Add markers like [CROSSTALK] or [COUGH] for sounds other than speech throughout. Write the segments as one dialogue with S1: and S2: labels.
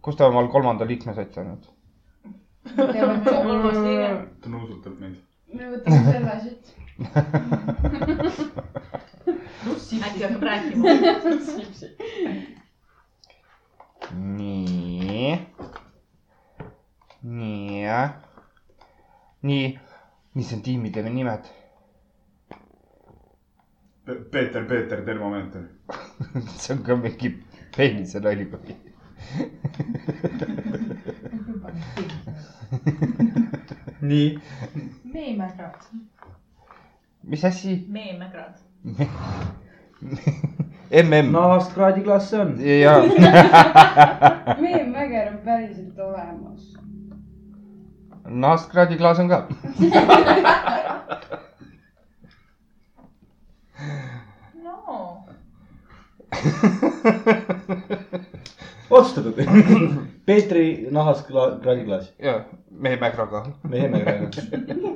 S1: kus ta omal kolmanda liikme sai saanud ?
S2: [LAUGHS] nagu kolmas liige .
S3: ta nuusutab meid .
S4: me võtame selle siit .
S2: äkki hakkab rääkima .
S1: nii . nii , nii , mis on tiimide nimed ? [LAUGHS]
S3: Peeter , Peeter , termomeeter .
S1: see on ka mingi peenise nali või ? [LAUGHS] nii ,
S4: meemägrad .
S1: mis asi ?
S2: meemägrad .
S1: mm no. .
S5: nahast kraadiklaas see on .
S1: ja ,
S4: meemäger on päriselt olemas .
S1: nahkkraadi klaas on ka .
S2: no
S5: [LAUGHS] otsustatud . Peetri nahast kla- kraadiklaas ,
S1: ja , meie mägraga ,
S5: mehe märgaga .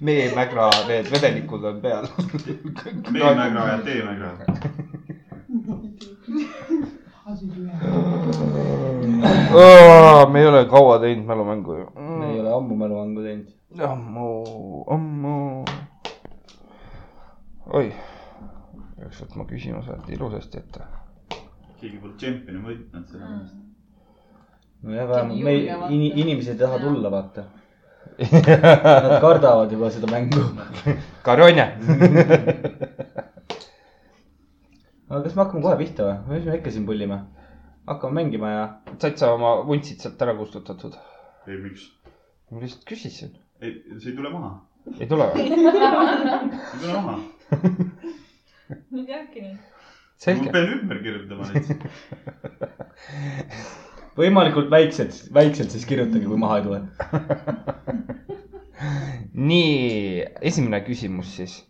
S1: meie mägra , need vedelikud on peal . [LAUGHS]
S3: meemägra ja teemägra .
S1: me ei ole kaua teinud mälumängu ju .
S5: me ei ole ammu mäluangu teinud .
S1: ammu , ammu . oi , peaks võtma küsimused ilusasti ette .
S3: keegi pole tšempioni võitnud selle
S2: mm. .
S3: eest .
S5: nojah , vähemalt me
S2: Julge vaata.
S5: in, , inimesed ei taha tulla , [LAUGHS] vaata . Nad kardavad juba seda mängu .
S1: Karjonja .
S5: aga kas me hakkame kohe pihta või ? või mis me ikka siin pullime ? hakkame mängima ja
S1: said sa oma vuntsid sealt ära kustutatud ?
S3: ei , miks ?
S1: ma lihtsalt küsisin .
S3: ei , see ei tule maha .
S1: ei tule või ?
S3: ei tule maha .
S2: nüüd jääbki nii .
S3: ma
S1: selge .
S3: pean ümber kirjutama neid .
S5: võimalikult väikselt , väikselt siis kirjutage , kui maha ei tule .
S1: nii , esimene küsimus siis .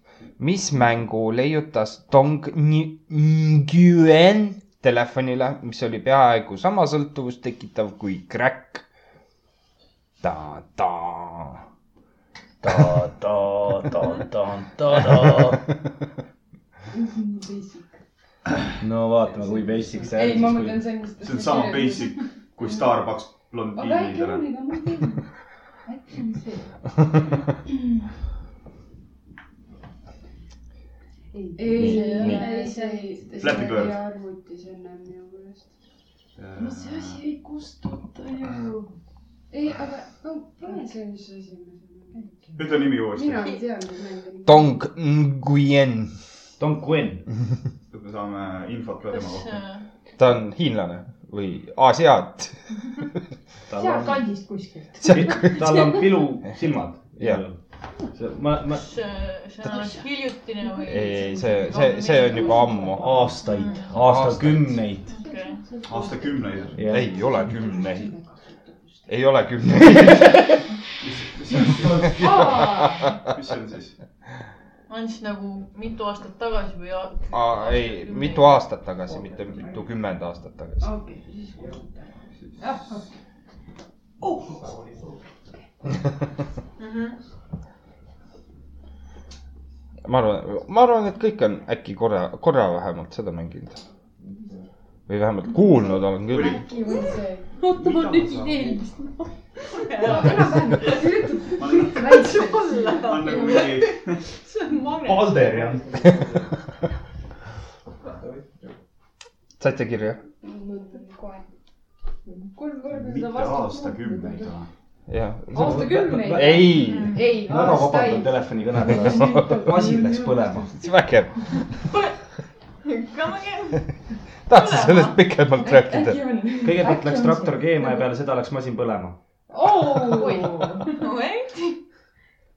S1: mis mängu leiutas Dong Ni- Nguyen telefonile , mis oli peaaegu sama sõltuvust tekitav kui crack ? ta-taa .
S5: no
S4: basic .
S5: vaatame , kui basic see
S4: ei , ma
S5: on
S4: mõtlen
S5: siis ,
S4: sellist . [LAUGHS]
S3: see on sama . basic kui Starbucks
S4: aga äkki
S3: blondiinidele
S4: on . ikka muidugi . äkki on see . ei , see ei ole , ei see ei .
S3: Flappy Bird.
S4: arvutis ennem minu meelest .
S3: mis see asi ?
S4: ei kustuta ju . ei , aga no pane see , mis asi me siin mängime .
S3: ütle nimi uuesti .
S4: mina ei tea , mis mängime .
S1: Dong Nguyen ,
S5: Tom Quinn .
S3: et me saame infot ka tema
S2: kas
S3: kohta .
S2: äh,
S1: ta on hiinlane või Aasiat .
S4: seal kandis kuskilt .
S5: tal on pilusilmad .
S1: Jah. .
S5: ma , ma
S2: kas äh, see on alles hiljutine või ? nagu
S1: ei , ei , see , see , see on juba ammu .
S5: aastaid , aastakümneid .
S2: okei ,
S3: aastakümneid .
S1: ei ole kümneid . ei ole [LAUGHS] kümneid .
S3: mis see on siis ? mis see on siis ?
S2: ma andsin nagu mitu aastat tagasi või a-
S1: ei , mitu aastat tagasi , mitte mitukümmend aastat tagasi .
S4: okei , siis kuulata .
S2: Mhm.
S1: ma arvan , ma arvan , et kõik on äkki korra , korra vähemalt seda mänginud . või vähemalt kuulnud olen küll .
S4: äkki on see .
S3: oota , ma tegin eelmist . ma olen ma olen nagu mingi ,
S2: see on mame .
S6: Alderian .
S1: saite kirja ?
S4: kohe . kolm korda
S3: mitte . aastakümneid .
S1: jah .
S4: aastakümneid .
S1: ei ,
S4: ei ,
S5: väga vabandan
S4: aastaid .
S5: telefonikõne pärast . masin läks põlema .
S1: see on vägev .
S2: Come again .
S1: tahtsin sellest pikemalt rääkida .
S4: äkki on .
S5: kõigepealt läks traktor keema ja peale seda läks masin põlema .
S4: oo .
S2: Wait .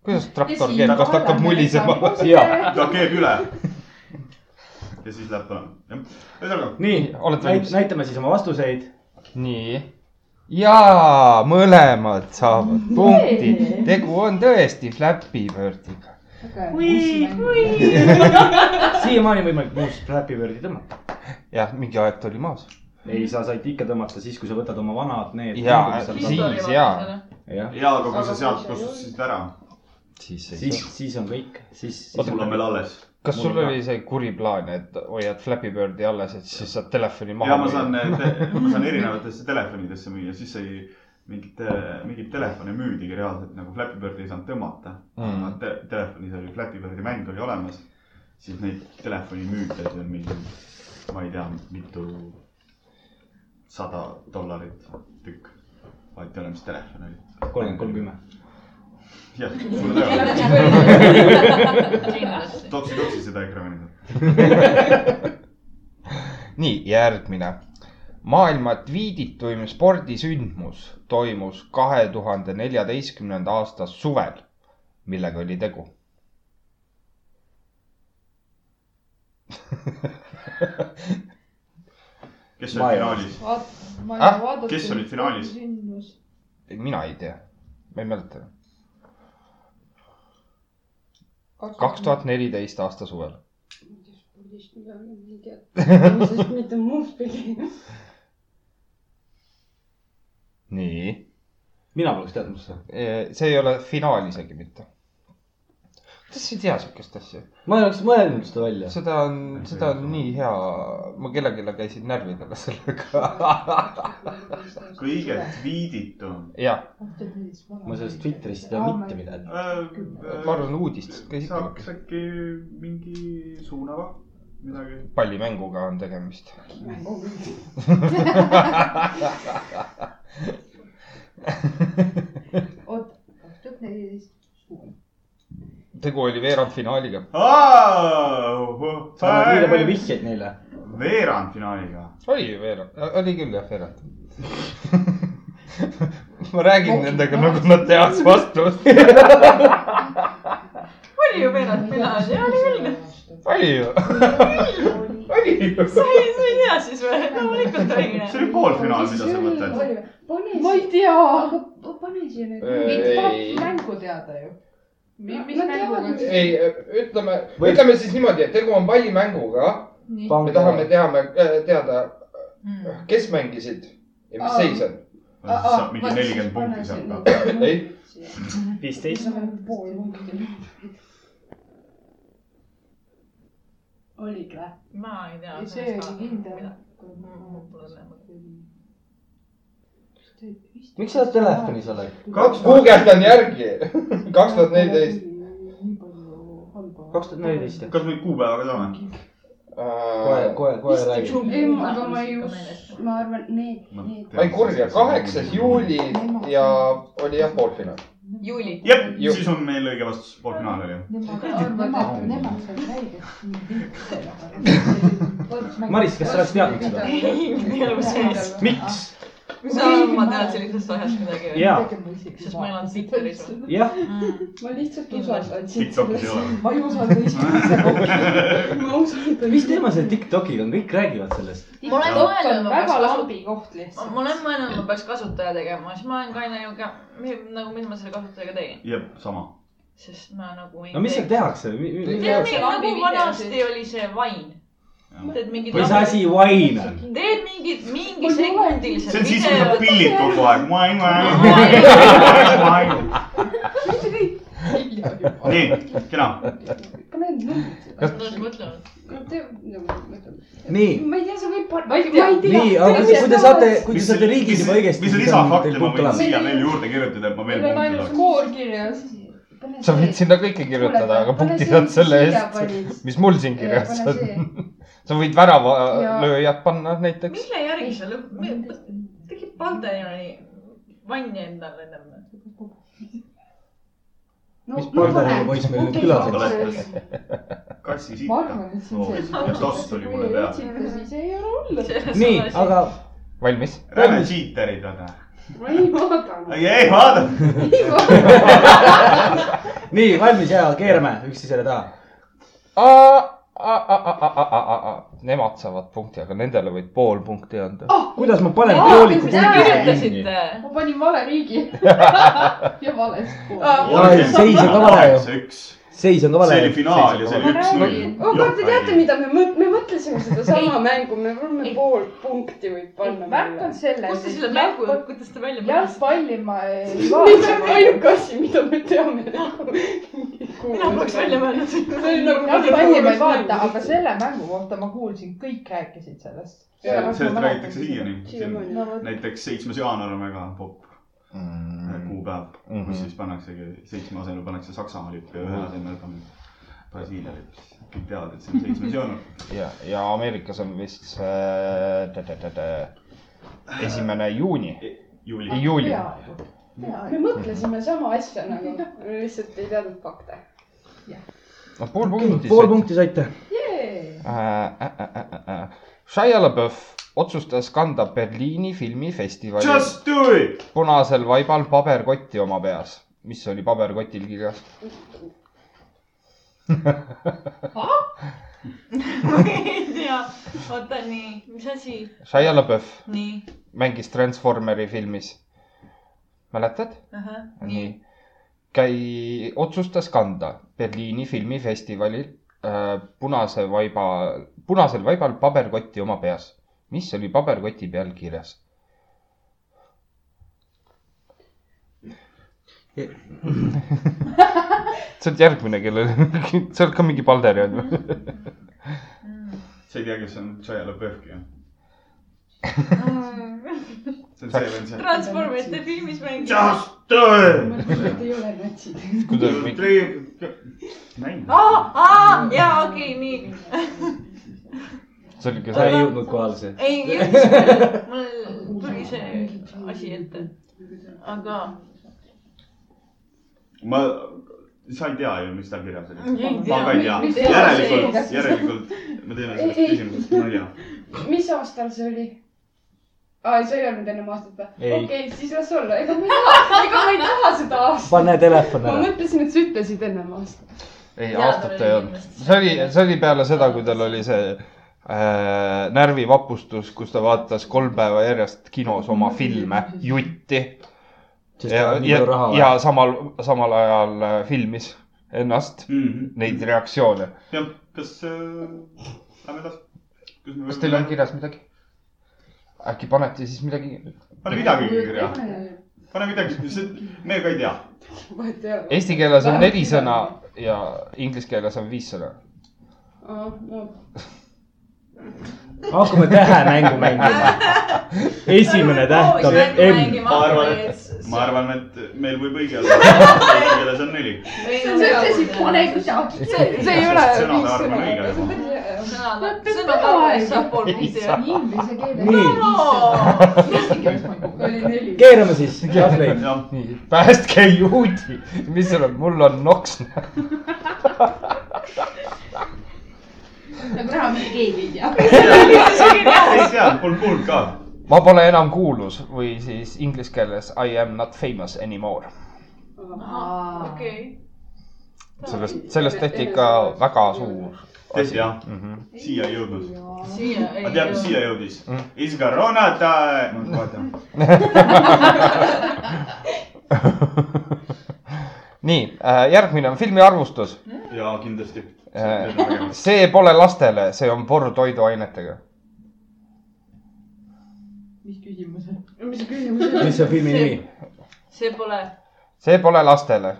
S1: kuidas traktor keeb , kas ta hakkab mulisema ?? [LAUGHS]
S5: Jaa.
S3: ta keeb üle . ja siis läheb põlema . ühesõnaga ,
S5: nii ,
S1: Olete valmis?
S5: näitame siis oma vastuseid .
S1: nii . jaa , mõlemad saavad punkti . tegu on tõesti Flappy Birdiga .
S5: siiamaani on võimalik muust Flappy Birdi tõmmata .
S1: jah , mingi aeg ta oli maas .
S5: ei , sa said ikka tõmmata siis , kui sa võtad oma vanad need .
S1: Jaa, Siis, jaa.
S5: jah ,
S3: ja aga kui sa sealt kustusid ära ,
S1: siis
S5: siis , siis on kõik , siis .
S3: siis mul on veel alles .
S1: kas
S3: Mul
S1: sul
S3: ka.
S1: oli see kuri plaan , et hoiad Flappy Birdi alles , et siis saad telefoni maha
S3: ja ma saan , ma saan erinevatesse telefonidesse müüa , siis sai mingit , mingeid telefone müüdigi reaalselt nagu Flappy Birdi ei saanud tõmmata
S1: Mm.
S3: mm. . Te, telefonis oli Flappy Birdi mäng oli olemas , siis neid telefoni müüdi , et on mingi , ma ei tea , mitu sada dollarit tükk . vaid ei ole , mis telefon oli .
S5: kolmkümmend , kolmkümmend .
S3: jah , sulle tänu .
S2: [LAUGHS] kindlasti .
S3: toksi , toksi seda ekraani .
S1: nii , järgmine . maailma tviidituim spordisündmus toimus kahe tuhande neljateistkümnenda aasta suvel . millega oli tegu ?
S3: kes oli finaalis ?
S4: vaat- , ma ei
S1: Ah,
S4: ole vaadanud .
S3: kes olid finaalis?
S4: sündmus .
S1: mina ei tea , ma ei mäleta . kaks . tuhat neliteist aasta suvel .
S4: spordist midagi , ma ei tea . sest mitte muust pidi .
S1: nii ,
S5: mina poleks teadnud seda .
S1: see ei ole finaal isegi mitte . kuidas sa ei tea sihukest asja ?
S5: ma ei oleks mõelnud seda välja .
S1: seda on , seda on nii hea , ma kellelegi käisin närvi taga sellega . [LAUGHS]
S3: kõige . tweetitum
S1: jah ,
S5: ma sellest Twitterist ei tea mitte midagi .
S1: ma arvan , uudistest käis ikka
S3: Äh, saaks äkki mingi suunava , midagi .
S1: pallimänguga on tegemist .
S6: oot , kaks tuhat neliteist .
S1: tegu oli veerandfinaaliga .
S5: sa annad liiga palju vihjeid neile .
S3: veerandfinaaliga .
S1: oli ju veerand , oli küll jah , veerand . [LAUGHS] ma räägin nendega nagu nad [LAUGHS] teaks vastust . [LAUGHS]
S2: oli ju veerand finaal , jaa , oli küll .
S1: oli ju , oli ju .
S2: sa ei , sa ei tea siis või ? loomulikult
S3: see
S2: oli .
S3: oli poolfinaal , mida sa mõtled ?
S6: pane
S4: ma ei
S6: siia ,
S4: tea .
S6: aga p- pane siia nüüd .
S1: Ei.
S6: tahab mängu teada ju .
S4: mis mänguga
S6: tean. ?
S1: ei , ütleme , ütleme siis niimoodi , et tegu on pallimänguga . me tahame
S5: pange ,
S1: teame , teada ,
S2: Hmm.
S1: kes mängisid ja mis
S4: Aa.
S1: seis on .
S3: saab mingi nelikümmend punkti sealt ka .
S1: Ei. .
S5: viisteist .
S4: pool punkti .
S6: oligi või ?
S2: ma ei tea .
S6: see oli kindel .
S5: miks sa telefonis oled ?
S3: Kaks-
S1: guugeldan järgi , [LAUGHS] kaks tuhat neliteist .
S6: nii palju halba .
S5: kaks tuhat neliteist jah ?
S3: kas me kuupäevaga saame ?
S5: kohe , kohe , kohe räägin .
S4: ei , aga ma ei usu , ma arvan , need , need .
S1: ma ei kurja , kaheksas . juuli ja oli jah poolfinaal .
S2: juuli .
S3: jep ,
S1: Ju-
S3: siis on meil õige vastus , poolfinaal oli .
S6: Nemad ,
S3: nemad-
S6: nemad ,
S3: nemad
S6: nemad said väikest
S5: Maris , kas sa oleks teadnud seda ?
S2: ei , ma ei ole sees .
S5: miks ?
S2: sa , ma tean sellisest asjast midagi või ?
S5: jaa ,
S2: sest meil on Twitteris või ?
S5: jah ,
S4: ma lihtsalt usaldan sind
S3: TikTokis ei . ole .
S4: ma ei usalda
S3: [LAUGHS]
S4: sind . ma usaldan .
S5: mis teema see Tiktokiga on , kõik räägivad sellest .
S2: ma olen mõelnud , ma peaks
S4: väga
S2: kasutama ,
S4: lambi koht lihtsalt .
S2: ma olen mõelnud , ma peaks kasutaja tegema , siis ma olen ka ainuke , nagu mis ma selle kasutajaga tegin ,
S3: jep , sama .
S2: sest ma nagu ei
S5: no mis seal tehakse ?
S2: tead ,
S5: või
S2: meil nagu vanasti oli see vain . teed mingid ,
S5: mis asi wine on ?
S2: teed mingid ,
S4: Mul ei
S2: mingi
S4: ole.
S2: sekundilised
S3: see on siis , kui sa
S2: videod .
S3: pillid kogu aeg . nii , kena .
S4: ka need numbrid .
S2: ma just mõtlen ,
S5: nii ,
S4: ma ei tea , sa võid panna , ma ei tea , ma ei tea .
S5: nii , aga kui te saate , kui te saate riigis juba õigesti .
S3: mis lisafakte ma võin siia veel juurde kirjutada , et ma veel
S4: meil on
S3: punkti
S4: ainult
S3: saaks ?
S4: skoor kirjas .
S1: sa võid sinna kõike kirjutada , aga punkti saad selle eest ,. mis mul siin kirjas on . sa võid väravalööjad panna näiteks .
S2: mille järgi sa lõpp , tegid Pantheoni vanni endale enne .
S5: mis Pardani poiss meil nüüd külas on ?
S3: kassi sitta .
S6: ma arvan , et see on
S3: oo ,
S6: see .
S3: ja toss oli mulle peal .
S4: siis ei ole hullu .
S5: nii , aga
S1: valmis ?
S3: räme siiterid on vä ?
S4: ma ei vaadanud .
S3: ei , ei vaata .
S5: nii , valmis ja keerame üksteisele taha .
S1: Nemad saavad punkti , aga nendele võid pool punkti anda .
S5: kuidas ma panen
S4: Aa,
S5: pooliku
S4: mis te
S5: punkti ?
S2: kirjutasite .
S4: ma panin vale
S6: [LAUGHS]
S4: riigi ja vale
S6: Ah.
S4: skoori .
S5: seis on ka vale ju. .
S3: üks .
S5: seis on ka vale .
S3: see oli finaal ja see oli üks-null .
S4: oh , vaata , teate , mida me mõt- , me mõtlesime seda sama mängu , me võime pool punkti võib panna .
S6: värk on selles
S2: kust te selle mängu , kuidas te välja mõtlesite ?
S6: jalgpalli ma ei
S4: see on
S6: vaata .
S4: ainuke asi , mida me teame .
S2: mina poleks välja mõelnud .
S4: see oli nagu
S6: jah , mänge ma ei vaata , aga selle mängu kohta ma kuulsin , kõik rääkisid sellest .
S3: sellest räägitakse siiani .
S4: siiamaani .
S6: no vot ,
S3: näiteks seitsmes jaanuar on väga popp äh,
S5: Mm-hmm.
S1: mm. .
S3: kuupäev ,
S1: Mhm.
S3: kus Mm-hmm. siis pannaksegi seitsme asemel pannakse Saksamaa lipp ja
S5: Mm-hmm.
S3: ühe asemel pannakse Brasiilia lipp . kõik teavad , et see on seitsmes jaanuar .
S1: ja , ja Ameerikas on vist see tõ-tõ-tõ-tõ, esimene juuni ,
S3: juuli .
S1: juuli .
S6: peaaegu , peaaegu .
S4: me mõtlesime sama asja nagu , lihtsalt ei teadnud fakte .
S1: no pool punkti . Äh,
S5: pool . punkti saite .
S1: Shia LaBeouf otsustas kanda Berliini filmifestivalil
S3: Just do it .
S1: punasel vaibal paberkotti oma peas , mis oli paberkotil kirjas .
S2: ma ei tea , oota nii , mis asi ?
S1: Shia LaBeouf
S2: nii ,
S1: mängis Transformeri filmis . mäletad ?
S2: ahah , nii .
S1: nii . käi , otsustas kanda Berliini filmifestivalil äh, punase vaiba , punasel vaibal paberkotti oma peas , mis oli paberkoti peal kirjas . [LAUGHS] sa oled järgmine , kellel , [LAUGHS] sa oled ka mingi Palderi on ju .
S3: sa ei tea , kes on Shia LaBeouf'i jah ? see on see vend seal .
S2: Transformerite filmis mängis .
S3: Just do
S4: ma
S3: it .
S4: ütlen , et ei ole natsid .
S1: kuidas mingi ,
S3: näinud .
S2: aa , aa , jaa , okei , nii .
S1: see oli ka
S5: sa
S1: see
S5: ei jõudnud kohale see .
S2: ei , jõudis , mul tuli see asi ette , aga .
S3: ma , sa ei tea ju , mis tal kirjas oli .
S2: ei
S3: ma ka ei
S2: tea .
S4: Mm,
S3: tea
S4: mis- . mis-
S3: järelikult , järelikult me teeme sellest
S4: Ei, ei.
S3: küsimusest nalja .
S4: mis aastal see oli ? aa , see ei olnud ennem aastat või ?
S5: Ei.
S4: okei , siis las olla , ega ma ei taha , ega ma ei taha seda aastat .
S5: pane telefon
S4: ma
S5: ära .
S4: mõtlesin , et sa ütlesid ennem aastat .
S1: ei ,
S2: Jaa,
S1: aastat
S2: tal
S1: ei
S2: oli
S1: olnud .
S2: kindlasti.
S1: see oli , see oli peale seda , kui tal oli see äh, närvivapustus , kus ta vaatas kolm päeva järjest kinos oma filme , jutti .
S5: sest
S1: ja
S5: tal on , nii
S1: ja
S5: palju raha ,
S1: ja
S5: vaja .
S1: samal , samal ajal äh, filmis ennast , neid reaktsioone .
S3: Mhm. jah , kas äh, , lähme edasi .
S1: kas teil on ? kirjas midagi ? äkki panete siis midagi ?
S3: pane midagi kirja , pane midagi , me ka ei tea .
S4: vahet ei ole .
S1: Eesti keeles on neli sõna ja inglise keeles on viis sõna .
S4: no
S5: hakkame tähemängu mängima . esimene täht on M .
S3: ma arvan , et , ma . arvan , et meil võib õige olla , eesti keeles on neli .
S4: sa ütlesid pane . kusagil , see , see ei ole
S3: Sõnade
S4: viis
S3: arv on õige.
S4: sõna .
S2: sõnad , sõnad arvavad , saab pool punkti .
S6: inglise keeles .
S5: nii ,
S3: [LAUGHS]
S6: eesti keeles ma ei kuulnud .
S4: oli neli .
S5: keerame siis . [LAUGHS] Katrin ,
S3: jah ,
S1: nii , päästke juudi , mis sul on , mul on noks .
S6: nagu raha mitte keegi ei tea .
S3: ei tea , polnud kuulnud ka .
S1: ma pole enam kuulus või siis inglise keeles I am not famous anymore .
S2: okei .
S1: sellest , sellest tehti ikka väga suur
S3: tõesti
S1: asi .
S3: jah ,
S1: Mm -hmm.
S3: siia ei jõudnud .
S2: siia ei
S3: ma tean , mis siia jõudis
S1: Mm. .
S3: Is koroona time . no vaata ,
S1: [LAUGHS] nii äh, , järgmine on filmi arvustus .
S3: jaa , kindlasti .
S1: Äh. see pole lastele , see on porr toiduainetega .
S6: mis küsimus on ?
S4: mis küsimus oli ?
S5: mis on filmi nimi ?
S2: see pole .
S1: see pole lastele .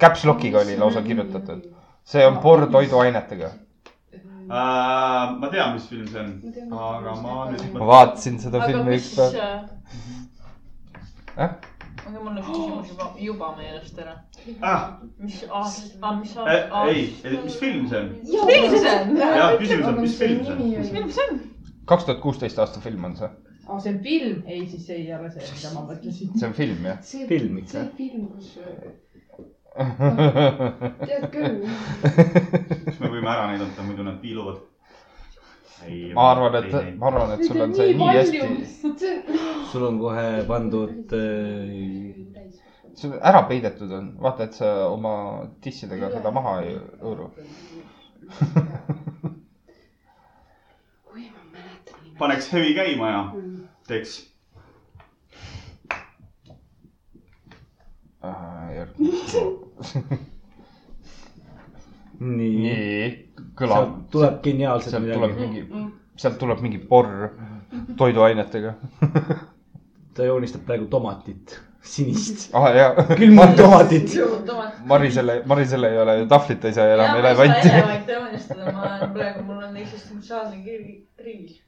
S1: Caps Lockiga oli lausa kirjutatud . see on porr toiduainetega .
S3: ma tean , mis film see on , aga ma nüüd
S1: ma vaatasin seda
S2: aga
S1: filmi üks
S2: mis
S1: päev .
S2: äh?
S1: Äh?
S2: aga mul on küsimus juba , juba meelest ära .
S3: ah, .
S2: mis aast- , ah, mis
S3: Eh,
S2: aast- ,
S3: ei , mis film see on ?
S2: Mis film see on?
S3: jah , küsimus on , mis film see on ?
S2: mis film see on ?
S1: kaks tuhat kuusteist aasta film on see ,
S6: aa , Ah, see on film ? ei , siis see ei ole see , mida ma mõtlesin .
S1: see on film jah .
S4: see
S5: Film ikka.
S4: see film , kus tead küll ,
S3: kas me võime ära näidata , muidu nad piiluvad ?
S1: ma arvan , et , ma arvan , et sul on see nii hästi
S4: see
S5: sul on kohe pandud äh,
S1: see on ära peidetud on , vaata , et sa oma tissidega seda maha ei hõõru .
S3: paneks hevi käima ja teeks .
S1: Äh,
S5: nii .
S1: nii , kõlab
S5: sealt , tuleb geniaalselt
S1: sealt tuleb
S5: midagi .
S1: mingi , sealt tuleb mingi porr toiduainetega .
S5: ta joonistab praegu tomatit , [LAUGHS] sinist ,
S1: ah jaa .
S5: külmunud tomatit .
S2: tomat .
S1: Marisele , Marisele ei ole ju tahvlit , ta ei saa enam
S2: ma ei saa
S1: elevanti .
S2: elevanti joonistada , ma olen praegu , mul on eksistentsiaalne kirgi , kriis .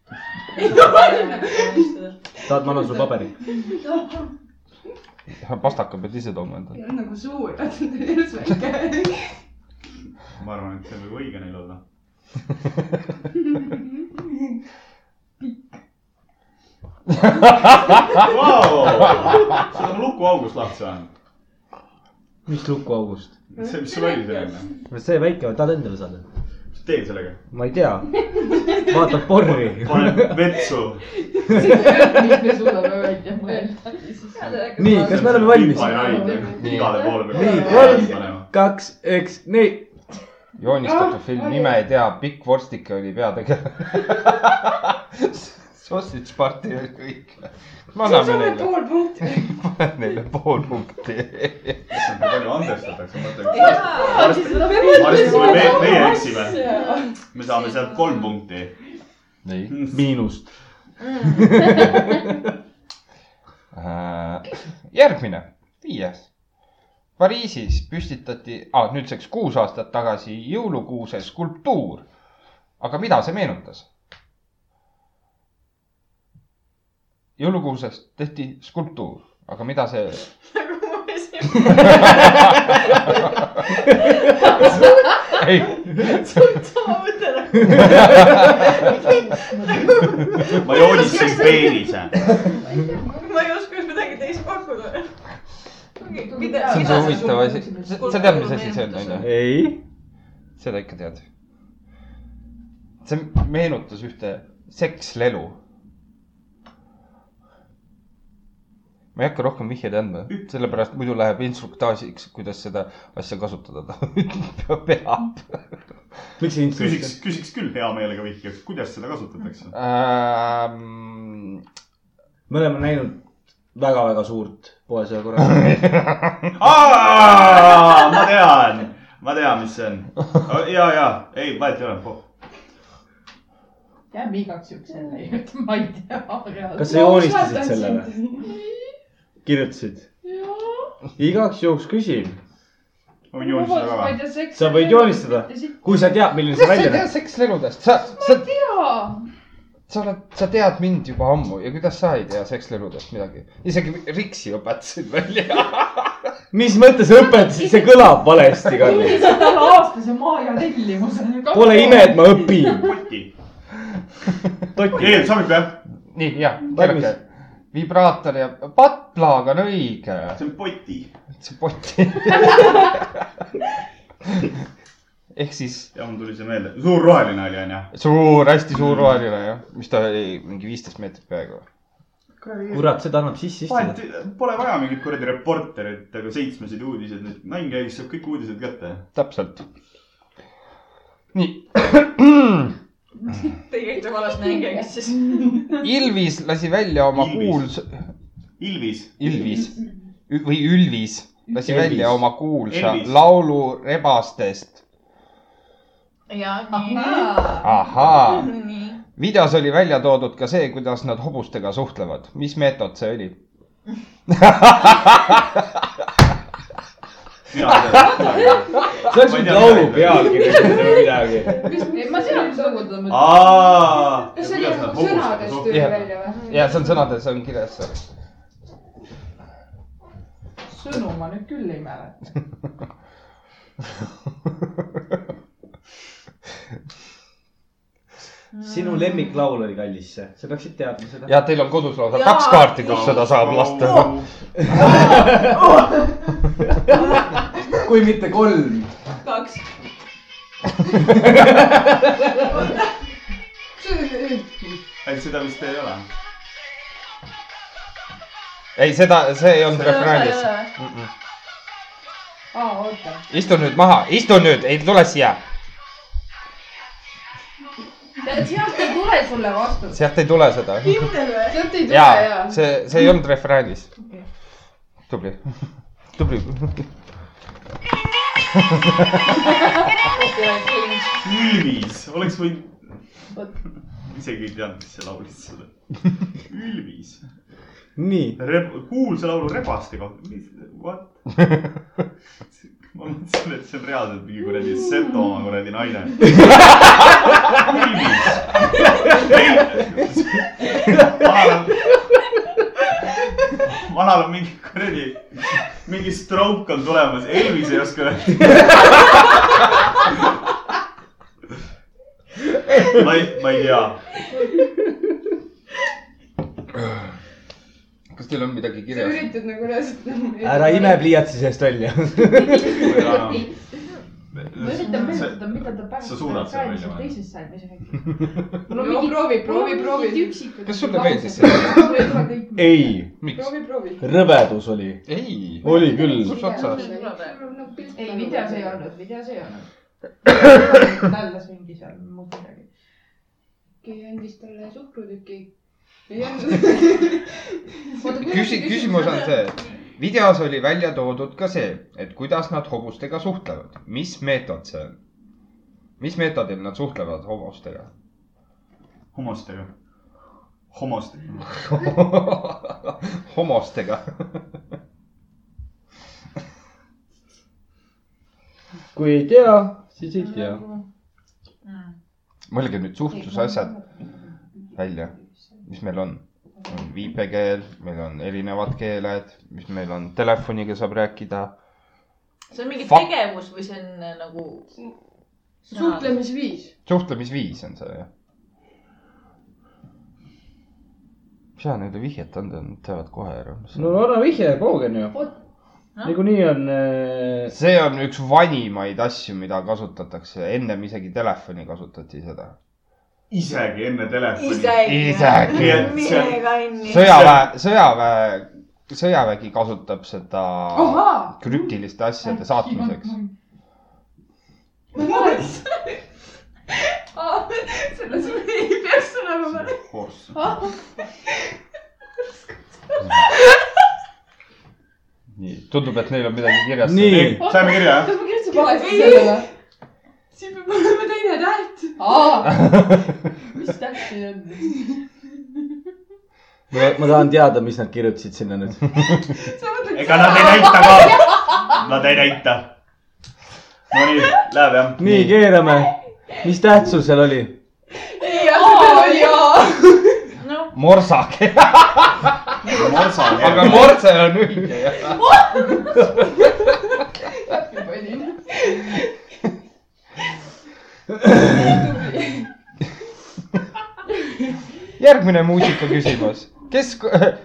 S5: tahad , ma annan sulle paberi ?
S1: pastaka pead ise tooma endale .
S4: ja nagu suur , vaata ta on ilus väike .
S3: ma arvan , et see võib õige neil olla . seda on lukuaugust lahti saanud .
S5: mis lukuaugust ?
S3: see , mis sul oli seal enne ?
S5: see väike , tahad endale saada ?
S3: mis sa teed sellega ?
S5: ma ei tea , vaatad porri .
S3: paned vetsu .
S6: miks me suudame välja mõelda .
S5: Nii, kas me oleme valmis?
S3: igale poole peab
S5: Nii,
S3: vetsu
S5: kolm.
S3: panema .
S5: kaks , üks , nii .
S1: joonistatud film , nime ei tea , Pikk vorstike oli peategelane . [LAUGHS] Sausage party oli kõik . me anname neile ,
S4: pool punkti .
S1: paneme [LAUGHS] neile pool punkti .
S3: issand , kui palju andestatakse , ma mõtlen . arsti , kui me ,
S6: arsti-
S4: arsti-
S3: meie eksime , me saame sealt kolm punkti .
S1: nii
S5: miinust .
S2: Mm.
S1: äh, . järgmine , viies . Pariisis püstitati ah, , nüüdseks kuus aastat tagasi jõulukuuse skulptuur . aga mida see meenutas ? jõulukuusest tehti skulptuur , aga mida see ei ,
S3: ma joonistasin peenise .
S2: [LAUGHS] ma ei oska midagi teist pakkuda .
S1: see on see huvitav asi , sa tead , mis asi see on ,
S2: Skulptuur
S1: onju ?
S5: ei .
S1: seda ikka tead . see meenutas ühte sekslelu . ma ei hakka rohkem vihjeid andma , sellepärast muidu läheb instruktaažiks , kuidas seda asja kasutada ta [LAUGHS] peab .
S5: miks see
S3: küsiks
S5: instrument ,?
S3: küsiks küll hea meelega vihjaks , kuidas seda kasutatakse ?
S1: Ähm,
S5: me oleme näinud väga-väga suurt poes ühe korra .
S3: ma tean , ma tean , mis see on . ja , ja , ei , vahet ei ole .
S6: jääme igaks juhuks selle [LAUGHS] juurde , ma ei tea .
S5: kas sa joonistasid selle või ?? kirjutasid ? igaks juhuks küsin ,
S3: ma võin joonistada ka
S4: ma ei
S3: või ?
S4: tea , seks .
S5: Sa võid joonistada. kui sa tead , milline see
S1: kuidas sa ei
S5: välja
S1: tea
S5: näeb .
S1: seksleludest , sa , sa ,
S4: jaa .
S1: sa oled , sa tead mind juba ammu ja kuidas sa ei tea seksleludest midagi , isegi Riksi õpetasid välja .
S5: mis mõttes õpetasid , see kõlab valesti , Karli .
S6: tunnisid talle aastase maaja tellimuse .
S5: Pole ime , et ma õpin .
S3: koti .
S5: toti .
S3: Keel sobib jah ?
S1: nii , jah ,
S5: Valmis.
S1: keelake . vibraator ja patlaag on õige ,
S3: see on poti
S1: see poti . [LAUGHS] ehk siis
S3: ja mul tuli see meelde , suur roheline oli onju .
S1: suur , hästi suur roheline jah , mis ta oli , mingi viisteist meetrit peaaegu .
S5: kurat , seda annab sisse
S3: vahet
S5: istuda .
S3: pole vaja mingit kuradi reporterit , aga seitsmesid uudised , need mäng käis , saab kõik uudised kätte .
S1: täpselt . nii , [CLEARS THROAT]
S2: Teie käite valesti mängijaid siis .
S1: Ilvis lasi välja oma
S3: Ilvis.
S1: kuuls- ,
S3: Ilvis ,
S1: Ilvis Ü- või Ülvis lasi
S5: Elvis.
S1: välja oma kuulsa
S3: Elvis.
S1: laulu rebastest .
S2: ja
S1: ahaa ,
S2: nii . nii .
S1: videos oli välja toodud ka see , kuidas nad hobustega suhtlevad , mis meetod see oli ?
S3: mina ei
S4: [LAUGHS]
S3: tea .
S5: see oleks
S3: Ma ei
S5: nüüd
S3: tea,
S5: laulu
S3: midagi.
S5: pealkiri või midagi .
S6: ma tean , mis lugude ma .
S3: aa .
S4: kas see oli nagu sõnadest tuli
S1: Jah.
S4: välja või ?
S1: ja see on sõnades on kirjas seal .
S6: sõnu ma nüüd küll ei mäleta .
S5: [LAUGHS] sinu lemmiklaul oli kallis see , sa peaksid teadma seda .
S1: ja teil on kodus lausa
S2: Jaa.
S1: kaks kaarti , kus seda saab lasta .
S5: kui mitte kolm .
S2: kaks .
S3: ei , seda vist ei ole .
S1: ei , seda , see ei olnud
S2: Seda osa ei
S1: refräänis
S2: ole.
S1: mm . -mm.
S6: aa , oota .
S1: istu nüüd maha , istu nüüd , ei tule siia ,
S6: sealt ei tule sulle vastus .
S1: sealt ei tule seda .
S2: kindel või ?
S4: sealt ei tule
S1: ja
S4: jaa .
S1: see , see ei olnud refräänis . tubli , [LAUGHS] tubli .
S3: Ülvis , oleks
S1: [LAUGHS]
S3: võinud . isegi ei teadnud , mis see laulis seda . Ülvis .
S5: nii ,
S3: Reb- , kuulsa laulu Rebaste kohta , mis , what ? ma mõtlesin , et see on reaalselt mingi kuradi seto oma kuradi naine . vanal on mingi kuradi , mingi stroke on tulemas , Elvis ei oska öelda . ma ei , ma ei tea ,
S1: kas teil on midagi
S4: sa
S1: kirjas ?
S4: üritad nagu reaalselt .
S5: ära ime . pliiatsi seest välja . [LAUGHS]
S3: ma ei tea enam .
S6: ma üritan
S3: see-
S6: meenutada , mida ta
S3: sa suudad selle välja mõelda.
S6: teises salmis rääkis .
S4: no proovi , proovi , proovi .
S1: kas sulle meeldis see ?
S6: see ?
S5: ei ,
S1: miks ?
S4: proovi , proovi .
S5: rõvedus oli ,
S1: ei .
S5: oli küll .
S1: kus otsas ?
S6: ei ,
S4: nagu
S6: videos ei . olnud , videos ei olnud . tallas mingi seal muud midagi .
S4: keegi andis talle suhkrutüki .
S1: Ah. küsi- , küsimus on see , videos oli välja toodud ka see , et kuidas nad hobustega suhtlevad , mis meetod see on ? mis meetodil nad suhtlevad hobustega ? [LAUGHS]
S3: homostega , homostega .
S1: homostega .
S5: kui ei tea , siis ei tea .
S2: Mm.
S1: mõelge nüüd suhtlusasjad välja , mis meil on . on viipekeel , meil on erinevad keeled , mis meil on , telefoniga saab rääkida .
S2: see on mingi
S1: Fuck.
S2: tegevus või see on äh, nagu .
S4: suhtlemisviis .
S1: suhtlemisviis on see , jah . mis sa neile vihjet andnud , nad teavad kohe ära , mis see
S5: no
S1: on .
S5: anna vihje , kaugen ju . niikuinii on äh,
S1: see on üks vanimaid asju , mida kasutatakse , ennem isegi telefoni kasutati seda .
S3: isegi enne telefoni .
S2: isegi
S1: Isegi. .
S2: meiega onju .
S1: sõjaväe , sõjaväe , sõjavägi kasutab seda
S4: ahaa .
S1: krüptiliste asjade saatmiseks .
S4: [LAUGHS]
S2: selles mõttes ei peaks olema .
S3: horse .
S1: nii , tundub , et neil on midagi kirjas .
S5: nii ,
S3: saime kirja ,
S6: [LAUGHS]
S3: jah ?
S4: kas ma kirjutasin valesti
S2: Ei.
S4: sellele ?
S2: siin peab olema teine täht .
S3: [LAUGHS]
S6: mis täpselt see on ?
S5: ma tahan teada , mis nad kirjutasid sinna [LAUGHS] nüüd .
S3: ega nad ei näita ka . Nad ei näita . Nonii , läheb jah ?
S5: nii , keerame . mis tähtsus seal oli ?
S2: noh ,
S1: morsake , [LAUGHS]
S3: morsa on
S1: aga
S3: kerge .
S1: morse on õige jah . järgmine muusikaküsimus . kes ,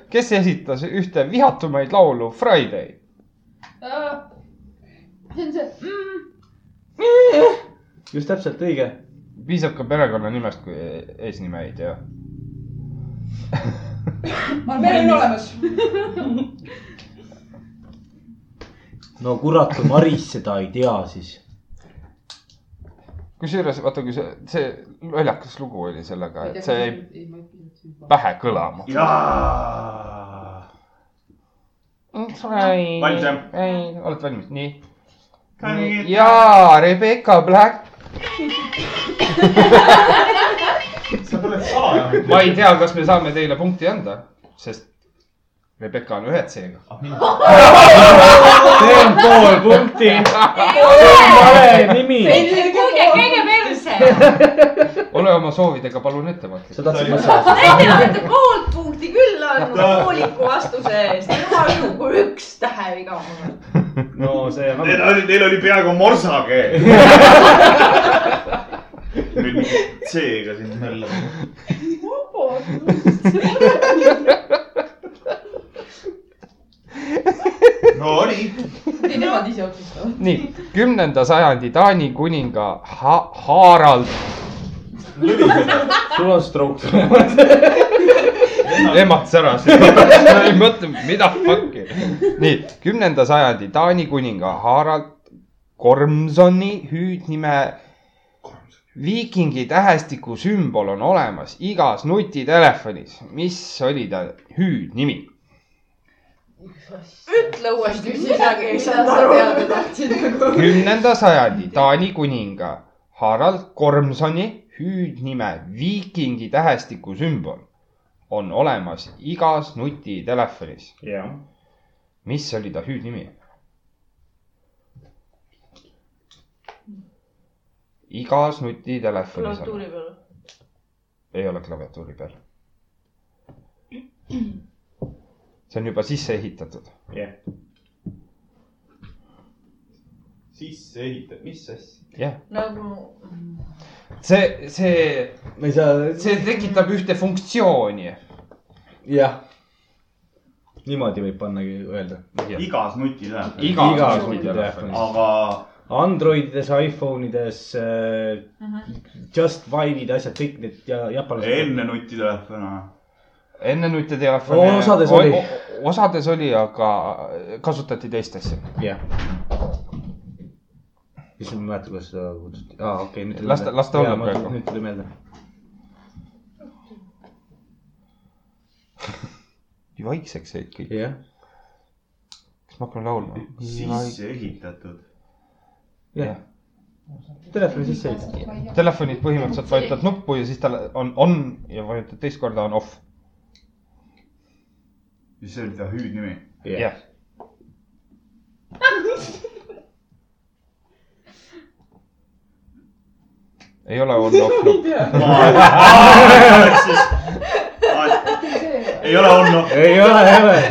S1: kes esitas ühte vihatumaid laulu Friday ?
S6: see on see ,
S5: just täpselt õige .
S1: piisab ka perekonnanimest , kui eesnime ei tea .
S6: meil on olemas .
S5: no kurat , kui Maris seda ei tea , siis .
S1: kusjuures vaata , kui see , see naljakas lugu oli sellega , et see jäi pähe kõlama .
S3: jaa . Valmis, jah?
S1: Mm, ei , oled valmis , nii .
S3: Nii.
S1: jaa , Rebecca Black .
S3: sa tuled salaja .
S1: ma ei tea , kas me saame teile punkti anda , sest Rebecca on ühed seega .
S5: see on pool punkti . vale nimi .
S2: kuulge , käige perse .
S1: ole oma soovidega palun
S5: sa
S1: ettevaatlik .
S5: tahtsid mõelda ?
S2: Teil olete pool punkti küll andnud
S3: Ta-
S2: pooliku vastuse eest . jumal juhu , kui üks tähe viga on .
S5: no see on
S3: Neil oli , neil oli peaaegu morsa keel . nüüd mingi C-ga siin möllab . Nonii .
S6: ei , nemad ise otsustavad .
S1: nii , kümnenda sajandi Taani kuninga ha Harald ,
S5: sul on stroke . [LAUGHS]
S1: emats [LAUGHS] ära , ma ei mõtle , mida fuck'i . nii , kümnenda sajandi Taani kuninga Harald Gormsoni hüüdnime viikingi tähestiku sümbol on olemas igas nutitelefonis , mis oli ta hüüdnimi ?
S2: ütle uuesti , midagi ei saanud aru .
S1: kümnenda sajandi Taani kuninga Harald Gormsoni hüüdnime viikingi tähestiku sümbol on olemas igas nutitelefonis .
S5: jah .
S1: mis oli ta hüüdnimi ? igas nutitelefonis on ,
S2: klaviatuuri peal .
S1: ei ole klaviatuuri peal . see on juba sisse ehitatud .
S5: jah .
S3: sisse ehitad , mis asja ?
S1: jah ,
S2: nagu
S1: see , see ,
S5: me ei saa ,
S1: see tekitab ühte funktsiooni .
S5: jah . niimoodi võib pannagi öelda .
S3: igas nutitelefonis .
S1: Igas nutitelefonis.
S5: igas nutitelefonis .
S3: aga
S5: Androidides , iPhone ides äh, , Just Vibe'id , asjad , kõik need ja japanlased .
S3: enne nutitelefone ,
S1: enne nutitelefoni .
S5: Osades oli. .
S1: osades oli , aga kasutati teist asja .
S5: jah . issand , ma ei mäleta , kuidas seda kutsuti . aa , okei , nüüd tuli
S1: Las ta-
S5: meelde.
S1: las ta olla
S5: Jaa, ma-
S1: praegu.
S5: nüüd tuli meelde .
S1: vaikseks jäid kõik .
S5: jah .
S1: kas me hakkame laulma ?
S3: sisse ehitatud .
S5: jah . telefoni sisse heita .
S1: Telefonid põhimõtteliselt vajutad nuppu ja siis tal on on ja vajutad teist korda on off .
S3: ja see oli ta hüüdnimi .
S1: jah . ei ole on off nupp .
S3: ei ole olnud .
S5: ei ole , ei ole .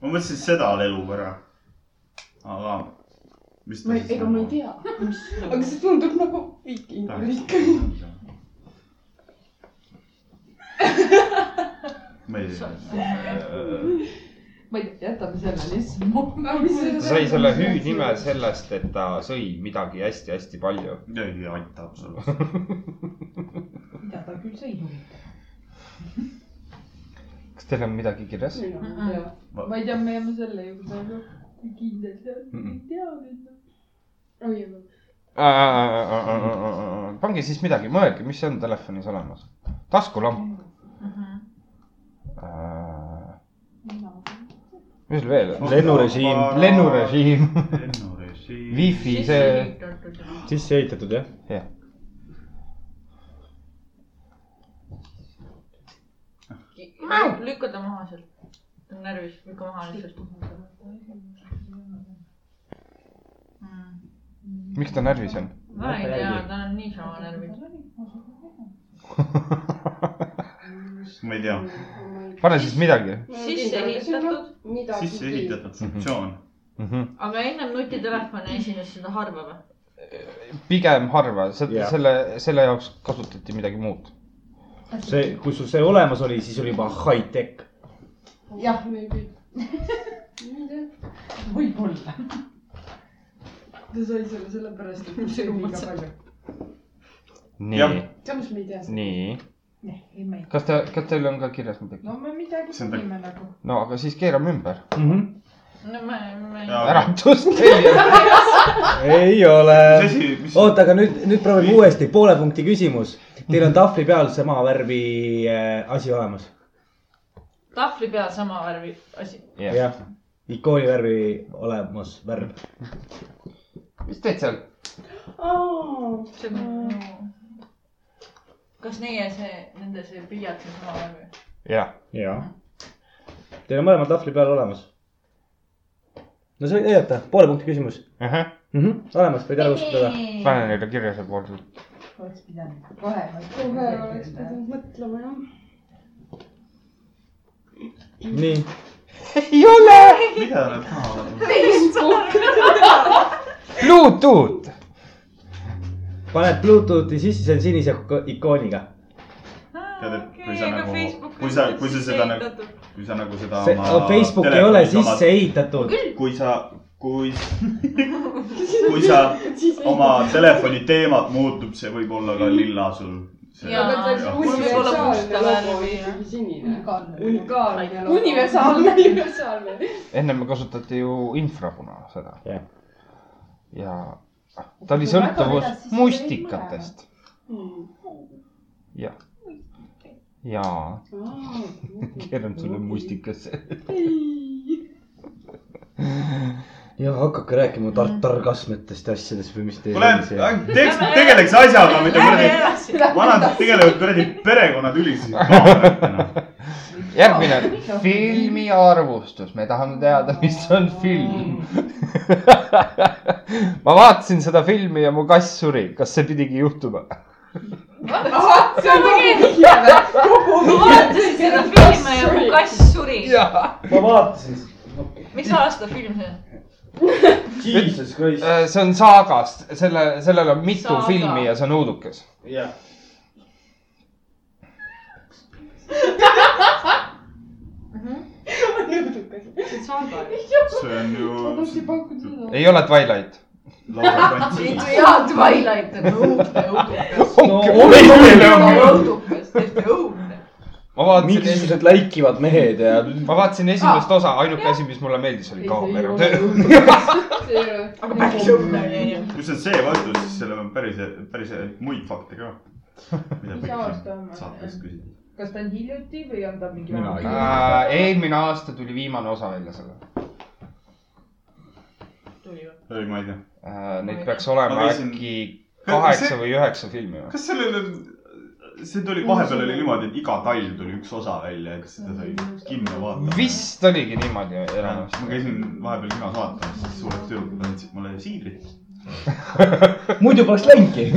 S3: ma mõtlesin , et seda lelu ära . aga .
S4: ma ei , ega ma ei tea , mis , aga see tundub nagu viikingulik .
S3: tea . ma ei tea .
S6: ma ei , jätame selle lihtsalt .
S1: ta sai selle hüüdnime sellest , et ta sõi midagi hästi-hästi palju .
S3: ei aita absoluutselt .
S6: mida ta küll sõi huvitav .
S1: kas teil on midagi kirjas ?
S6: ma ei tea , me jääme selle juurde , aga kui kindel see on , ei tea nüüd .
S4: oi , oi ,
S1: pange siis midagi , mõelge , mis on telefonis olemas . taskulamp .
S2: Mhm.
S1: mis seal veel on ?
S5: [LAUGHS] Lennurežiim. .
S1: [LAUGHS] lennurežiim ,
S3: lennurežiim .
S1: wifi , see ,
S5: sisse ehitatud jah .
S2: lükka ta maha sealt . ta on närvis , lükka maha lihtsalt .
S1: miks ta närvis on ?
S2: ma ei tea , ta on niisama närvis .
S3: ma ei tea ,
S1: pane siis midagi .
S2: sisse ehitatud ,
S3: sisse ehitatud
S5: [LAUGHS]
S3: funktsioon .
S1: Mhm.
S2: aga ennem nutitelefoni esines seda harva või ?
S1: pigem harva , selle
S5: Jah. ,
S1: selle , selle jaoks kasutati midagi muud .
S5: see , kui sul see olemas oli , siis oli juba high-tech .
S4: jah , maybe . ma ei tea ,
S6: võib-olla .
S4: ta sai selle sellepärast , et see oli liiga palju .
S1: nii
S3: Jah. ,
S4: samas me ei tea seda .
S1: nii ,
S6: Noh, ei , ma ei .
S1: kas te , kas teil on ka kirjas midagi ?
S6: no me midagi
S3: See on ta-
S6: tegime nagu .
S1: no aga siis keerame ümber .
S3: Mhm.
S2: no ma , ma ei .
S1: äratus teile .
S5: ei ole
S3: mis asi , mis ?
S5: oota , aga nüüd , nüüd proovime uuesti , poole punkti küsimus . Teil on tahvli peal sama värvi äh, asi olemas .
S2: tahvli peal sama värvi asi .
S1: jah ,
S5: jah , ikooni värvi olemas värv .
S1: mis teed seal ?
S2: see on minu . kas neie see , nende see pliiats on sama värvi ?
S1: jah ,
S5: ja . Teil on mõlemad tahvli peal olemas . no sa võid näidata , poole punkti küsimus
S1: ahah ,
S5: mm . -hmm. olemas , võid ära kustutada .
S1: pane neile kirja seal pool .
S6: oleks pidanud kohe .
S4: kohe oleks pidanud mõtlema jah .
S5: nii ,
S1: ei ole .
S3: mida nad tahavad ?
S1: Bluetooth .
S5: paned Bluetoothi sisse , see on sinise ko- ikooniga .
S3: Tead, et kui sa nagu- kui sa- kui sa seda nagu- kui sa nagu seda .
S5: see , Facebook ei ole sisse . ehitatud .
S3: kui sa , kui , [LAUGHS] kui sa oma telefoni teemat muutub , see võib olla ka lilla sul .
S2: Jaa.
S4: aga ta oleks
S2: Mul võib olla musta
S4: universaalne logo
S2: värvi.
S4: isegi sinine .
S6: unikaalne .
S4: unikaalne logo .
S6: Universaalne.
S4: [LAUGHS] universaalne .
S1: ennem kasutati ju infrapuna seda
S5: Jah. .
S1: ja ta oli
S6: Kui väga vedas,
S1: sõltuvus
S6: siis ta
S1: mustikatest ja , ja keeran sulle mustikasse .
S5: ja hakake rääkima tartarkasmetest ja asjadest või mis teil
S3: kuule , teeks , tegeleks asjaga , mitte kuradi ,
S2: edasi .
S3: vanad tegelevad kuradi perekonnatülisid kaameratena .
S1: järgmine filmi arvustus , me tahame teada , mis on film . ma vaatasin seda filmi ja mu kass suri , kas see pidigi juhtuma ?
S2: see on tegelikult , ma vaatasin seda filmi ja mu kass suri .
S5: ma vaatasin ,
S2: mis aasta film see on ?
S5: jesus christ ,
S1: Äh, see on saagast , selle , sellel on mitu
S2: Saaga.
S1: Saaga. filmi ja see on õudukas .
S5: jah .
S4: nõudukas .
S2: see on Samba .
S3: see on
S4: ma tahtsin
S3: ju
S4: pakkuda seda .
S1: ei ole Twilight .
S3: lausa fantsiin .
S2: jaa , Twilight on õudne , õudne . õudukas , tõesti õudne .
S1: ma vaatasin esimest ,
S5: mingisugused läikivad mehed ja
S1: ma vaatasin esimest osa , ainuke asi , mis mulle meeldis , oli kaamera töö .
S4: see ei ole .
S2: aga päris õudne oli , onju .
S3: kui see on see vastus , siis sellel on päris , päris e-, muid fakte ka . mida
S6: mis aasta on ?
S3: võiks saates küsida .
S6: kas ta on hiljuti või on ta mingi
S5: Mina ei
S1: Äh, eelmine aasta tuli viimane osa välja selle .
S3: ei , ma ei tea .
S1: Äh, Neid peaks olema
S3: Ma käisin-
S1: äkki
S3: See-
S1: kaheksa või üheksa filmi või ?
S3: kas sellel on , see tuli , vahepeal oli niimoodi , et iga talv tuli üks osa välja , et seda sai kinno vaadata .
S1: vist oligi niimoodi
S3: ma
S1: enamasti .
S3: käisin vahepeal kinos vaatamas , siis suured tüdrukud andsid mulle siidrit .
S5: muidu poleks läinudki .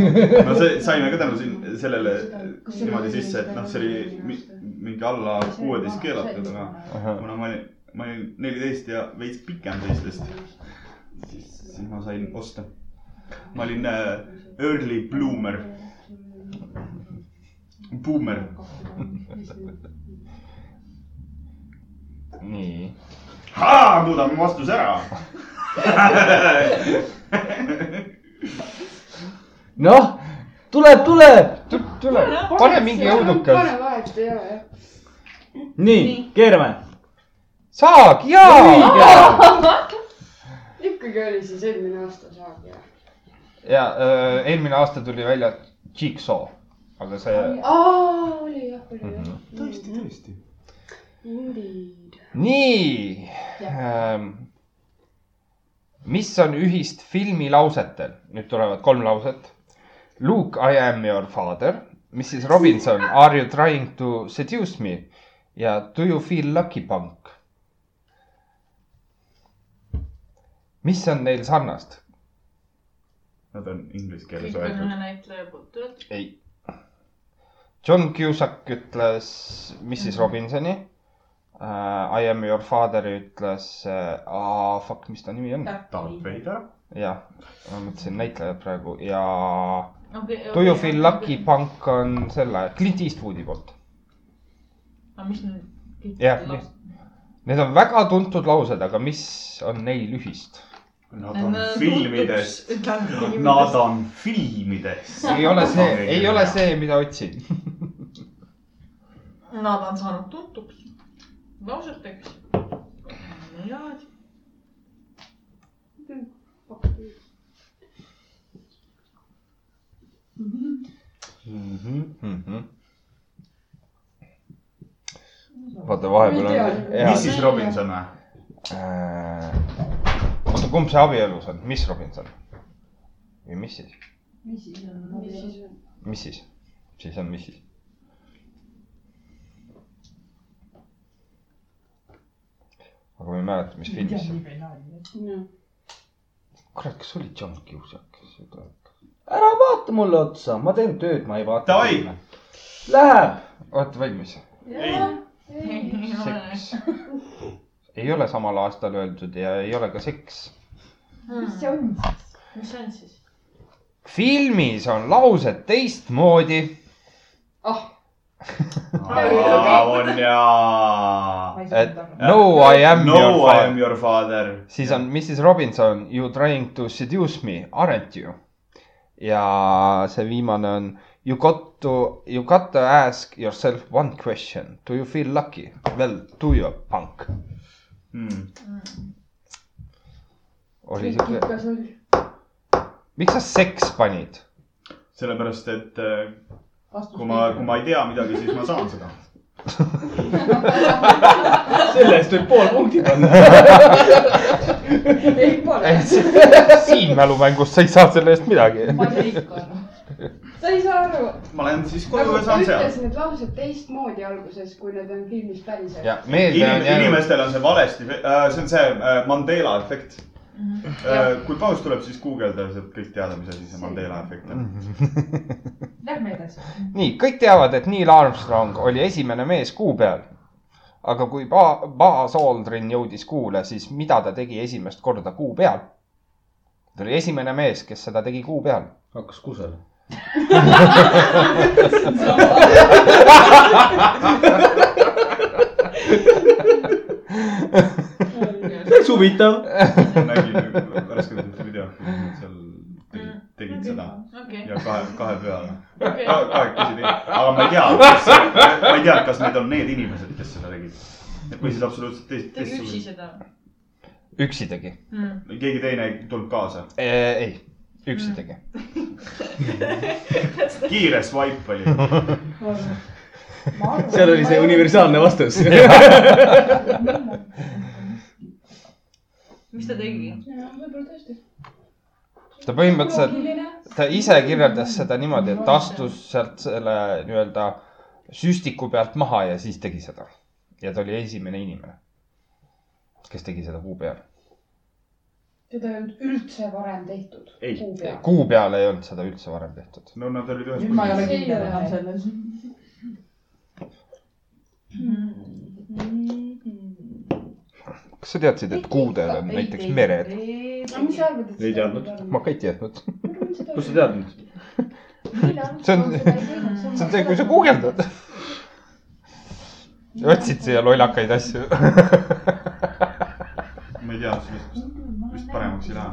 S3: no see , saime ka tänu siin sellele niimoodi sisse , et noh , see oli mi- mingi alla kuueteist keelatud , aga kuna ma olin , ma olin neliteist ja veits pikem teistest , siis , siis ma sain osta . ma olin äh, early bloomer , boomer .
S1: nii .
S3: muudame vastuse ära . [LAUGHS]
S5: noh , tuleb , tuleb .
S1: tule , pane mingi õudukas .
S4: pane vahet , ei ole jah .
S5: nii , keerame .
S1: saag , jaa .
S4: ikkagi oli siis eelmine aasta saag ja .
S1: ja öö, eelmine aasta tuli välja Jigsaw , aga see .
S4: aa , oli jah , oli
S1: Mhm.
S4: jah .
S3: tõesti , tõesti .
S4: Indeed .
S1: nii . mis on ühist filmi lausetel , nüüd tulevad kolm lauset . Luke , I am your father , Mrs [LAUGHS] Robinson , are you trying to seduce me ja do you feel lucky punk . mis on neil sarnast ?
S3: Nad on inglise keeles
S2: kõik on
S3: öeldud .
S2: ühe näitleja poolt öeldud .
S1: ei . John Cusack ütles Mrs Robinsoni uh, . I am your father ütles uh, , fuck , mis ta nimi on ?
S3: Darth Vader .
S1: jah , ma mõtlesin näitlejad praegu ja Do
S2: Tuju
S1: you feel lucky ? punk on selle Clint Eastwoodi poolt .
S2: aga Ah, mis nüüd ?
S1: Jah, nii. Need on väga tuntud laused , aga mis on neil ühist ?
S3: Nad on filmides , nad
S2: Nad on .
S3: on filmides .
S1: ei
S3: [LAUGHS]
S1: ole see , ei ole . see , mida otsin .
S2: Nad on saanud tuntuks lauseteks . head .
S5: Mhm.
S1: Mhm. vaata , vahepeal on .
S3: Mrs Robinson või ?
S1: Äh, oota , kumb see abielus on , mis Robinson ? või mis siis ,
S6: mis siis
S4: mis
S6: on ?
S4: siis on ?
S1: mis siis , siis on mis siis ? aga ma ei mäleta , mis filmis see ,
S4: noh ,
S1: kurat , kas oli John Cusack , kes see tuleb ?
S5: ära vaata mulle otsa , ma teen tööd , ma ei vaata .
S3: Davai. .
S5: Läheb .
S1: olete valmis ?
S3: ei ,
S1: seks . ei ole samal aastal öeldud ja ei ole ka seks .
S6: mis see on siis ?
S2: mis see on siis ?
S1: filmis on laused teistmoodi .
S3: on jaa .
S6: ma ei
S1: et
S6: saa aru .
S1: no I am
S3: no,
S1: your
S3: I am
S1: father .
S3: your father .
S1: siis on Mrs Robinson , you trying to seduce me , aren't you ? ja see viimane on you got to , you got to ask yourself one question . Do you feel lucky ? Well , do you punk ?
S3: mm. .
S1: oli siuke ,
S4: kas oli ?
S1: miks sa seks panid ?
S3: äh, sellepärast , et eh, kui ma , kui ma ei tea midagi , siis ma saan seda .
S5: selle eest võib pool punkti [LAUGHS] panna .
S6: [LAUGHS] ei pole ,
S1: siin mälumängus sa ei saa selle eest midagi .
S6: ma ei saa ikka aru .
S4: sa ei saa aru .
S3: ma lähen siis koju ja
S4: ta
S3: saan seal
S4: ütles . need laused teistmoodi alguses , kui need on filmis päriselt .
S1: ja meelde on
S3: Inim-
S1: jäänud ,
S3: inimestel on see valesti , see on see äh, Mandela efekt . kui paus tuleb , siis guugeldada , saab kõik teada , mis asi see Mandela efekt on .
S1: [LAUGHS]
S6: Lähme edasi .
S1: nii kõik teavad , et Neil Armstrong oli esimene mees kuu peal . aga kui Ba- , Baas Aldrin jõudis kuule , siis mida ta tegi esimest korda kuu peal ? ta oli esimene mees , kes seda tegi kuu peal . [LAUGHS]
S5: hakkas kusagil . täitsa huvitav .
S3: nägin nagu värskelt videot , kui nad seal tegid, tegid seda
S2: okei ,
S3: ja kahe , kahe peale .
S2: okei .
S3: kahekesi tegid , aga ma ei tea , ma ei tea , kas need on need inimesed , kes seda tegid . või siis absoluutselt teist ,
S2: tegi üksi
S3: teistsugused .
S2: seda
S1: üksi tegi ,
S2: mm. .
S3: keegi teine tuleb kaasa ,
S1: ei , üksi tegi .
S3: kiire swipe oli .
S5: seal oli see . universaalne [LAUGHS] vastus .
S2: mis ta tegi ?
S4: võib-olla tõesti .
S1: ta põhimõtteliselt , ta ise kirjeldas seda niimoodi , et astus sealt selle nii-öelda süstiku pealt maha ja siis tegi seda . ja ta oli esimene inimene , kes tegi seda kuu peal .
S4: seda ei olnud üldse varem tehtud .
S5: Ei.
S4: kuu peal .
S1: kuu peal ei olnud seda üldse varem tehtud .
S3: no nad olid ühes
S6: nüüd ma ei ole
S4: See ei
S6: kindel
S4: ole.
S6: enam selles .
S1: kas sa teadsid , et kuudel on näiteks mered ?
S4: no mis sa arvad , et
S5: Ei teadnud.
S1: ma ka ei teadnud .
S5: kust sa ? tead nüüd ?
S1: See on- see on see , kui sa guugeldad . otsid siia lollakaid asju .
S3: ma ei tea , sellest vist- vist paremaks ei lähe .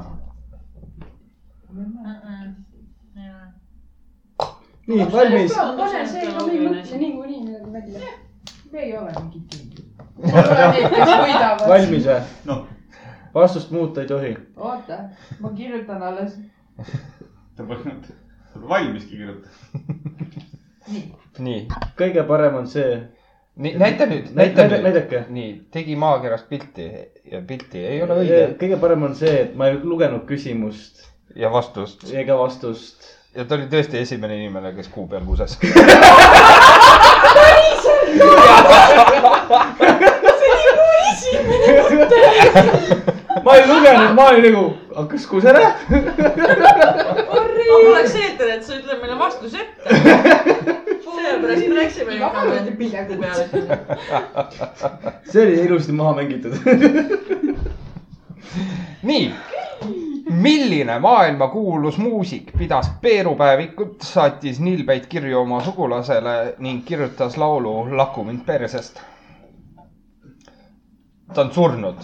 S5: nii , valmis .
S4: pane see ka , me ei mõtle niikuinii midagi välja .
S3: [LAUGHS]
S6: me ei ole mingid kindlad . me ei ole need , kes võidavad .
S5: valmis või ?
S3: noh ,
S5: vastust muuta ei tohi .
S6: oota , ma kirjutan alles .
S3: ta polnud , ta pole valmiski kirjutanud .
S6: nii ,
S1: nii ,
S5: kõige parem on see .
S1: nii näita nüüd , näita
S5: näidake ,
S1: nüüd .
S5: näidake .
S1: nii , tegi maakerast pilti ja pilti ei ole õige
S5: kõige parem on see , et ma ei lugenud küsimust
S1: ja vastust
S5: ega [LAUGHS] vastust .
S1: ja ta oli tõesti esimene inimene , kes kuu peal kuses .
S5: ma ei lugenud , ma olin nagu , hakkas kusere .
S2: mul oleks eeter , et sa ütled meile vastuse
S1: [LAUGHS]
S2: ette . sellepärast me läksime ju
S6: Vabandust, pidagu.
S2: peale .
S5: see oli ilusti maha mängitud .
S1: nii , milline maailmakuulus muusik pidas peerupäevikut , saatis nilbeid kirju oma sugulasele ning kirjutas laulu Laku mind persest . ta on surnud ,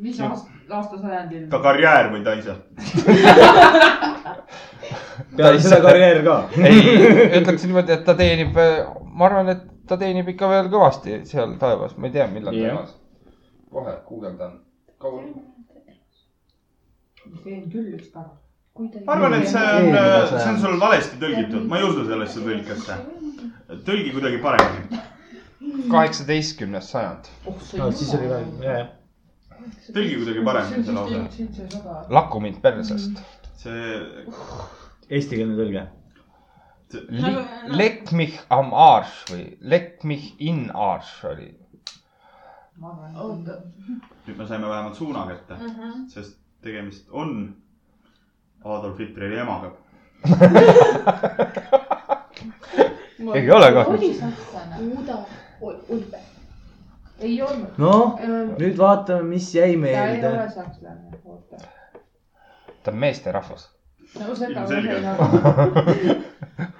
S6: mis aast- aastasajandil ?
S3: ta karjäär või ta ise ?
S5: [LAUGHS] peale seda karjäär ka .
S1: [LAUGHS] ei , ütleks niimoodi , et ta teenib , ma arvan , et ta teenib ikka veel kõvasti seal taevas , ma ei tea , millal ta
S5: Jah.
S1: elas . kohe guugeldan .
S6: teen küll üks päev .
S3: ma arvan , et see on , see on sul valesti tõlgitud , ma ei usu sellesse tõlkesse . tõlgi kuidagi paremini .
S1: kaheksateistkümnes sajand ,
S6: Oh,
S5: Ah, siis oli veel , jajah .
S3: tõlgi kuidagi paremini see lause .
S6: seitsesada .
S1: Laku mind persest
S3: see ,
S5: Eestikeelne tõlge .
S1: Le- Leck mich am Arsch või Leck mich in Arsch oli .
S6: ma arvan ,
S4: oota ,
S3: nüüd me saime vähemalt suuna kätte , sest tegemist on Adolf Hitleri emaga .
S1: ei ole kahjuks .
S4: oli sakslane . Uuda Ulbe .
S6: ei olnud .
S5: noh ,
S6: ta
S5: nüüd vaatame , mis jäi
S6: ei
S5: meelde
S6: ole . sakslane , oota .
S1: ta on meesterahvas .
S6: no seda ma
S3: Ilmselge.
S6: ei ole .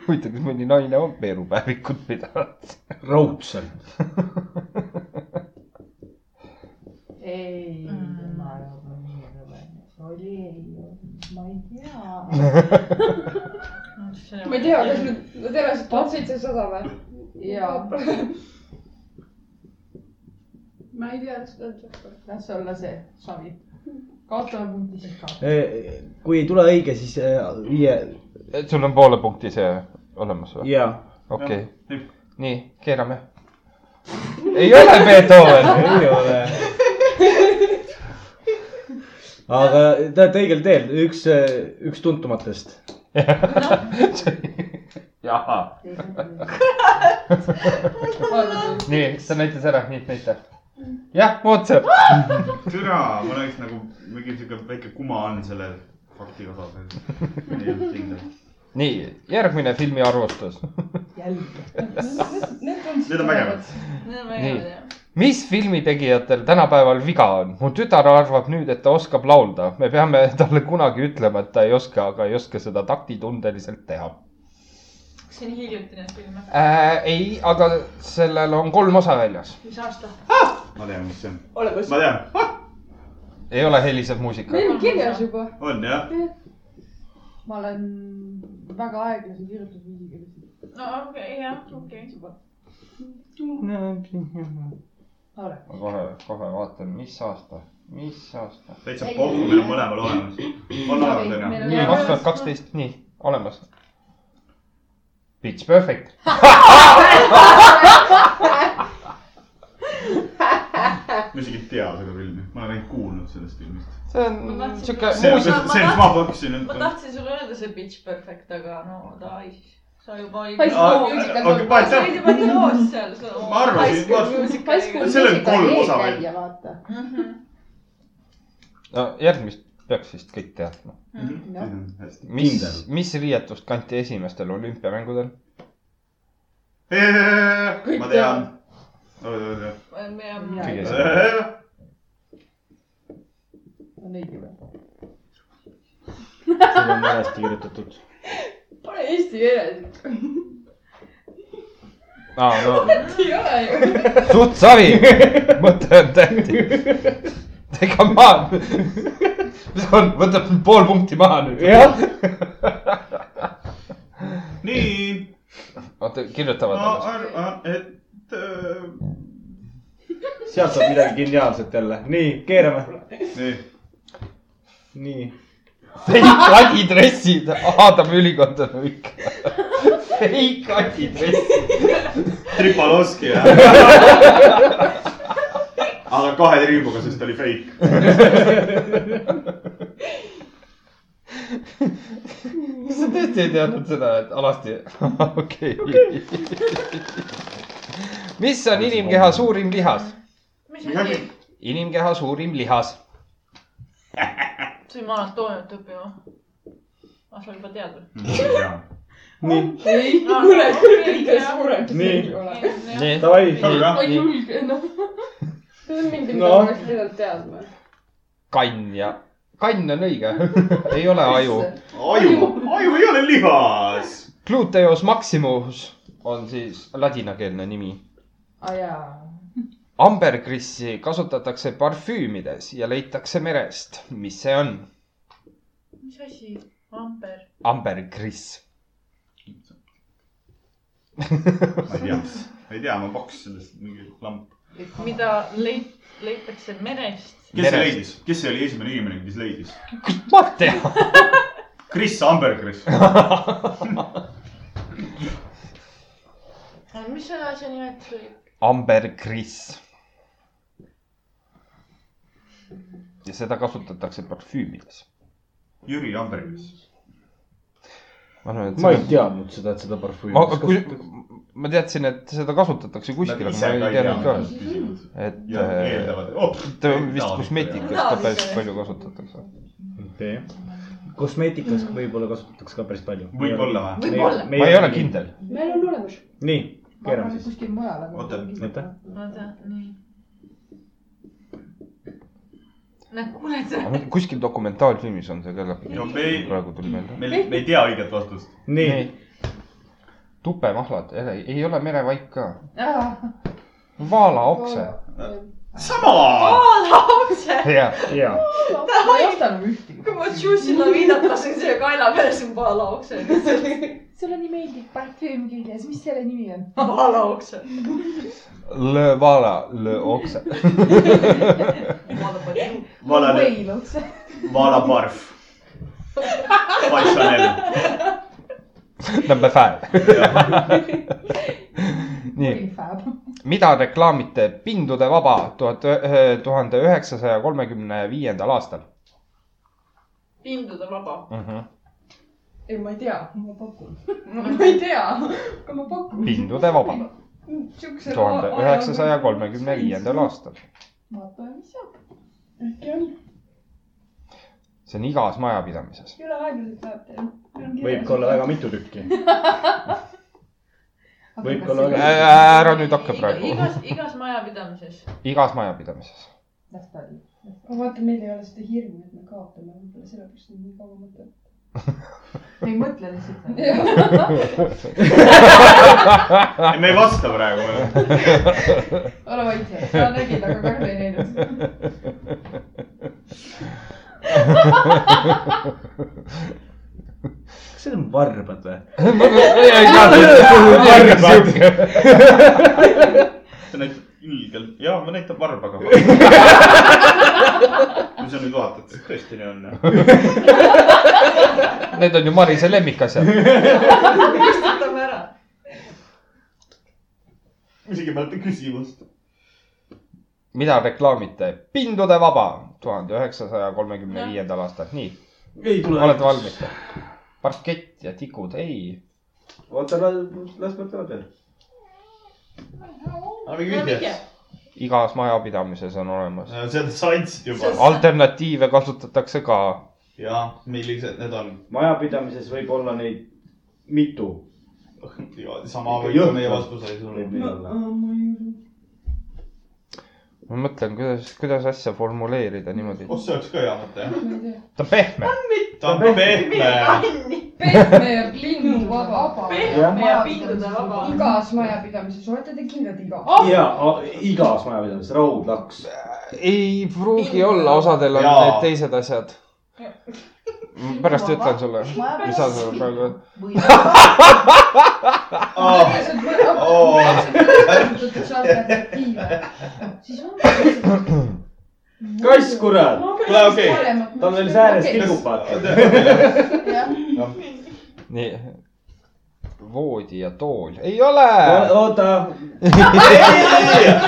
S1: huvitav , kas mõni naine on peerupäevikut pidanud ?
S5: raudselt .
S6: ei ,
S2: Mm.
S6: ma ei ole nii rõve . oli , ei olnud , ma ei tea .
S2: Mhm.
S4: ma ei tea , kas nüüd nad elasid tuhat seitsesada või ?
S6: Jaa. .
S4: ma ei tea , kas nad .
S6: las olla see savi . kaotame punkti siis ka .
S5: E, kui ei tule õige , siis eh, viie ,
S1: sul on poole punkti see olemas või ?
S5: jaa .
S1: okei , nii keerame ei ole Beethoven .
S5: ei ole . aga te olete õigel teel , üks , üks tuntumatest .
S3: jaha ,
S1: nii , sa näitas ära , nii näita . jah , Mozart .
S3: türa , ma näeks nagu mingi siuke väike kuma on selle fakti osas . ei olnud kindel .
S1: nii , järgmine filmi arvustus .
S3: Need on vägevad .
S2: Need on väga
S1: Nii.
S2: head jah .
S1: mis filmi tegijatel tänapäeval viga on ? mu tütar arvab nüüd , et ta oskab laulda . me peame talle kunagi ütlema , et ta ei oska , aga ei oska seda taktitundeliselt teha
S2: kas see on hiljutine film või ?
S1: äh, . ei , aga sellel on kolm osa väljas .
S2: mis aasta ?
S3: ma tean , mis see on .
S6: ole kus .
S3: ma tean ,
S1: ei ole helisev muusika .
S4: meil on kirjas juba .
S3: on jah .
S6: ma olen väga aeglase kirjutusviisiga lihtsalt .
S2: no okei , jah , okei .
S6: ole .
S1: ma kohe , kohe vaatan , mis aasta , mis aasta .
S3: täitsa pohhu , meil on mõlemal olemas . on olemas , onju ?
S1: nii , kaks tuhat kaksteist , nii , olemas . Pitch perfect .
S3: ma isegi ei tea seda filmi , ma olen ainult kuulnud sellest filmist .
S1: see
S2: Ma
S1: on
S2: tahtsin-
S1: siuke
S3: see on ,
S1: muusika
S2: Muuseas,
S3: see
S2: ma ,
S3: on , mis ma pakkusin ,
S2: ma
S3: et .
S2: tahtsin sulle öelda see Pitch Perfect , aga no davai siis . sa juba ei .
S4: High
S2: sa
S4: School
S3: Aa,
S4: Musical
S3: Ah, okei,
S4: on-
S3: ma ei
S2: olid juba loos seal .
S3: oh, Ma arvasin, ma- Sellel on kolm osa veel.
S6: vaata .
S2: Mhm.
S1: no, . järgmist peaks vist kõik teadma .
S3: Mhm,
S6: Noh.
S3: tea .
S1: mis
S5: Kindel. ,
S1: mis riietust kanti esimestel olümpiamängudel ?
S3: ma
S6: Kõik
S3: tean
S6: teavad. .
S2: ma
S1: Kõige esimene .
S3: ma
S6: on õige või ?
S5: see on valesti kirjutatud .
S6: pane eesti keeles .
S1: aa , no
S6: ei ole ju .
S1: suht savi , mõte on tähtis . ega ma , [LAUGHS] mis on , võtab pool punkti maha nüüd .
S5: jah ,
S3: nii ,
S1: oota , kirjutavad
S3: ma
S1: alles .
S3: arvan , et äh,
S5: sealt saab midagi geniaalset jälle . nii , keerame .
S3: nii ,
S5: nii .
S1: Fake adidressid , Aadam ülikond on kõik . Fake adidressid .
S3: Tripalovski jah . [LAUGHS] aga kahe triibuga , sest ta oli fake .
S1: kas sa tõesti ei teadnud seda , et alasti ? okei . mis on inimkeha suurim lihas ?
S2: mis asi ?
S1: inimkeha suurim lihas .
S2: sain ma anatoomiat õppima . ah , sa juba tead või ?
S5: nii ,
S6: ei ,
S2: No,
S6: kuule ,
S2: no,
S6: kuule ,
S4: [LAUGHS]
S2: okei,
S6: ikka
S2: jah.
S6: suurem .
S5: Nii.
S1: Nii.
S5: Davai.
S6: ma ei
S1: Nii.
S6: julge enam .
S4: see on mingi , mida
S5: No.
S4: ma oleks pidanud teadma .
S1: kann ja , kann on õige . [LAUGHS] ei ole aju .
S3: aju , aju ei ole lihas .
S1: Gluteus maximus on siis ladinakeelne nimi .
S6: aa Ah, jaa .
S1: ambergrissi kasutatakse parfüümides ja leitakse merest . mis see on ?
S2: mis asi ? amber .
S1: ambergriss .
S3: ma ei tea , ma ei tea , ma pakkusin sellest mingi lamp .
S2: mida leit- , leitakse merest .
S3: kes see leidis , kes see oli esimene inimene , kes leidis ?
S1: ma tean .
S3: Kris Ambergris .
S2: mis selle asja nimetus oli ?
S1: ambergriss . ja seda kasutatakse parfüümides .
S3: Jüri Ambergris .
S1: ma arvan , et
S5: ma ei
S1: seda ,
S5: teadnud seda , et seda parfüümi .
S1: ma , ma teadsin , et seda kasutatakse [LAUGHS] kuskil , aga ma ei teadnud ka , et äh,
S3: ja eeldavad oh, .
S1: ta vist kosmeetikas ka päris palju kasutatakse .
S5: okei . kosmeetikas võib-olla kasutatakse ka päris palju .
S3: Võib-olla või?
S2: Võib-olla.
S1: ma ei ole . kindel .
S4: meil on olemas .
S5: nii ,
S6: ma
S5: keerame
S6: arvan , et
S5: siis .
S6: kuskil mujal , aga .
S3: Oota,
S5: oota. .
S2: ma tean , nii . näed , kuuled sa ?
S1: kuskil dokumentaalfilmis on see küll .
S3: no me ei ,
S1: praegu tuli meelde .
S3: me ei , me ei tea õiget
S1: [LAUGHS]
S3: vastust .
S5: nii ,
S1: tupemahlad , ei ole merevaik ka .
S6: aa ,
S1: vaalaokse .
S3: sama .
S2: vaalaokse .
S1: jah ,
S5: ja ,
S6: ma ei osta enam ühtegi .
S2: kui ma Juicy Lavinat lasen siia kaela peale , siis on vaalaokse .
S6: sulle nii meeldib parfüüm küljes , mis selle nimi on ?
S2: vaalaokse .
S1: le vaala , le okse .
S3: valane ,
S6: Wales .
S3: valaparv . By Chanel .
S1: number five . nii ,
S6: Fab .
S1: mida reklaamite Pindude vaba tuhat , tuhande üheksasaja kolmekümne viiendal aastal
S2: pindude vaba .
S1: mm ? -hmm.
S4: ei , ma ei tea , ma pakun . ma ei tea , aga ma pakun .
S1: Pindude vaba tuhande üheksasaja kolmekümne viiendal . aastal .
S6: vaatame , mis saab .
S4: äkki on ,
S1: see on igas majapidamises .
S4: üle aeglaselt läheb teil .
S5: võib ka olla väga mitu tükki . Võib ka olla väga-
S1: ära nüüd hakka praegu .
S2: igas , igas majapidamises .
S1: igas majapidamises .
S6: las ta oli .
S4: aga vaata , meil ei ole seda hirmu , et me kaotame , võib-olla sellepärast on nii kaua mõte .
S6: ei mõtle lihtsalt .
S3: me ei vasta praegu .
S6: ole vait seal , sa nägid , aga Karl ei näinud .
S5: kas need on varbad või ?
S3: see näitab ilgelt , jaa , ma näitan varbaga . kui sa nüüd vaatad , siis tõesti nii on .
S1: Need on ju Marise lemmikasjad .
S2: kustutame ära .
S3: isegi ei mäleta küsimust .
S1: mida reklaamite Pindude vaba tuhande üheksasaja kolmekümne viiendal aastal , nii ,
S5: ei tule .
S1: olete valmis ? parkett ja tikud , ei .
S5: oota , las mõtlevad veel .
S3: aga mingi vihje .
S1: igas majapidamises on olemas .
S3: seda sa andsid juba .
S1: alternatiive kasutatakse ka .
S3: jaa , meil lihtsalt need on .
S5: majapidamises võib olla neid mitu .
S3: sama võib ka meie vastus ei tule .
S1: ma mõtlen , kuidas , kuidas asja formuleerida niimoodi .
S3: oh , see oleks ka hea mõte .
S1: ta on pehme .
S3: ta on pehme .
S4: pehme linnu vaba .
S2: pehme ja pindude vaba .
S4: igas majapidamises olete te kindlad iga
S5: ja a- igas majapidamises raudlaks .
S1: ei pruugi olla , osadel on
S3: Jaa.
S1: need teised asjad . pärast ütlen sulle , mis sa seal praegu .
S6: või
S5: Ah. kass , kurat .
S3: kuule , okei .
S5: tal veel sääres nagu kilgub , vaata .
S1: nii . voodi ja tool , ei ole .
S5: oota .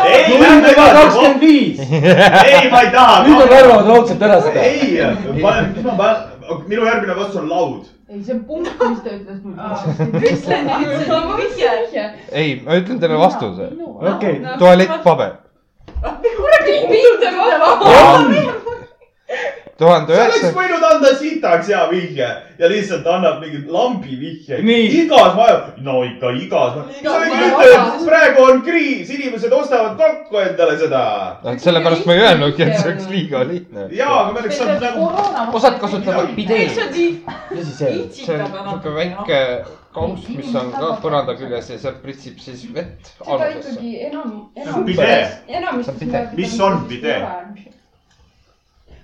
S3: ei ,
S5: number kakskümmend viis .
S1: [LAUGHS]
S3: ei , ma ei taha .
S5: nüüd nad arvavad raudselt ära seda .
S3: ei , mis ma panen , minu järgmine vastus on laud .
S6: ei , see on punkt , mis ta ütles nüüd .
S2: ütle nüüd , see on nagu vihje . Nagu-
S1: ei , ma ütlen teile vastuse .
S5: okei ,
S1: tualettpaber . tuhande
S3: sa oleks
S1: üheksa ,
S3: võinud anda sitaks hea vihje ja lihtsalt annab mingi lambi vihje .
S5: Nii.
S3: igas maja , no ikka igas maja . sa võid
S2: maja osa.
S3: ütelda , et praegu on kriis , inimesed ostavad kokku endale seda .
S1: sellepärast ma ei öelnudki , et see oleks liiga lihtne .
S3: ja , aga me oleks saanud nagu .
S1: osad kasutavad
S2: ei , see
S1: pideed .
S2: on nii . noh.
S5: mis siis see oli ?
S1: see on siuke väike kauss , mis on ka põranda küljes ja sealt pritsib siis vett
S4: seda
S1: algusesse .
S4: ikkagi enam ,
S3: on
S4: enam
S3: pidee. ,
S1: See on
S4: enamasti
S1: pidee. .
S3: Mis on pidee? ?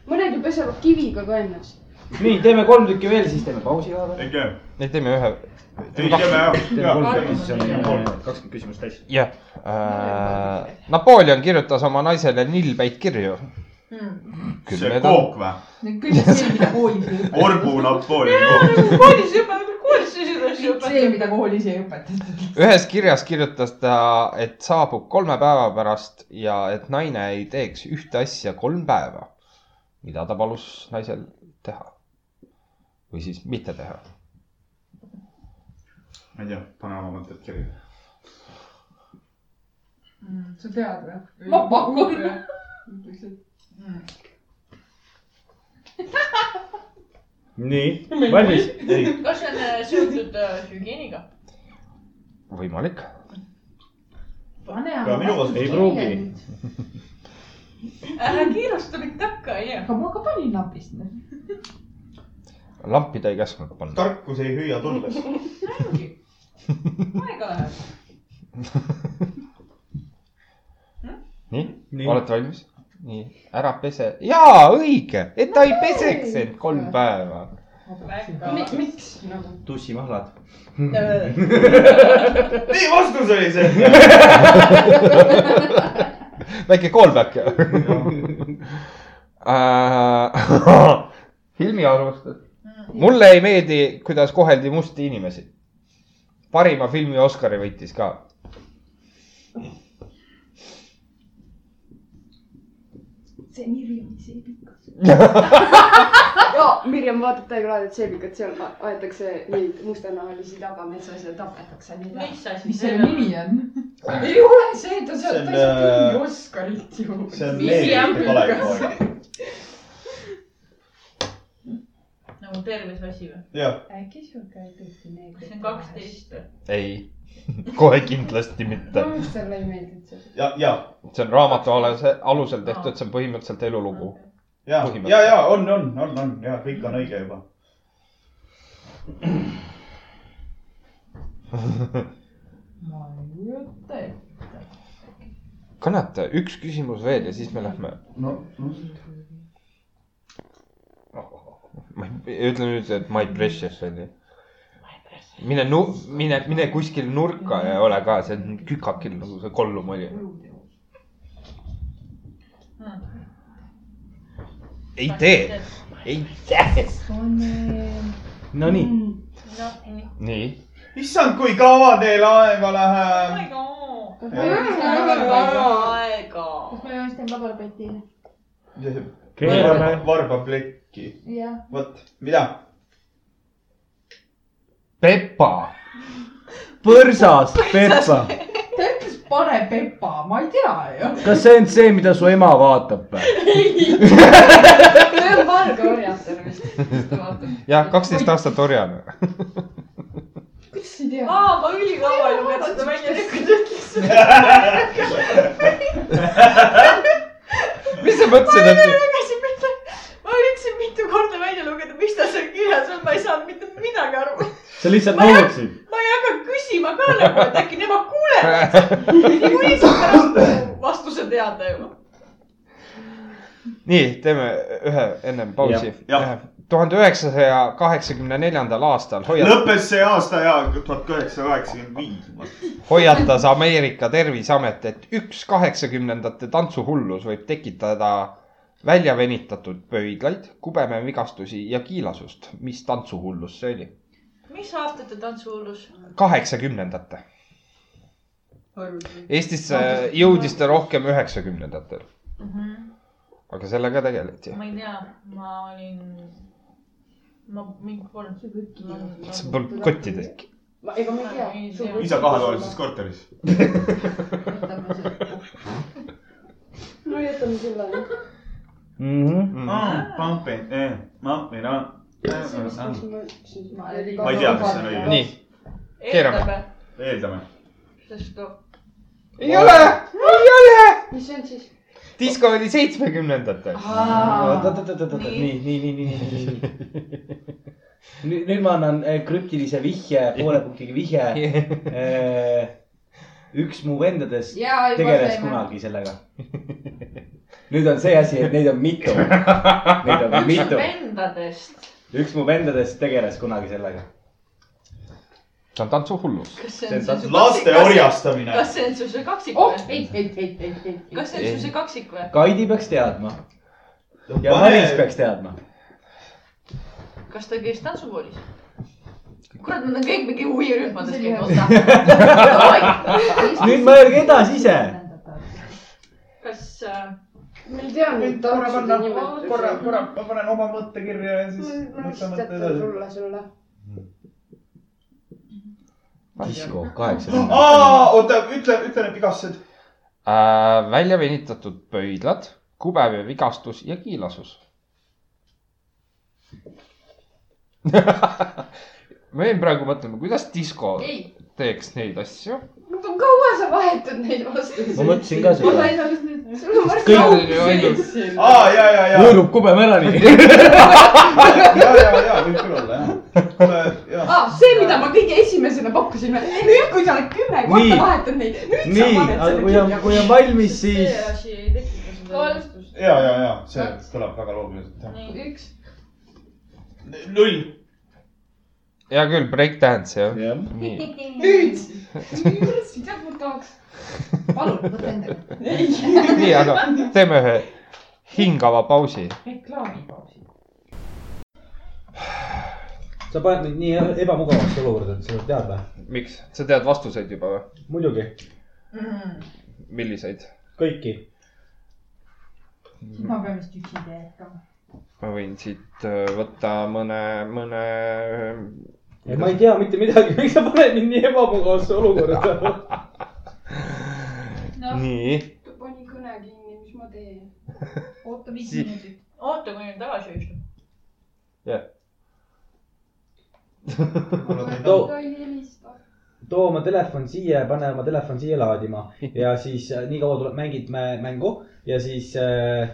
S4: mõned ju pesevad kiviga ka ennast .
S5: nii , teeme kolm tükki veel , siis teeme pausi ka veel .
S3: ei tea ,
S1: ei , teeme ühe ,
S3: ei tea ,
S5: teeme
S3: jah
S5: kolm
S2: Jaa.
S5: tükki , siis on kakskümmend küsimust täis .
S1: jah äh, . Napoleon kirjutas oma naisele nilbeid kirju .
S2: Hmm.
S3: see kook või ?
S6: kõik see , mida koolis ei õpetata .
S3: orgu Napoleon .
S2: koolis ei õpeta , koolis selliseid asju
S6: kõik see , mida koolis ei õpetata .
S1: ühes kirjas kirjutas ta , et saabub kolme päeva pärast ja et naine ei teeks ühte asja kolm päeva , mida ta palus naisel teha . või siis mitte teha .
S3: ma ei tea , pane oma mõtted kirja .
S6: sa tead või ?
S4: ma pakun .
S5: nii , valmis ? ei ,
S2: kas see on äh, seotud äh, hügieeniga ?
S1: võimalik .
S6: pane
S3: aga minu vastus
S5: ei pruugi .
S2: ära kiirusta mind takka , jah .
S6: aga ma ka panin napist . noh.
S1: lampi ta ei käsknud panna .
S3: tarkus ei hüüa tulles .
S2: aega läheb .
S1: nii, nii. ,
S5: Nii.
S1: olete valmis ? nii , ära pese . jaa , õige , et ta ei peseks end kolm päeva .
S2: väga .
S4: miks nagu ?
S5: tussimahlad .
S1: Mm.
S6: Äh,
S3: nii , vastus oli see .
S1: väike callback . Äh, [LAUGHS] filmi arvustus . mulle ei meeldi , kuidas koheldi musti inimesi . parima filmi Oscari võitis ka .
S7: see Mirjam , see pikas .
S4: jaa , Mirjam vaatab täiega laadalt seebikat , seal a- aetakse neid mustanahalisi taga metsas ja tapetakse neid ära .
S2: mis asi
S6: mis selle
S2: see on ?
S6: nimi on ? ei ole see , ta
S5: See
S6: saab ,
S5: on,
S6: ta saab
S5: äh,
S6: mingi Oscarit ju .
S5: see on
S2: Mirjam
S5: leebike valekoor .
S2: nagu terves asi või ?
S5: jah ,
S6: äkki sihuke tõesti meeldib .
S2: kas see on kaksteist või ?
S1: ei , [LAUGHS] kohe kindlasti mitte .
S4: minu arust talle ei meeldinud see .
S5: ja , ja ,
S1: see on raamatu alase , alusel tehtud , see on põhimõtteliselt elulugu .
S5: ja ,
S1: Põhimõtteliselt.
S5: ja , ja on , on , on , on ja kõik on õige juba .
S6: ma ei kujuta ette .
S1: kannata üks küsimus veel ja siis me lähme .
S3: no , no
S1: ütle nüüd , et my precious onju . mine nu- , mine , mine kuskile nurka ja ole ka seal kükakil nagu see kollum oli . ei tee ,. ei tee . Nonii , nii .
S5: issand , kui kaua teil aega läheb .
S2: aega on . aega .
S7: kas ma joonistame paberpotile ?
S5: varba , varbaplekki ,
S7: jah .
S5: vot , mida ?
S1: Pepa ,
S5: põrsast Pepa ,
S6: ta ütles pane Pepa , ma ei tea ju .
S5: kas see on see , mida su ema vaatab või ?
S4: see on Valga orjatel vist .
S1: jah , kaksteist aastat orjane .
S6: kuidas ei tea ?
S2: aa , ma ülikaua ei lugenud seda välja .
S1: mis sa mõtlesid , et
S2: lugesin mitte , ma üritasin mitu korda välja lugeda , mis ta seal kirjas on , ma ei saanud mitte midagi aru .
S5: sa lihtsalt nõudsid .
S2: ma ei hakanud küsima ka nagu , et äkki nemad kuulevad . kui sa pärast nagu vastuse teada ju .
S1: nii , teeme ühe ennem pausi
S3: Jah, jah. .
S1: tuhande üheksasaja kaheksakümne neljandal aastal hoiat- ,
S3: lõppes see aasta ja tuhat kaheksasada kaheksakümmend viis .
S1: hoiatas Ameerika Terviseamet , et üks kaheksakümnendate tantsuhullus võib tekitada väljavenitatud pöidlaid , kubemevigastusi ja kiilasust . mis tantsuhullus see oli ?
S2: mis aastate tantsuhullus ?
S1: kaheksakümnendate . Eestisse jõudis ta rohkem üheksakümnendatel , aga sellega tegeleti .
S2: ma ei tea , ma olin , ma mingi kolm .
S1: see polnud kottidestki .
S4: ega ma ei tea .
S3: isa kahetoalises . korteris .
S4: no jätame selle .
S5: Mhm. Mm. eh, ah.
S3: eeldame .
S6: Ma
S3: ei tea, kas see on õige.
S1: nii ,
S2: eeldame , sest noh ,
S1: ei ole , ei ole ,
S4: mis see on siis ?
S1: disko oli seitsmekümnendatel .
S5: oot-oot-oot-oot , nii , nii , nii , nii , nii , nii , nii . nüüd , nüüd ma annan eh, krüptilise vihje , poole punktiga [LAUGHS] vihje . üks mu vendadest
S6: Jaa, juba
S5: tegeles
S6: saime.
S5: kunagi sellega . [LAUGHS] nüüd on see asi , et neid on mitu . Neid on Ah, mitu .
S2: vendadest ,
S5: üks mu vendadest tegeles kunagi sellega .
S1: see on tantsuhullus .
S2: kas see on
S5: See on
S2: see
S3: laste . orjastamine .
S2: kas see on su see kaksik
S6: oh ,
S2: või ?
S6: ei , ei , ei , ei , ei , ei .
S2: kas see on su see kaksik või ?
S5: Kaidi peaks teadma ja Maris peaks teadma .
S2: kas ta käis tantsukoolis ? kurat , nad on kõik mingi huvirühmades
S6: See oli
S2: käinud , oota . [LAUGHS]
S5: nüüd mõelge edasi ise .
S2: kas äh,
S4: ma ei tea neid tantsude nimetusi .
S5: ma panen oma mõtte kirja ja
S4: ma lihtsalt jätan . sulle selle .
S5: disko kaheksakümmend .
S3: oota , ütle , ütle need vigastused .
S1: äh, . välja venitatud pöidlad , kubevevigastus ja kiilasus . ma jäin praegu mõtlema , kuidas disko
S4: ei ,
S1: teeks neid asju . [LAUGHS]
S4: kaua sa vahetad neid vastuseid ?
S5: ma mõtlesin ka
S4: ma
S5: seda .
S4: sain alles nüüd , sul on varsti
S1: kõik
S4: auk
S1: on ju ainult
S4: sees .
S3: aa , ja , ja , ja ,
S5: võõrub kubem ära [LAUGHS] nii .
S3: ja , ja , ja võib küll olla jah . kuule , ja .
S4: aa , see , mida ma kõige esimesena pakkusin , nüüd kui sa oled kümme
S5: Nii.
S4: korda vahetanud neid , nüüd sa
S5: nii ,
S4: paned selle
S5: kui on , kui on valmis ,
S2: see
S5: siis
S2: asi ei tekita seda
S7: Kolm.
S2: vastust ?
S3: ja , ja , ja see kõlab väga loogiliselt .
S2: nii ,
S7: üks .
S3: null .
S1: hea küll , breakdance jah .
S5: Jah.
S1: nii , [LAUGHS]
S4: nüüd .
S7: jah , ma tahaks .
S6: palun , võta endale .
S1: [LAUGHS] nii , aga teeme ühe hingava pausi .
S6: reklaamipausi .
S5: sa paned mind nii ebamugavasse olukorda , et sa tead või ?
S1: miks , sa tead vastuseid juba või ?
S2: Mhm.
S5: muidugi ,
S1: milliseid ?
S5: kõiki .
S6: siis ma pean vist üksi teekama .
S1: ma võin siit äh, võtta mõne , mõne .
S5: ma ei tea mitte midagi , miks sa paned mind nii ebamugavasse olukorda ?
S1: No. nii , [LAUGHS]
S4: ta pani kõne kinni , mis ma teen ?
S6: oota viis
S1: Si-
S6: minutit .
S2: oota , kuni tagasi istub .
S5: too ,
S4: ta ei helista .
S5: too oma telefon siia ja pane oma telefon siia laadima ja siis äh, nii kaua tuleb , mängid mä- mängu ja siis äh,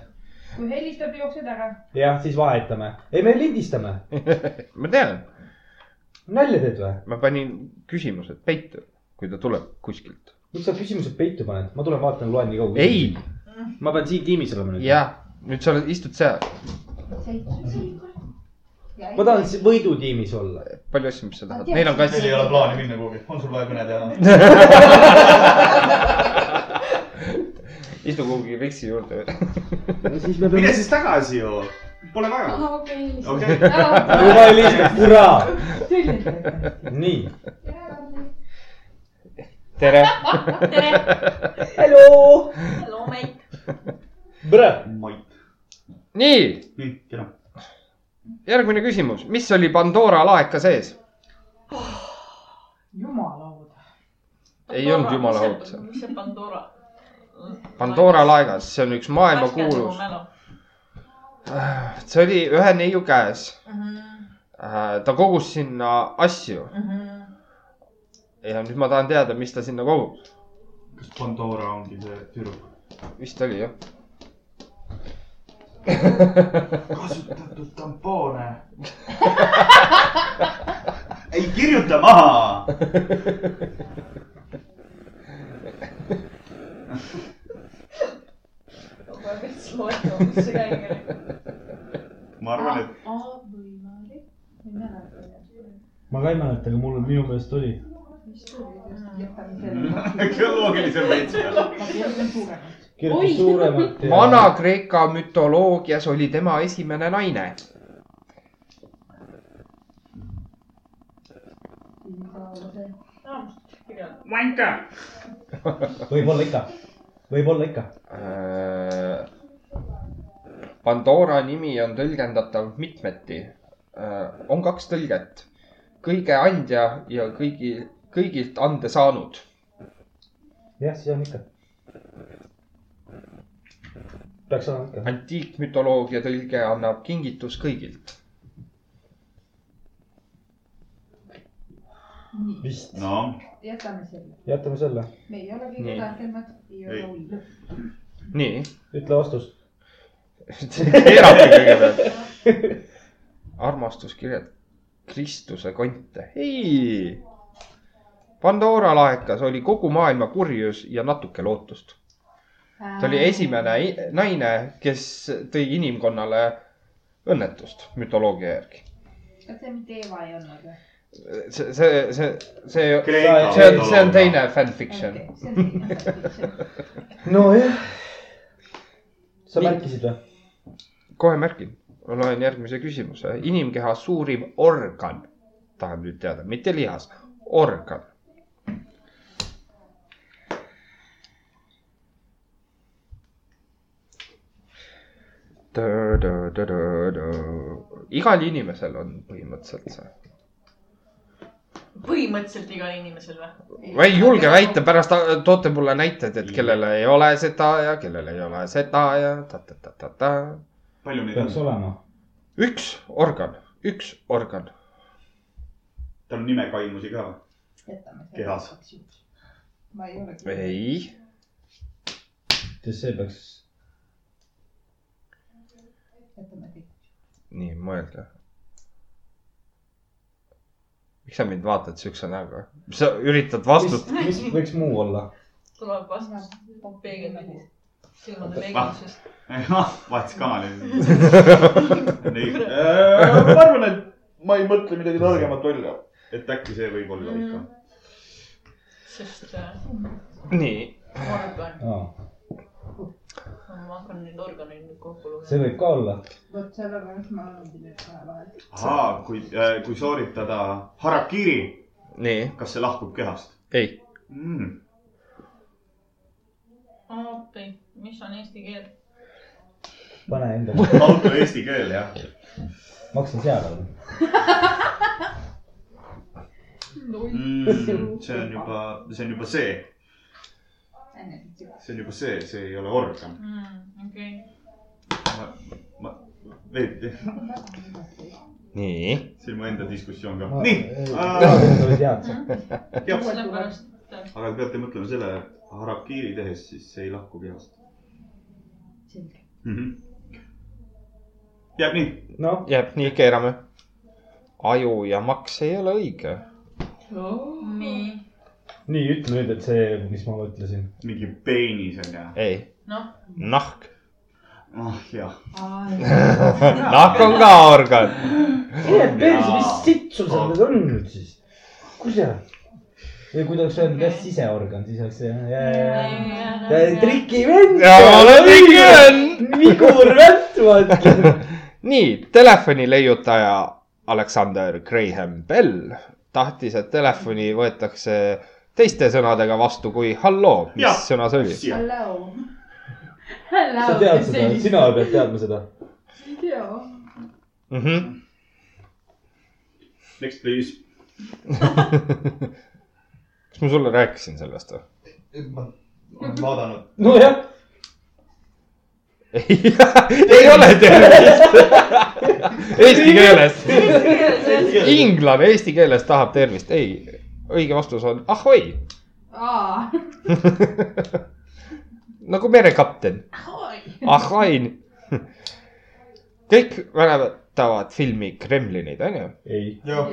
S6: kui helistab , jooksed ära .
S5: jah , siis vahetame . ei , me lindistame .
S1: ma tean ,
S5: nalja teed või ?
S1: ma panin küsimused peitu , kui ta tuleb kuskilt .
S5: miks sa küsimused peitu paned ? ma tulen vaatan , loen nii kaua .
S1: ei ,.
S5: ma pean siin tiimis olema nüüd .
S1: jah , nüüd sa oled , istud seal ,
S5: ma tahan si- võidutiimis olla .
S1: palju asju , mis sa tahad ,
S7: tean,
S1: neil on
S7: siis-
S1: kass
S3: meil . ei ole plaani minna kuhugi , on sul vaja kõne teha ?
S1: istu kuhugi veksi juurde . [LAUGHS]
S5: siis me
S3: mine
S5: peame .
S3: siis tagasi ju , pole vaja .
S4: ahah , okei , helista .
S3: okei ,
S6: [LAUGHS]
S5: juba helistab , kuraa . nii .
S1: tere ,
S2: tere ,
S5: hallo .
S2: loomeid .
S5: Bra- .
S3: Mait .
S1: nii ,
S3: nii , kena .
S1: järgmine küsimus , mis oli Pandora laeka sees ?
S6: jumalaud .
S1: ei olnud jumala haud seal .
S2: mis see Pandora ?
S1: Pandora laegas , see on üks maailmakuulus , see oli ühe neiu käes . ta kogus sinna asju ja nüüd ma tahan teada , mis ta sinna kogus .
S3: kas Pandora ongi see tüdruk ?
S1: vist oli jah ?
S3: kasutatud tampoone . ei kirjuta maha .
S2: kohe veits loetama , mis see käib .
S3: ma arvan , et
S6: A või Mari . ma ei mäleta .
S5: ma ka ei mäleta , aga mul minu meelest oli .
S6: mis tuli just , jätame selle .
S3: [LAUGHS] geoloogilisel veits peal .
S6: ma kirjutan suuremalt .
S5: kirjutas suuremalt .
S1: Vana-Kreeka mütoloogias oli tema esimene naine .
S3: Vanka .
S5: võib-olla ikka , võib-olla ikka .
S1: Äh, Pandora nimi on tõlgendatav mitmeti . on kaks tõlget , kõige andja ja kõigi , kõigilt ande saanud .
S5: jah , see on ikka . peaks olema ikka .
S1: antiikmütoloogia tõlge annab kingitus kõigilt .
S6: nii ,
S5: vist .
S3: no ,
S6: jätame selle .
S5: jätame selle ,
S6: me ei ole
S1: Nii.
S6: kõige targemad , ei ole
S3: Ei.
S6: hullu .
S1: nii .
S5: ütle vastus .
S1: eraldi
S5: [LAUGHS]
S1: kõigepealt . armastus kirjeldab Kristuse konte . ei . Pandora laekas oli kogu maailma kurjus ja natuke lootust . ta oli esimene i- naine , kes tõi inimkonnale õnnetust mütoloogia järgi .
S6: kas see mitte Eva ei olnud või ?
S1: see , see , see , see ,
S3: Kreeka
S1: see on , see on teine fanfiction .
S6: see on
S1: [LAUGHS]
S6: teine .
S5: nojah . sa
S1: Nii.
S5: märkisid või ?
S1: kohe märgin , ma loen järgmise küsimuse . inimkeha suurim organ , tahan nüüd teada , mitte lihas , organ . igal inimesel on põhimõtteliselt see .
S2: põhimõtteliselt igal inimesel või ?
S1: ma ei julge väita , pärast ta- toote mulle näited , et kellel ei ole seda ja kellel ei ole seda ja ta-ta-ta-ta-ta .
S3: palju neid
S5: peaks
S3: on ?
S5: olema .
S1: üks organ , üks organ .
S3: tal on nimekaimusi ka . [LAUGHS]
S6: jätame selle .
S3: Kehas. .
S6: ma ei ole .
S1: ei
S5: sest see peaks .
S6: jätame kõik .
S1: nii , mõelge . miks sa mind vaatad siukse näoga ? sa üritad vastust ,
S5: mis võiks muu olla ?
S2: tuleb vastus peegeldist , silmade peegeldusest .
S1: [LAUGHS]
S3: vahetas kanali . nii , Äh, ma arvan , et ma ei mõtle midagi targemat välja . et äkki see võib olla ikka .
S2: Mhm. Mm. sest äh,
S1: nii .
S2: organ ,
S5: aa ,
S2: ma hakkan neid organeid nüüd kokku
S5: see
S2: lugema .
S5: võib ka olla .
S6: vot sellepärast ma olengi nüüd kahe vahel .
S3: ahaa , kui , kui sooritada harakiri ,
S1: nii ,
S3: kas see lahkub kehast
S1: ei ,
S3: mm. ?
S2: okei , mis on eesti keel ?
S5: pane
S1: [LAUGHS]
S5: endale ,
S3: auto eesti keel jah .
S5: maksin seal .
S8: [LAUGHS]
S3: Mm, see on juba , see on juba see , see on juba see , see ei ole organ .
S2: Mm, okei .
S3: ma , ma , veidi ,
S1: nii .
S3: [LAUGHS] see on mu enda diskussioon ka .
S8: [LAUGHS]
S5: [LAUGHS]
S3: nii ,
S5: nii .
S3: jah ,
S2: sellepärast ,
S3: aga te peate mõtlema selle , et harakiri tehes , siis see ei lahku kehast .
S6: selge .
S3: jääb nii ,
S5: noh ,
S1: jääb nii , keerame . aju ja maks ei ole õige .
S2: nii ,
S5: nii ütle nüüd , et see , mis ma mõtlesin .
S3: mingi peenis on ju .
S1: ei ,
S2: noh ,
S1: nahk .
S3: ah jah .
S1: nahk on ka organ .
S5: mine perse , mis sitt sul seal nüüd on nüüd siis ? kurat . või kui ta oleks öelnud jah , siseorgan , siis oleks see
S2: Eh,
S5: jää- jää- trikivend .
S1: ja olen ikka öelnud .
S5: vigur väntmata .
S1: nii , telefoni leiutaja Alexander Graham Bell tahtis , et telefoni võetakse teiste sõnadega vastu kui halloo , mis
S3: Jah.
S1: sõna see oli ?
S3: siia ,
S6: Hello .
S5: [LAUGHS] sa tead seda , sina pead teadma seda .
S9: ei tea .
S1: mm . -hmm.
S3: next please .
S1: kas ma sulle rääkisin sellest või ?
S8: ma olen vaadanud .
S5: nojah ,
S1: ei , ei ole tervist . Eesti keeles ,
S3: [LAUGHS]
S1: inglane eesti keeles tahab tervist , ei , õige vastus on ahoi ,
S9: Ah.
S6: aa ,
S1: nagu merekapten , ahhain . kõik mäletavad filmi Kremlinid , onju ?
S5: ei ,
S8: jah ,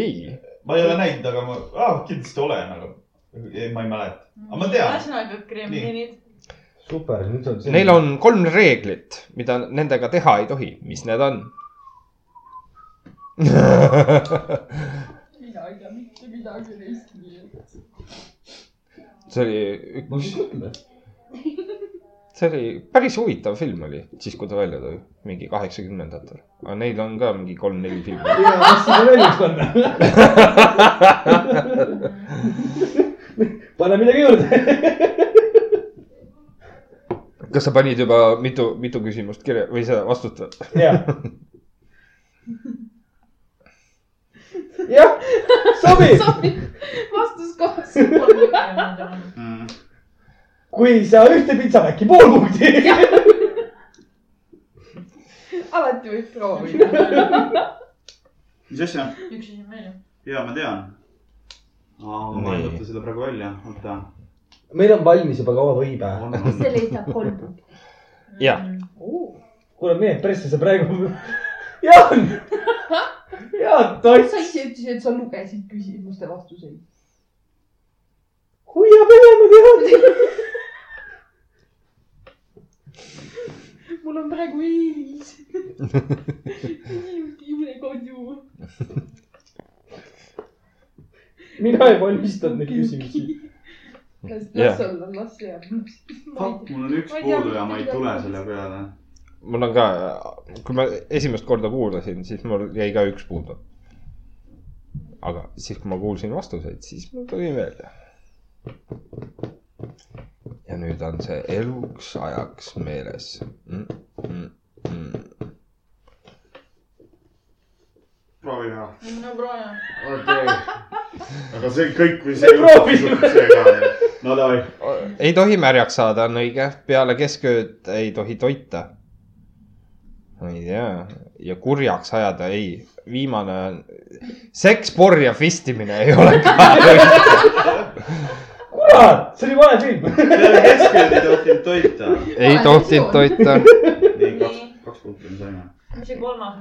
S1: ei ,
S8: ma ei ole näinud , aga ma ah, kindlasti olen , aga ei, ma ei mäleta . aga ma tean ,
S2: ühesõnaga kremlinid .
S5: super , nüüd on .
S1: neil . on kolm reeglit , mida nendega teha ei tohi , mis need on ?
S9: mina ei tea mitte midagi neist nii .
S1: see oli ,
S5: ma just mõtlen ,
S1: see oli päris huvitav film oli , siis kui ta välja tuli , mingi kaheksakümnendatel . aga neil on ka mingi kolm-neli filmi .
S5: kas seda välja panna . [LAUGHS] pane midagi juurde .
S1: kas sa panid juba mitu , mitu küsimust kirja või sa vastutad ?
S5: jah . jah , sobib ,
S9: vastus kohas .
S3: Mm.
S5: kui sa ühte pitsapäki pool punkti .
S9: alati võib proovida .
S3: mis asja ?
S2: üks asi on meil .
S3: ja ma tean . ma ei
S1: Nii.
S3: mõtle seda praegu välja , oota .
S5: meil on valmis juba kaua võipäev .
S6: selle eest saab kolm punkti .
S1: jah ,
S9: Oh.
S5: kuule , mine pressi sa [LAUGHS] praegu . Jaan , Jaan
S6: sa
S5: Tots ,
S6: ise ütlesid , et sa lugesid küsimuste vastuseid .
S5: hoia pere , ma tean .
S9: mul on praegu eelis . inimesed ei jõua koju .
S5: mina ei valmistanud neid küsimusi .
S6: las ,
S1: Jah.
S6: las olla , las jääb .
S3: Fuck , mul on üks
S9: Ma ei tea,
S3: puudu ja ma ei
S9: mida
S3: tule
S9: teha.
S3: selle peale .
S1: mul on ka , kui ma esimest korda kuulasin , siis mul jäi ka üks puudu . aga siis , kui ma kuulsin vastuseid , siis mul tuli meelde . ja nüüd on see eluks ajaks meeles mm, . Mm, mm.
S3: proovi ära .
S2: Mm, no proovi .
S3: okei . [LAUGHS] aga see kõik või see . no davai .
S1: ei tohi märjaks saada , on õige , peale keskööd ei tohi toita . ma ei tea ja kurjaks ajada ei , viimane on , seks , porr ja fistimine ei ole ka õige .
S5: kurat , see oli vale film .
S3: peale keskel ei tohtinud toita .
S1: ei tohtinud toita ,
S3: nii , kaks , kaks punkti me saime .
S2: mis see kolmas on ?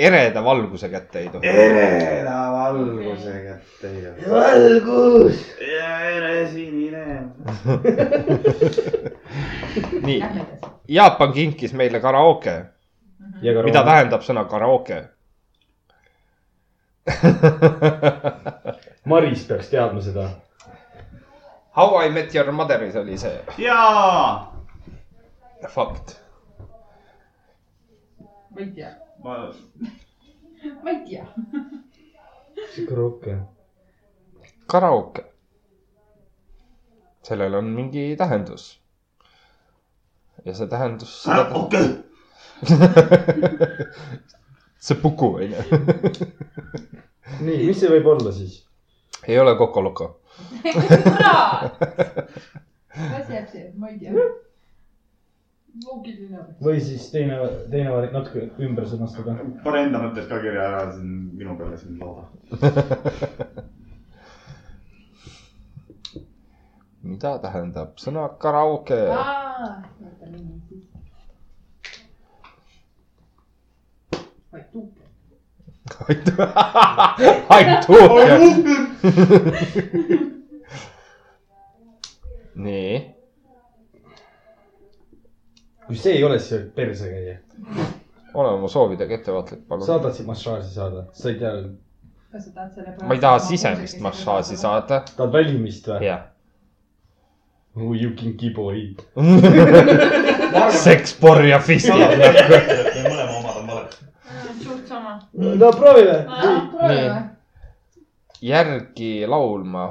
S1: ereda valguse kätte ei tohi .
S3: ereda valgusega teie .
S5: valgus .
S3: ja ere sinine .
S1: nii ,
S6: jämedas .
S1: Jaapan kinkis meile karaoke , mida ? tähendab sõna karaoke ? [LAUGHS]
S5: Maris peaks teadma seda .
S1: How I met your mother'is oli see
S3: jaa .
S1: fakt .
S6: ma ei tea ,
S3: ma ,
S6: ma ei tea .
S5: sihuke rohke .
S1: karaoke . sellel on mingi tähendus . ja see tähendus seda ,
S3: okei ,
S1: see puku onju ,
S10: nii , mis see võib olla siis ?
S1: ei ole kokoloko .
S6: kurat . las jääb see , ma ei tea . loogiline .
S10: või siis teine , teine variant natuke ümber sõnastada .
S3: pane enda mõtted ka kirja ära , see on minu peale siin lauda .
S1: mida tähendab sõna karaoke ?
S6: aa , vaata nimi siis . vaid tuuke .
S1: aitäh . [LAUGHS] nii ,
S10: kui see ei ole , siis sa oled perse käia .
S1: ole oma soovidega ettevaatlik , palun .
S10: saadad siit massaaži saada , sa ei tea ,
S6: kas sa tahad selle
S1: ma ei taha sisemist massaaži . saada .
S10: tahad välimist või ?
S1: jah .
S10: Oh you kinky boy .
S1: seksporn ja
S3: [LAUGHS]
S1: fistid .
S11: me mõlema omad on valed .
S2: suht sama .
S10: no proovime .
S6: proovime .
S1: järgi laulma ,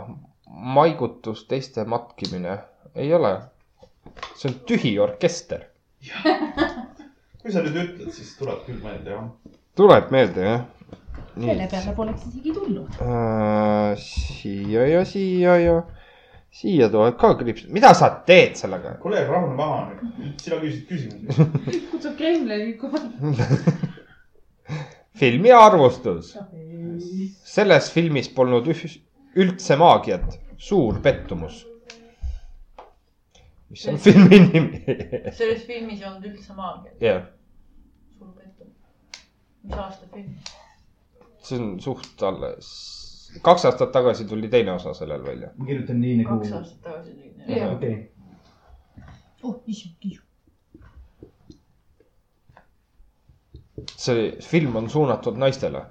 S1: maigutus , teiste matkimine , ei ole . see on tühi orkester .
S11: kui sa nüüd ütled , siis tuleb küll meelde jah .
S1: tuleb meelde , jah ?
S6: selle peale poleks isegi tulnud .
S1: Äh, siia ja siia ja siia tuleb ka kriips , mida sa teed sellega ?
S11: kuule , rahune maha nüüd , sina küsisid
S3: [LAUGHS]
S11: küsimusi .
S7: kutsub Kremlini kohale .
S1: filmi arvustus . selles filmis polnud üh- üldse maagiat , suur pettumus . mis
S6: Äh.
S1: on filmi nimi ? [LAUGHS]
S2: selles Ah, filmis ei olnud üldse maagiat .
S1: jah ,
S2: suur pettumus . mis aasta film ?
S1: see on suht alles , kaks aastat tagasi tuli teine osa sellel välja .
S10: ma kirjutan nii nagu-
S2: kaks aastat tagasi tuli .
S6: Jah.
S10: okei ,
S6: oh , isu , isu .
S1: see film on suunatud naistele .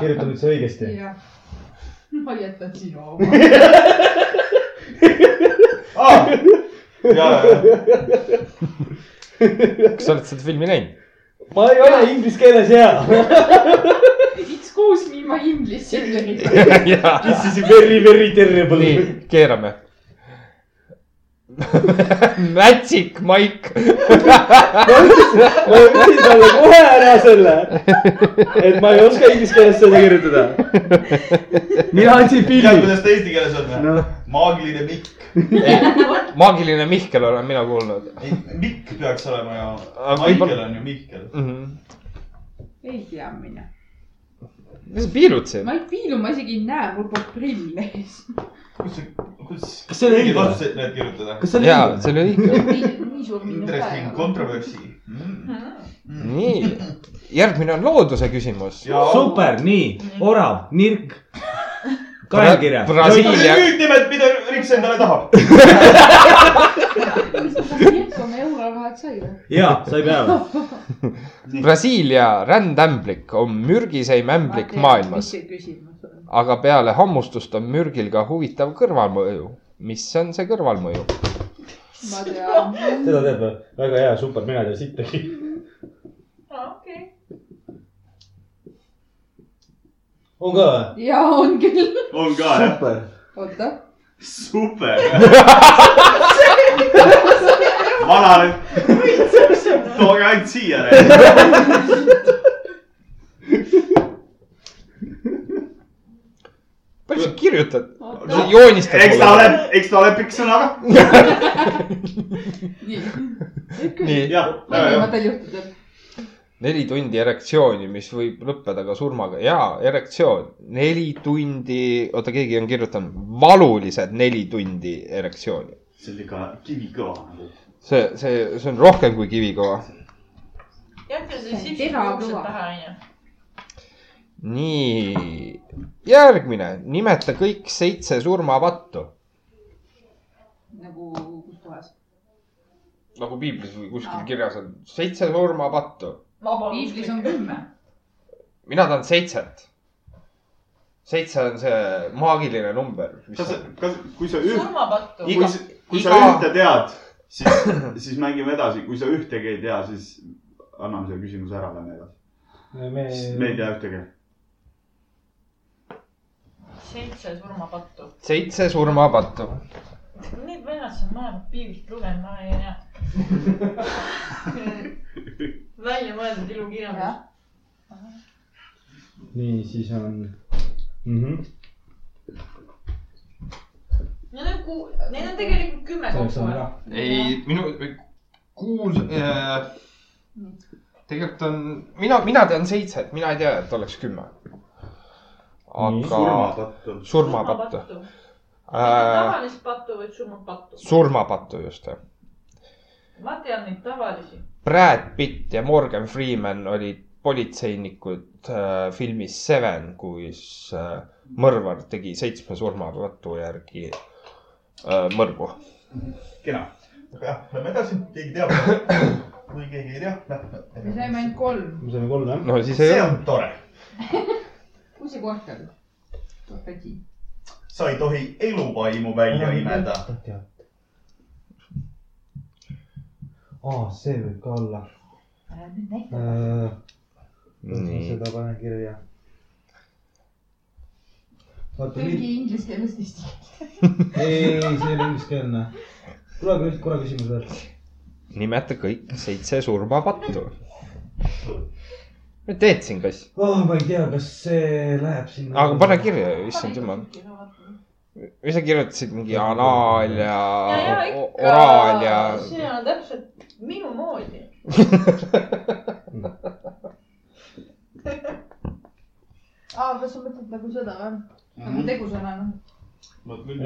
S10: kirjuta nüüd see õigesti .
S6: jah . ma jätan sinu oma .
S11: ja , ja ,
S1: kas sa oled seda filmi näinud ?
S10: [LAUGHS] ma ei ole inglise keeles hea .
S7: Excuse me , ma inglise ei tea .
S1: jaa .
S10: This is very very
S1: nii
S10: terrible .,
S1: keerame . Magic Mike .
S10: ma ütlesin talle kohe ära selle , et ma ei oska inglise keeles seda kirjutada . mina andsin
S11: tead ,
S10: pildi .
S11: kuidas ta eesti keeles on või ? maagiline mikk .
S1: maagiline Mihkel olen mina kuulnud
S11: ei , mikk peaks olema ju .
S1: Aga
S11: Maikel
S1: võib-olla-
S11: on ju Mihkel .
S1: mm . -hmm.
S7: ei tea mina .
S1: mis sa piirutasid
S7: ma ? ei piilu , ma isegi ei näe , mul pole prille ees .
S11: kus , kus .
S10: Kas see oli õige?
S11: vastused need kirjutada ?
S10: kas see oli
S1: jaa ,
S10: õige ?
S1: see oli õige .
S2: nii suur minu
S11: Interesting
S2: päev .
S11: controversy mm. .
S1: nii , järgmine on looduse küsimus .
S11: ja .
S5: super , nii , orav , nirk , kaelkirja .
S1: Brasiilia
S11: Brasiilia . kõik nimed , mida Rips endale tahab .
S6: kirkame euro kaheks aega .
S5: ja , sai peale .
S1: Brasiilia rändämblik on mürgiseim ämblik maailmas ,
S7: mis see küsimus on ?
S1: aga peale hammustust on mürgil ka huvitav kõrvalmõju . mis on see kõrvalmõju ?
S7: ma tean .
S10: seda tead või ? väga hea , super , mina ei tea sittagi .
S2: Ah, okei .
S10: on ka või ?
S7: ja on küll .
S3: on ka jah ,
S10: super .
S7: oota .
S3: [LAUGHS] super . vana nüüd , tooge ainult siia .
S1: palju sa kirjutad ?
S7: oota
S1: sa . joonistad [LAUGHS]
S3: eks ta
S1: mulle ?
S3: ole , eks ta ole pikk sõna ka .
S7: nii .
S1: nii ,
S3: jah , väga
S7: erinevatel juhtudel .
S1: neli tundi erektsiooni , mis võib lõppeda ka surmaga ja erektsioon , neli tundi , oota , keegi on kirjutanud , valulised neli tundi erektsiooni .
S3: hea . see oli ka kivikõva nagu .
S1: see , see , see on rohkem kui kivikõva .
S2: jätke see
S7: See on
S2: sipsik
S7: terav
S2: juuksed
S7: kõva.
S2: pähe onju .
S1: nii , järgmine , nimeta kõik seitse surmapattu .
S7: nagu kus kohas ?
S1: nagu piiblis või kuskil kirjas on seitse surmapattu ,
S6: piiblis on kümme .
S1: mina tahan seitset . seitse on see maagiline number .
S3: kas , kas , kui sa üht ,
S2: surmapattu .
S3: kui sa , kui sa
S1: iga-
S3: ühte tead , siis , siis mängime edasi , kui sa ühtegi ei tea , siis anname selle küsimuse ära , lähme edasi .
S10: me
S3: sest me ei tea ühtegi .
S2: seitse surmapattu .
S1: seitse surmapattu .
S2: igatsen mõlemat piiblist lugenud , ma ei
S1: [LAUGHS]
S2: tea . väljamõeldud ilukirjandus .
S5: nii , siis on mm . -hmm.
S2: Need on ku- , neid on tegelikult kümme
S5: selleks
S2: kokku
S5: on . ära .
S1: ei , minu , kuul äh, . tegelikult on , mina , mina tean seitset , mina ei tea , et oleks kümme . aga
S12: surmapatt on .
S1: surmapattu äh, .
S2: tavalist pattu või surmapattu .
S1: surmapattu just jah .
S2: ma tean neid tavalisi .
S1: Brad Pitt ja Morgan Freeman olid politseinikud äh, filmis Seven , kus äh, mõrvar tegi seitsme surmapattu järgi äh, mõrvu .
S3: kena . jah , lähme edasi , keegi
S1: [LAUGHS]
S3: teab . kui keegi ei tea ,
S6: me
S3: lähme .
S6: saime ainult kolm .
S5: me saime kolm jah ?
S1: no siis ei
S3: see
S1: ole .
S3: on tore ,
S6: kus see koht on ? Topeti .
S3: sa ei tohi eluvaimu välja imeda .
S1: ah.
S5: aa , see võib ka olla
S6: ära nüüd näita .
S5: äh, .
S1: nii ,
S5: seda panen kirja . oota ,
S6: tõlgi
S5: ei ,
S6: inglise keelest eesti .
S5: ei , see oli ingliskeelne . tuleb nüüd korra küsimus veel .
S1: nimeta kõik seitse surmapattu . ma teetsin , kass .
S5: oh , ma ei tea , kas see läheb sinna .
S1: aga pane . kirja , issand jumal . või sa kirjutasid mingi anaal ja,
S2: ja , ja
S1: o- o-
S2: ikka .
S1: oraal ja .
S2: see on täpselt minu moodi .
S6: aa , kas sa mõtled nagu seda
S5: Mhm.
S6: või ? nagu
S2: Mm-hmm.
S6: tegusõnana ,
S3: Mm-hmm.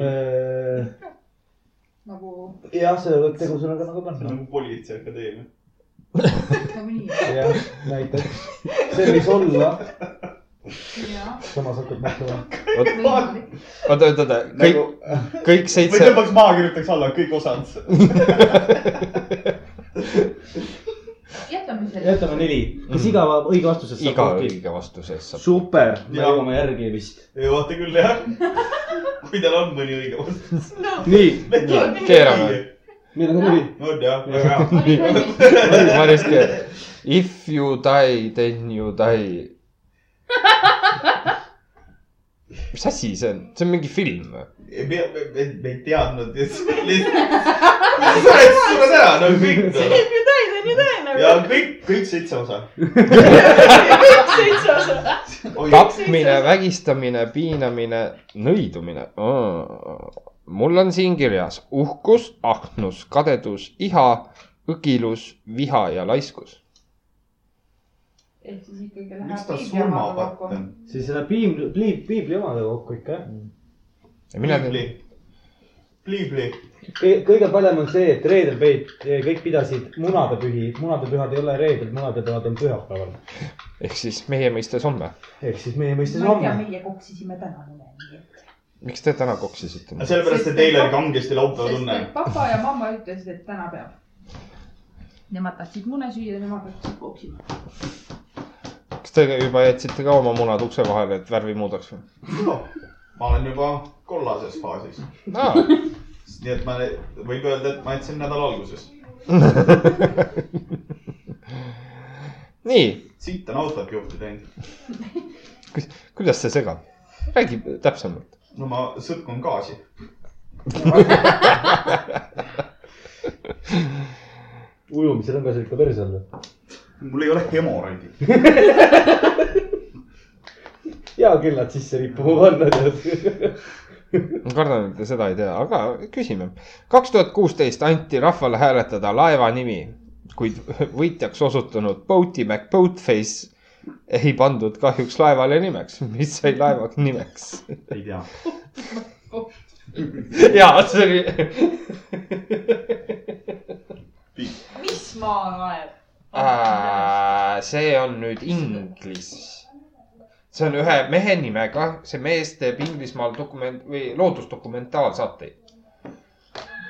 S6: nagu ,
S5: Äh, jah , see võib tegusõnaga nagu
S3: see on
S5: panna .
S3: nagu politseiakadeemia .
S6: nagu nii .
S5: jah , näiteks . see võis olla ,
S6: jaa .
S5: samas hakkad mõtlema .
S1: oota , oota , oota , kõik ,
S3: nagu ,
S1: kõik
S3: või
S1: seitse .
S3: tõmbaks maha , kirjutaks alla kõik osad .
S6: jätame selle .
S13: jätame neli , kas iga õige vastus saab
S1: Mm. iga
S13: punkti ?
S1: õige vastuse eest saab .
S13: super , me
S3: Jaa.
S13: jõuame järgi vist .
S3: vaata küll
S2: [LAUGHS]
S3: jah , kui tal on mõni õige vastus .
S13: nii ,
S1: keerame. .
S13: meil on ka neli .
S3: on jah , väga hea .
S6: [LAUGHS]
S1: Maris Keer . If you die , then you die . mis asi see on , see on mingi film või ?
S3: ei , me , me , me me ei teadnud ,
S2: [LAUGHS]
S3: lihtsalt . sured , sured ära , no kõik .
S2: If you die , then you die
S3: ja
S2: nagu .
S3: kõik , kõik seitse osa .
S2: [LAUGHS] kõik seitse osa .
S1: tapmine , vägistamine , piinamine , nõidumine oh. . mul on siin kirjas uhkus , ahnus , kadedus , iha , õgilus , viha ja laiskus .
S6: ehk siis ikkagi
S3: miks
S6: läheb
S3: ta surmapatt on ?
S5: siis selle piibli , piibli omadega kokku ikka jah .
S1: Mm. mina
S3: pliibli
S1: tean ,,
S3: pliibli .
S5: kõige parem on see , et reedel peid , kõik pidasid munadepühi , munadepühad ei ole reedel , munadepühad on pühapäeval .
S1: ehk siis meie mõistes homme .
S5: ehk [LAUGHS] siis meie mõistes
S6: ma ei tea ,
S5: homme .
S6: meie koksisime täna üle , nii et .
S1: miks te täna koksisite ?
S3: sellepärast , et eile oli kangesti laupäeva
S6: sest
S3: tunne .
S6: et papa ja mamma ütlesid , et täna peab . Nemad tahtsid mune süüa , nemad hakkasid koksima .
S1: kas te juba jätsite ka oma munad ukse vahele , et värvi muudaks või ?
S3: ma olen juba kollases faasis ,
S1: aa ,
S3: nii et ma , võib öelda , et ma jätsin nädala alguses .
S1: nii ,
S3: siit on autot juhtida ainult .
S1: kuidas see segab ? räägi täpsemalt .
S3: no ma sõtkun gaasi .
S5: ujumisel on ka sihuke päris all .
S3: mul ei ole hemoroidi .
S5: hea kellad sisse rippuma panna tead .
S1: [LAUGHS] ma kardan , et te seda ei tea , aga küsime . kaks tuhat kuusteist anti rahvale hääletada laeva nimi , kuid võitjaks osutunud Boaty McBoatface ei pandud kahjuks laevale nimeks , mis sai laeva [LAUGHS] nimeks .
S3: ei tea .
S1: ja see oli
S2: mis maalaev ?
S1: äh, , see on nüüd inglis . see on ühe mehe nimega , see mees teeb Inglismaal dokument või loodusdokumentaalsaateid .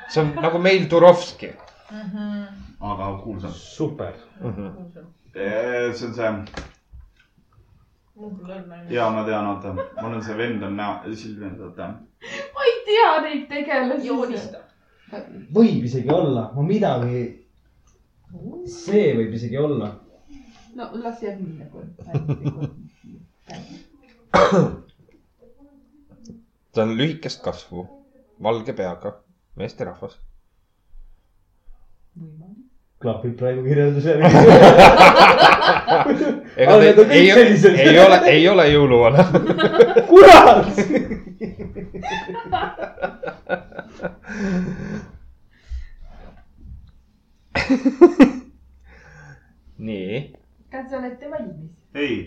S1: see on nagu meil Turovski
S2: Mhm.
S3: aga kuulsam .
S5: super .
S1: mm .
S10: Mhm.
S1: -hmm.
S3: see on see ,
S2: mul küll on nagu .
S3: ja ma tean , oota , mul on see vend on näo , Silvia , oota .
S14: ma ei tea neid tegelasi .
S2: joonista .
S5: võib isegi olla , ma midagi . see võib isegi olla .
S6: no las jääb nii nagu .
S1: ta on lühikest kasvu , valge peaga , meesterahvas .
S10: klapib praegu kirjelduse
S13: [LAUGHS]
S10: järgi .
S1: ega
S10: Aga
S1: te
S10: need on kõik
S1: ei,
S10: sellised.
S1: ei ole , ei ole jõuluvana .
S10: [LAUGHS] kurat .
S13: [LAUGHS]
S1: nii ,
S6: kas sa oled tema ilmis ?
S3: ei ,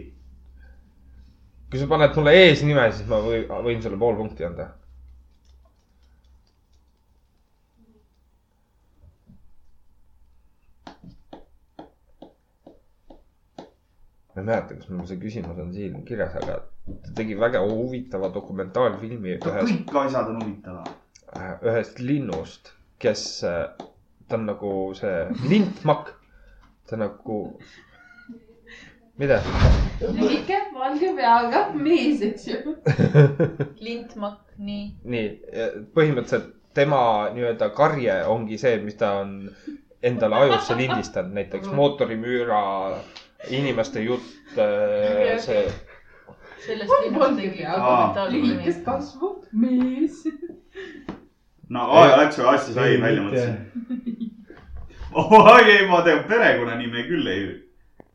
S1: kui sa paned mulle eesnime , siis ma või, võin sulle pool punkti anda . ma ei mäleta , kas mul see küsimus on siin kirjas , aga ta tegi väga huvitava dokumentaalfilmi ühest
S3: kõik asjad on huvitavad .
S1: äh, ühest linnust , kes , ta on nagu see lintmakk , ta nagu , mida ? [LAUGHS]
S6: lühike , valge peaga mees , eks ju .
S2: lintmakk , nii .
S1: nii , põhimõtteliselt tema nii-öelda karje ongi see , mis ta on endale ajusse lindistanud , näiteks mootorimüüra , inimeste jutt , see ,
S2: sellest linnast
S6: valge
S2: tegi
S6: peaga.
S2: kommentaari .
S6: lühikest kasvu , mees .
S3: no aeg läks , aga asja sai
S10: Ei,
S3: välja
S10: mitte.
S3: mõtlesin . [LAUGHS] oi ei , ma tean perekonnanime küll ei ,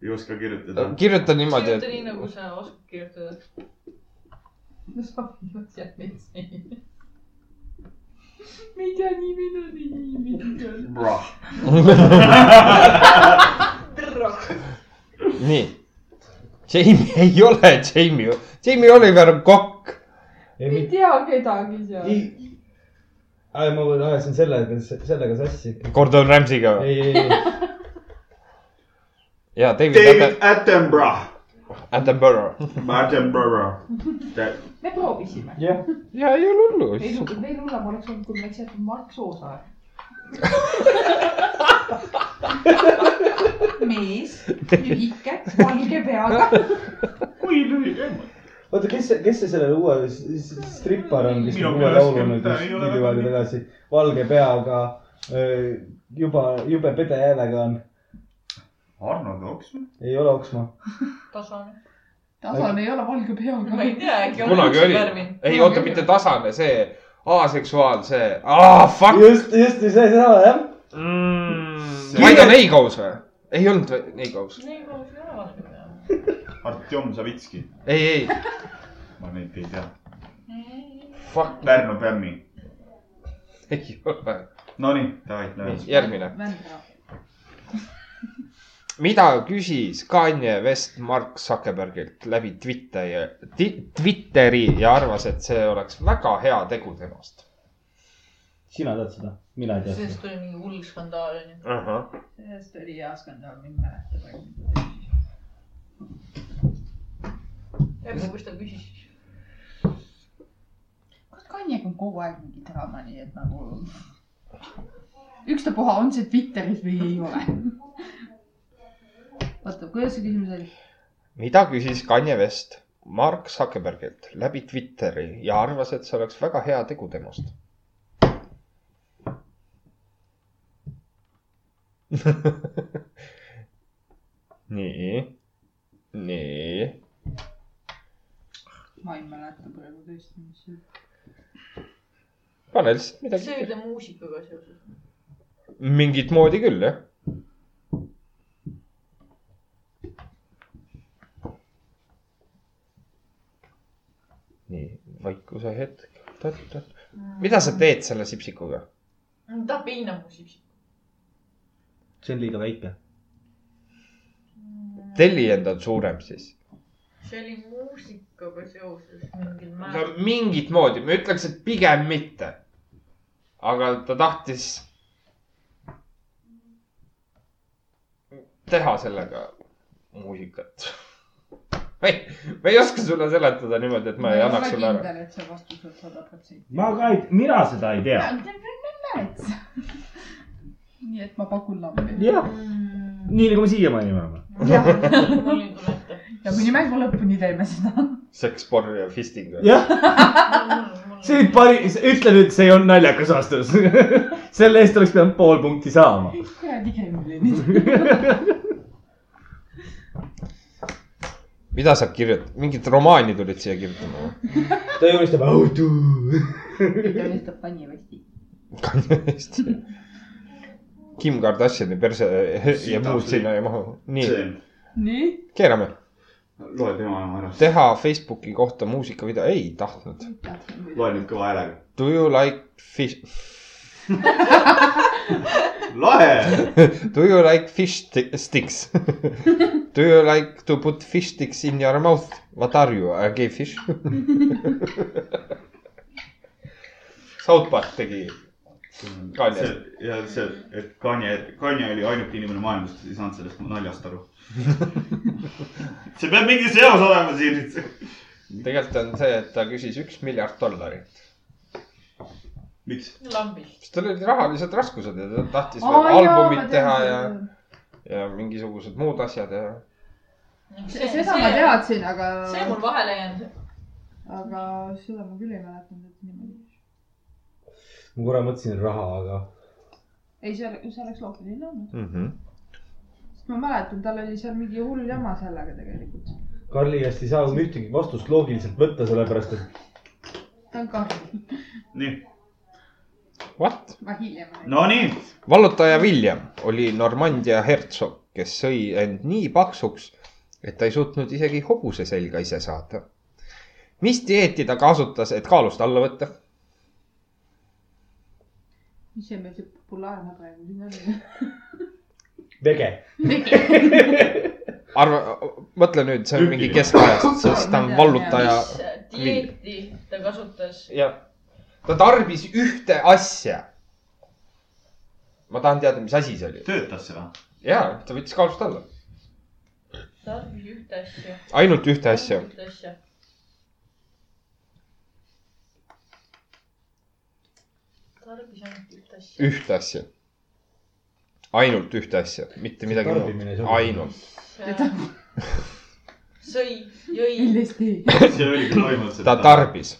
S3: ei oska
S10: Äh,
S3: kirjutada .
S1: kirjuta niimoodi ,
S2: kirjuta nii ,
S1: et
S2: nagu sa oskad kirjutada .
S6: no sobivad jah mees . ma ei tea nimi , no nimi , nimi on .
S1: [LAUGHS] nii . Jamie ei ole Jamie , Jamie Oliver on kokk .
S10: ei ,
S6: ei tea kedagi seal .
S10: ei . aa , ma veel ajasin sellega , sellega sassi .
S1: Gordon Ramsay'ga või ?
S10: ei , ei , ei ,
S1: ja David, David.
S3: David Attenborough ,
S1: Attenborough .
S3: Attenborough .
S6: me proovisime .
S10: jah .
S1: ja ei ole
S6: veel
S1: hullu .
S6: hullem , veel hullem oleks olnud , kui me oleks jätnud Mark Soosaar . mees , lühike , valge peaga .
S3: kui lühike .
S10: oota , kes see , kes see selle uue s- s- strippar on , kes
S3: Minu
S10: tegi uue
S3: meelest
S10: laulu nüüd
S3: ta ei ole
S10: mingi
S3: väga
S10: aeg
S3: nii-
S10: tagasi , valge peaga , juba jube pede häälega on ,
S3: Arno Toks .
S10: ei ole oksma .
S2: tasane .
S6: tasane ei ole valge
S2: ma ei
S6: peaga .
S2: tea , äkki on
S1: kunagi oli
S2: värvi .,
S1: ei oota , mitte tasane , see aseksuaal , see ah, , fuck .
S10: just , just see , see sama jah .
S1: Maido Neigos või ? ei olnud või- Neigos ?
S2: nii kui see ära vaadata .
S3: Artjom Savitski ,
S1: ei , ei ,
S3: ma neid ei tea .
S1: fuck ,
S3: Pärnu Pämmi .
S1: ei ole .
S3: Nonii , davai , lähme .
S1: järgmine . mida küsis Kanye West Mark Zuckerbergilt läbi Twitteri , Twitteri ja arvas , et see oleks väga hea tegu temast
S10: sina tead seda ? mina ei tea
S2: sellest
S10: seda .
S2: tuli mingi hull skandaal onju .
S1: uh ? -huh.
S6: sellest oli hea skandaal , ma ei mäleta praegu .
S2: Ebu , mis ta küsis siis ?
S6: kas Kanjega on kogu aeg mingi draama , nii et nagu ükstapuha , on see Twitteris või ei ole . oota , kuidas see küsimus oli ?
S1: mida küsis Kanye West Mark Zuckerbergilt läbi Twitteri ja arvas , et see oleks väga hea tegu temast . [LAUGHS] nii , nii ,
S6: ma ei mäleta praegu tõesti , mis see
S1: pane lihtsalt
S2: see
S1: midagi
S2: oli . ta muusikaga seoses .
S1: mingit moodi küll , jah . nii , vaikuse hetk . mida sa teed selle sipsikuga ?
S2: ta piinab mu sipsi .
S10: see on liiga väike .
S1: telli enda on suurem siis .
S2: see oli muusikaga seoses mingil
S1: no
S2: määral .
S1: mingit moodi , ma ütleks , et pigem mitte . aga ta tahtis teha sellega muusikat . [LAUGHS] ma ei , ma ei oska sulle seletada niimoodi , et ma ei annaks sulle ära .
S6: kindel , et see vastus on sada protsenti .
S5: ma ka ei , mina seda ei tea .
S6: nii et ma pakun lambi .
S5: jah , nii nagu me siiamaani oleme .
S6: Mm. jah ,
S2: mul ei tule ette .
S6: ja kuni mängu lõpuni teeme seda .
S1: seksporn ja fisting .
S5: jah , [LAUGHS] see oli parim , ütle nüüd , see on naljakas vastus . selle eest oleks pidanud pool punkti saama .
S6: kuradi
S1: [LAUGHS]
S6: Kremlini .
S1: mida sa kirjutad , mingit romaani tulid siia kirjutama või ?
S10: ta joonistab auto .
S6: ta vistab panni vasti .
S1: hästi . Kim Kardashiani perse ja
S3: Sita
S1: muud
S3: free.
S1: sinna ei mahu . nii ,
S3: see ,
S2: nii ?
S1: keerame .
S3: loe tema oma ära ,
S1: teha Facebooki kohta muusikavideo , ei tahtnud .
S3: loe nüüd kõva häälega .
S1: Do you like fish ,
S3: lahe ,
S1: do you like fish sti- sticks ? [LAUGHS] Do you like to put fish sticks in your mouth ? What are you , a gay fish ? South Park tegi . Kanye.
S3: see ja see , et Kanye , Kanye oli ainuke inimene maailmas , kes ei saanud sellest naljast aru . see peab mingi seos olema siin .
S1: tegelikult on see , et ta küsis üks miljard dollarit .
S3: miks ?
S2: lambist .
S1: sest tal olid rahalised raskused ja ta tahtis
S6: Aa,
S1: veel
S6: jaa, ma
S1: albumit
S6: tean
S1: teha ja
S6: seda. ,
S1: ja mingisugused muud asjad ja .
S6: seda ma . teadsin , aga ,
S2: see mul vahele jäänud .
S6: aga seda ma küll ei mäletanud , et niimoodi .
S5: ma korra mõtlesin raha , aga
S6: ei , see oleks , see oleks loogiline olnud ,
S1: Mm -hmm.
S6: sest ma mäletan , tal oli seal mingi hull jama sellega tegelikult .
S5: Karli käest ei saa ühtegi vastust loogiliselt võtta , sellepärast et
S6: ta on kahju ,
S3: nii ,
S1: What ?
S6: ma hiljem .
S3: nonii ,
S1: vallutaja William oli Normandia hertsog , kes sõi end nii paksuks , et ta ei suutnud isegi hobuse selga ise saada . mis dieeti ta kasutas , et kaalust alla võtta ?
S6: mis see meil see populaarne praegu siin on ? [LAUGHS]
S5: vege .
S1: arva , mõtle nüüd , see on mingi
S3: Tüüpiline.
S1: keskajast , sest ta on vallutaja .
S2: mis dieeti ta kasutas ?
S1: jah , ta tarbis ühte asja . ma tahan teada , mis asi see oli .
S3: töötas see või ?
S1: ja , ta võttis kaalust alla .
S2: tarbis ühte asja .
S1: ainult ühte asja .
S2: ühte asja . tarbis ainult ühte asja .
S1: ühte asja . ainult ühte asja , mitte midagi
S5: tarbimine ei
S1: muud ,
S5: sobi.
S1: ainult .
S2: sõi , jõi .
S6: millest ei ?
S3: see oligi toimunud .
S1: ta . tarbis .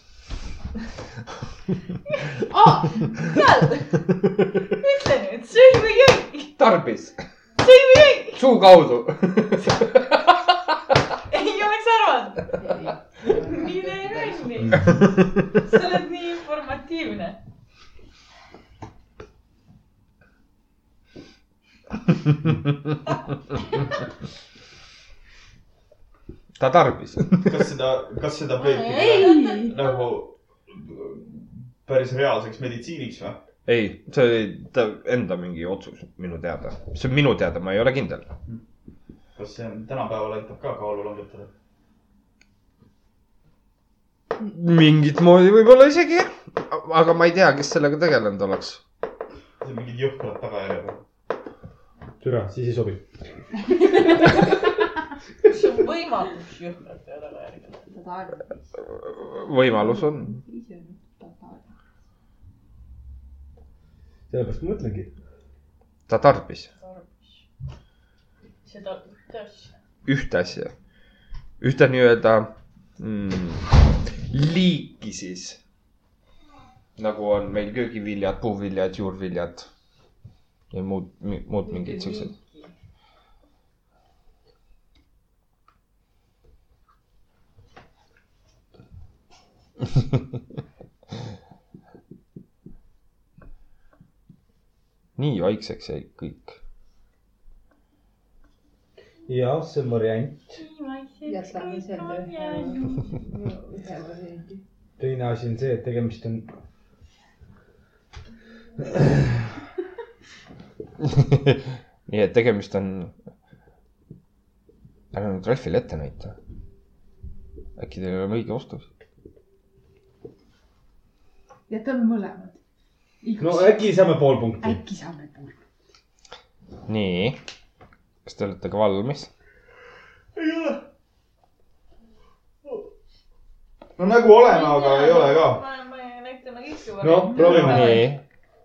S2: aa , tead , ütle nüüd , sõi või jõi ,
S1: tarbis ,
S2: sõi või jõi ,
S1: suu kaudu .
S2: ei oleks arvanud . mine jõi ,
S15: [LAUGHS]
S2: sa oled nii informatiivne .
S1: ta tarbis .
S15: kas seda , kas seda peeti
S6: ei ,
S15: nagu päris reaalseks meditsiiniks või ?
S1: ei , see oli ta enda mingi otsus , minu teada . see on minu teada , ma ei ole kindel .
S15: kas see on tänapäeval aitab ka kaalu langetada ?
S1: mingit moodi võib-olla isegi , aga ma ei tea , kes sellega tegelenud oleks .
S15: see on mingid jõhkrad tagajärjed .
S5: türa , siis ei sobi .
S2: see on võimalus jõhkrate tagajärgedele .
S6: ta tarbis .
S1: võimalus on .
S6: ise nüüd ta tarbis .
S5: sellepärast ma mõtlengi .
S1: ta tarbis
S2: seda , kuidas ,
S1: ühte asja , ühte nii-öelda mm, liiki siis . nagu on meil köögiviljad , puuviljad , juurviljad ja muud , muud mingid siuksed . [LAUGHS] nii vaikseks jäi kõik .
S5: jah , see on variant .
S4: jätame selle ühe , ühe variandi .
S5: teine asi on see , et tegemist on .
S1: [LAUGHS] nii et tegemist on , ära nüüd Ralfile ette näita . äkki teil on õige vastus ?
S6: jätame mõlemad .
S5: no äkki saame pool punkti .
S6: äkki saame pool .
S1: nii , kas te olete ka valmis ?
S15: no nägu oleme , aga ei ole ka .
S2: ma , me näitame kõiki .
S5: Noh, proovime.
S1: nii ,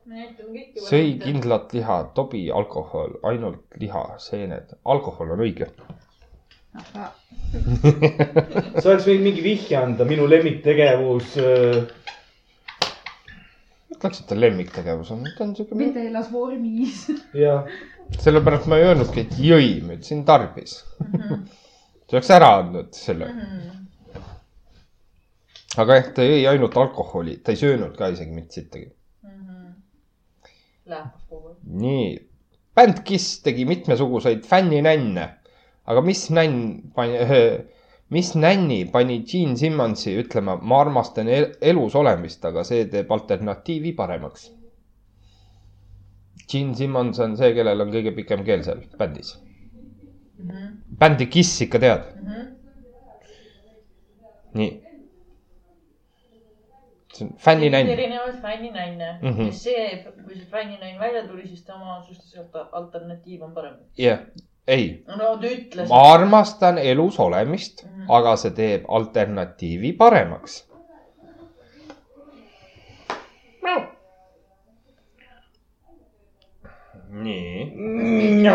S2: me näitame kõiki .
S1: sõi . kindlat liha , tobi , alkohol , ainult liha , seened , alkohol on õige .
S6: aga
S5: sa oleks võinud mingi vihje anda , minu lemmiktegevus äh, .
S1: ütleks , et ta lemmiktegevus on , ta on siuke ,
S6: vedelas vormis . [LAUGHS]
S5: ja
S1: sellepärast ma ei öelnudki , et jõi , ma ütlesin tarbis .
S2: Mhm.
S15: [LAUGHS]
S1: see oleks ära andnud selle .
S2: Mhm.
S1: aga jah , ta jõi ainult alkoholi , ta ei söönud ka isegi mitte sittagi .
S2: läheb kogu aeg .
S1: nii , bänd Kiss tegi mitmesuguseid fänninänne , aga mis nänn pani , [LAUGHS] mis nänni pani Gene Simmonsi ütlema , ma armastan el- elus olemist , aga see teeb alternatiivi paremaks . Gene Simmons on see , kellel on kõige pikem keel seal bändis . bändi Kiss ikka tead ?
S2: Mhm.
S1: nii . see on fänninänn .
S2: erinevaid fänninaine mm ,
S1: Mhm.
S2: -hmm. kes see , kui see fänninaine välja tuli , siis tema otsustas , et alternatiiv on parem .
S1: jah , ei
S2: no ta ütles
S1: ma . armastan elus olemist , aga see teeb alternatiivi paremaks . nii .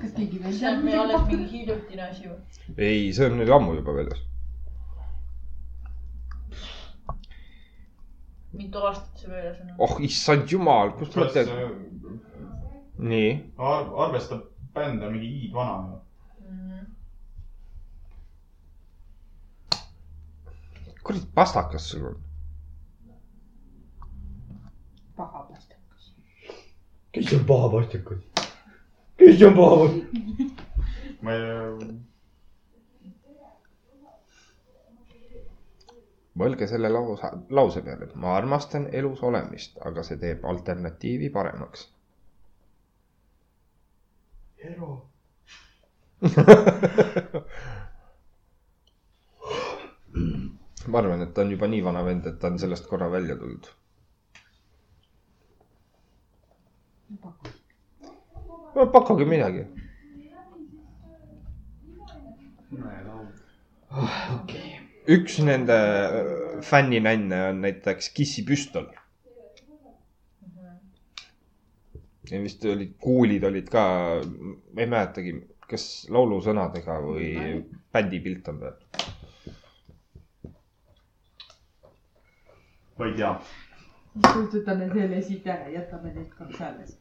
S6: kas keegi veel
S2: see on meil
S6: teab midagi
S2: alles
S6: pakkuda ?
S2: mingi hiljutine asi või ?
S1: ei , see on nüüd ammu juba väljas .
S2: mitu aastat see väljas on ?
S1: oh issand jumal , kust ma tean . nii .
S3: Ar- , arvestab bänd on mingi hiidvana .
S1: kuradi pastakas sul on .
S6: paha pastakas .
S5: kes on paha pastikud ? kes on paha pastikud ?
S3: ma ei ,
S1: mõelge selle lause , lause peale . ma armastan elus olemist , aga see teeb alternatiivi paremaks .
S5: Hero .
S1: [LAUGHS] ma arvan , et ta on juba nii vana vend , et ta on sellest korra välja tulnud . no pakkuge midagi .
S5: Ah,
S1: üks nende äh, fänninänne on näiteks Kissi püstol . ja vist olid kuulid olid ka , ma ei mäletagi , kas laulusõnadega või bändi pilt on peal .
S3: ma ei tea .
S6: kustutame selle siit ära , jätame need kaks alles .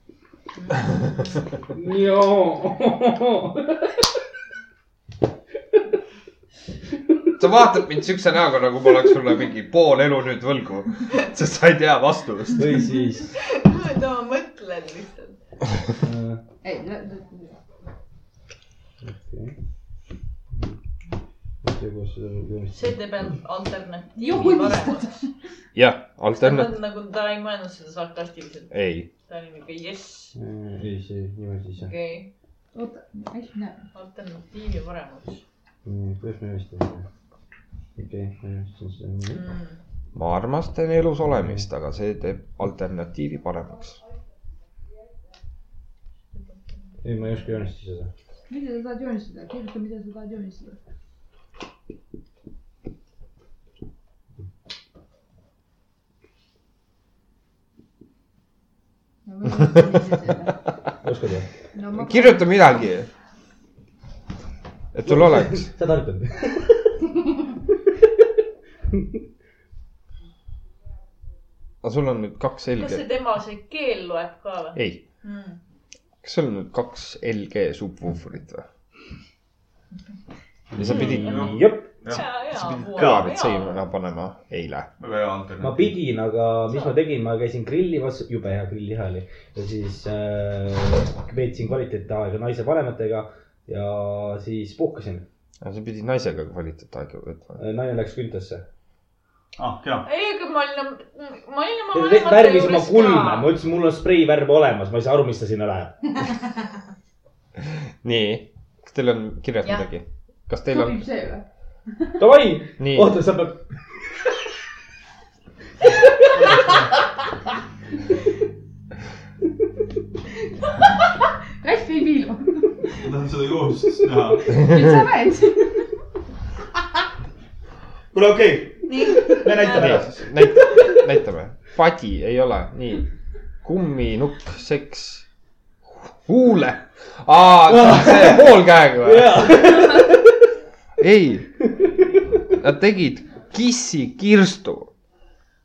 S1: sa vaatad mind siukse näoga , nagu ma oleks sulle mingi pool elu nüüd võlgu , sest sa ei tea vastust .
S16: või siis
S2: no ma mõtlen lihtsalt .
S16: äh,
S6: ei ,
S2: see teeb end alternatiivi
S6: Juhunistad.
S2: paremaks .
S1: jah ,
S2: ta
S1: alternatiiv ,
S2: on nagu , ta ei mõelnud seda sarkastiliselt .
S1: ei ,
S2: ta oli niuke jess ,
S5: Äh, ei , see niimoodi siis jah .
S2: okei ,
S6: oota , äkki näeb .
S2: alternatiivi paremaks
S5: kuidas me vist teeme ? okei , ma ei oska seda .
S2: mm. .
S1: ma armastan elus olemist , aga see teeb alternatiivi paremaks .
S5: ei , ma ei oska joonistada seda .
S6: mida sa tahad joonistada , kirjuta , mida sa tahad joonistada .
S5: oskad või ?
S6: no ma
S1: kirjuta midagi . et sul
S5: [LAUGHS]
S1: oleks .
S5: sa tartad või ?
S1: aga sul on nüüd kaks
S2: kas
S1: LG
S2: see , tema , see keel loeb ka või
S1: ei ,
S2: mm. ?
S1: kas sul on nüüd kaks LG subwooferit või ? ja sa pidid ,
S5: jep ,
S2: ja , ja .
S1: kõlarid seina panema eile .
S3: väga hea
S5: ma
S3: alternatiiv .
S5: pidin , aga mis ma tegin , ma käisin grillimas , jube hea grillliha oli . ja siis äh, veetsin kvaliteetaega naise vanematega ja siis puhkasin .
S1: sa pidid naisega kvaliteetaega võtma .
S5: naine läks küntasse .
S3: ah , kena .
S2: ei , aga ma olin , ma olin oma
S5: värvis oma kulme , ma ütlesin , mul on spreivärv olemas , ma ei saa aru , mis ta sinna läheb .
S1: nii , kas teil on kirjas
S2: Jah.
S1: midagi ? kas teil on
S6: sobib , see või ?
S5: Davai ,
S1: nii ,
S5: oota , sa pead ,
S6: kass ei piilu .
S3: ma tahan seda joonistust näha .
S6: nüüd sa näed .
S17: kuule , okei okay. , me näitame ära siis .
S1: nii , näita , näitame . padi ei ole , nii . kumminukk , seks , huule . aa , see pool käega või ?
S5: [LAUGHS]
S1: ei , nad tegid kissi kirstu .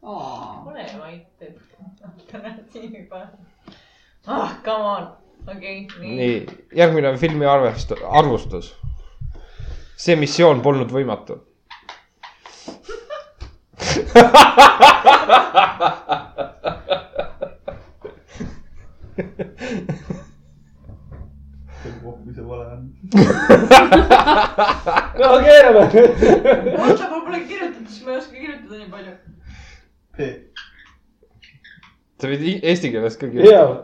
S2: pane vait , et alternatiivi parem . ah , come on , okei okay, , nii,
S1: nii , järgmine on filmi arvestus , arvustus . see missioon polnud võimatu .
S2: oota , mul pole kirjutatud , siis ma ei oska kirjutada nii palju .
S1: sa võid i- eesti keeles ka
S10: ja
S1: kirjutada .,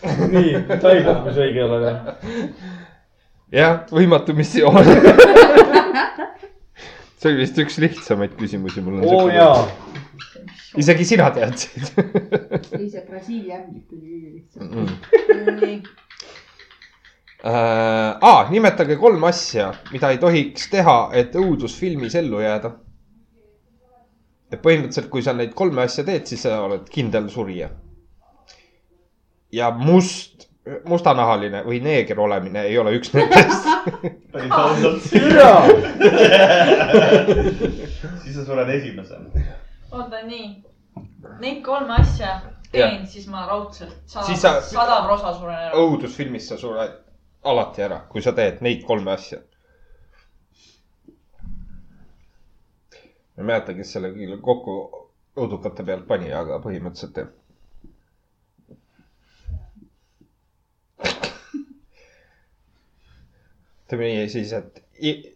S10: [LAUGHS] nii , sai kokku see õige ole või ?
S1: jah , võimatu
S10: [LAUGHS]
S1: missioon . see oli vist üks lihtsamaid küsimusi mul .
S10: oo jaa .
S1: isegi sina teadsid .
S6: ei , see Brasiilia ämblik oli kõige lihtsam .
S10: Mm.
S1: [LAUGHS]
S2: nii ,
S1: Äh, aa , nimetage kolm asja , mida ei tohiks teha , et õudusfilmis ellu jääda . et põhimõtteliselt , kui sa neid kolme asja teed , siis sa oled kindel surija . ja must , mustanahaline või neeger olemine ei ole üks nendest . [LAUGHS]
S11: päris ausalt .
S10: Ah,
S3: [LAUGHS]
S10: jaa .
S11: siis sa sured esimesena .
S2: oota nii . Neid kolme asja teen , siis ma raudselt
S1: Siis sa-
S2: sada , sada prosa suren ära .
S1: õudusfilmis sa sured alati ära , kui sa teed neid kolme asja . ma ei mäleta , kes selle kõige kokku õudukate pealt pani , aga põhimõtteliselt jah . ütleme nii , siis , et i-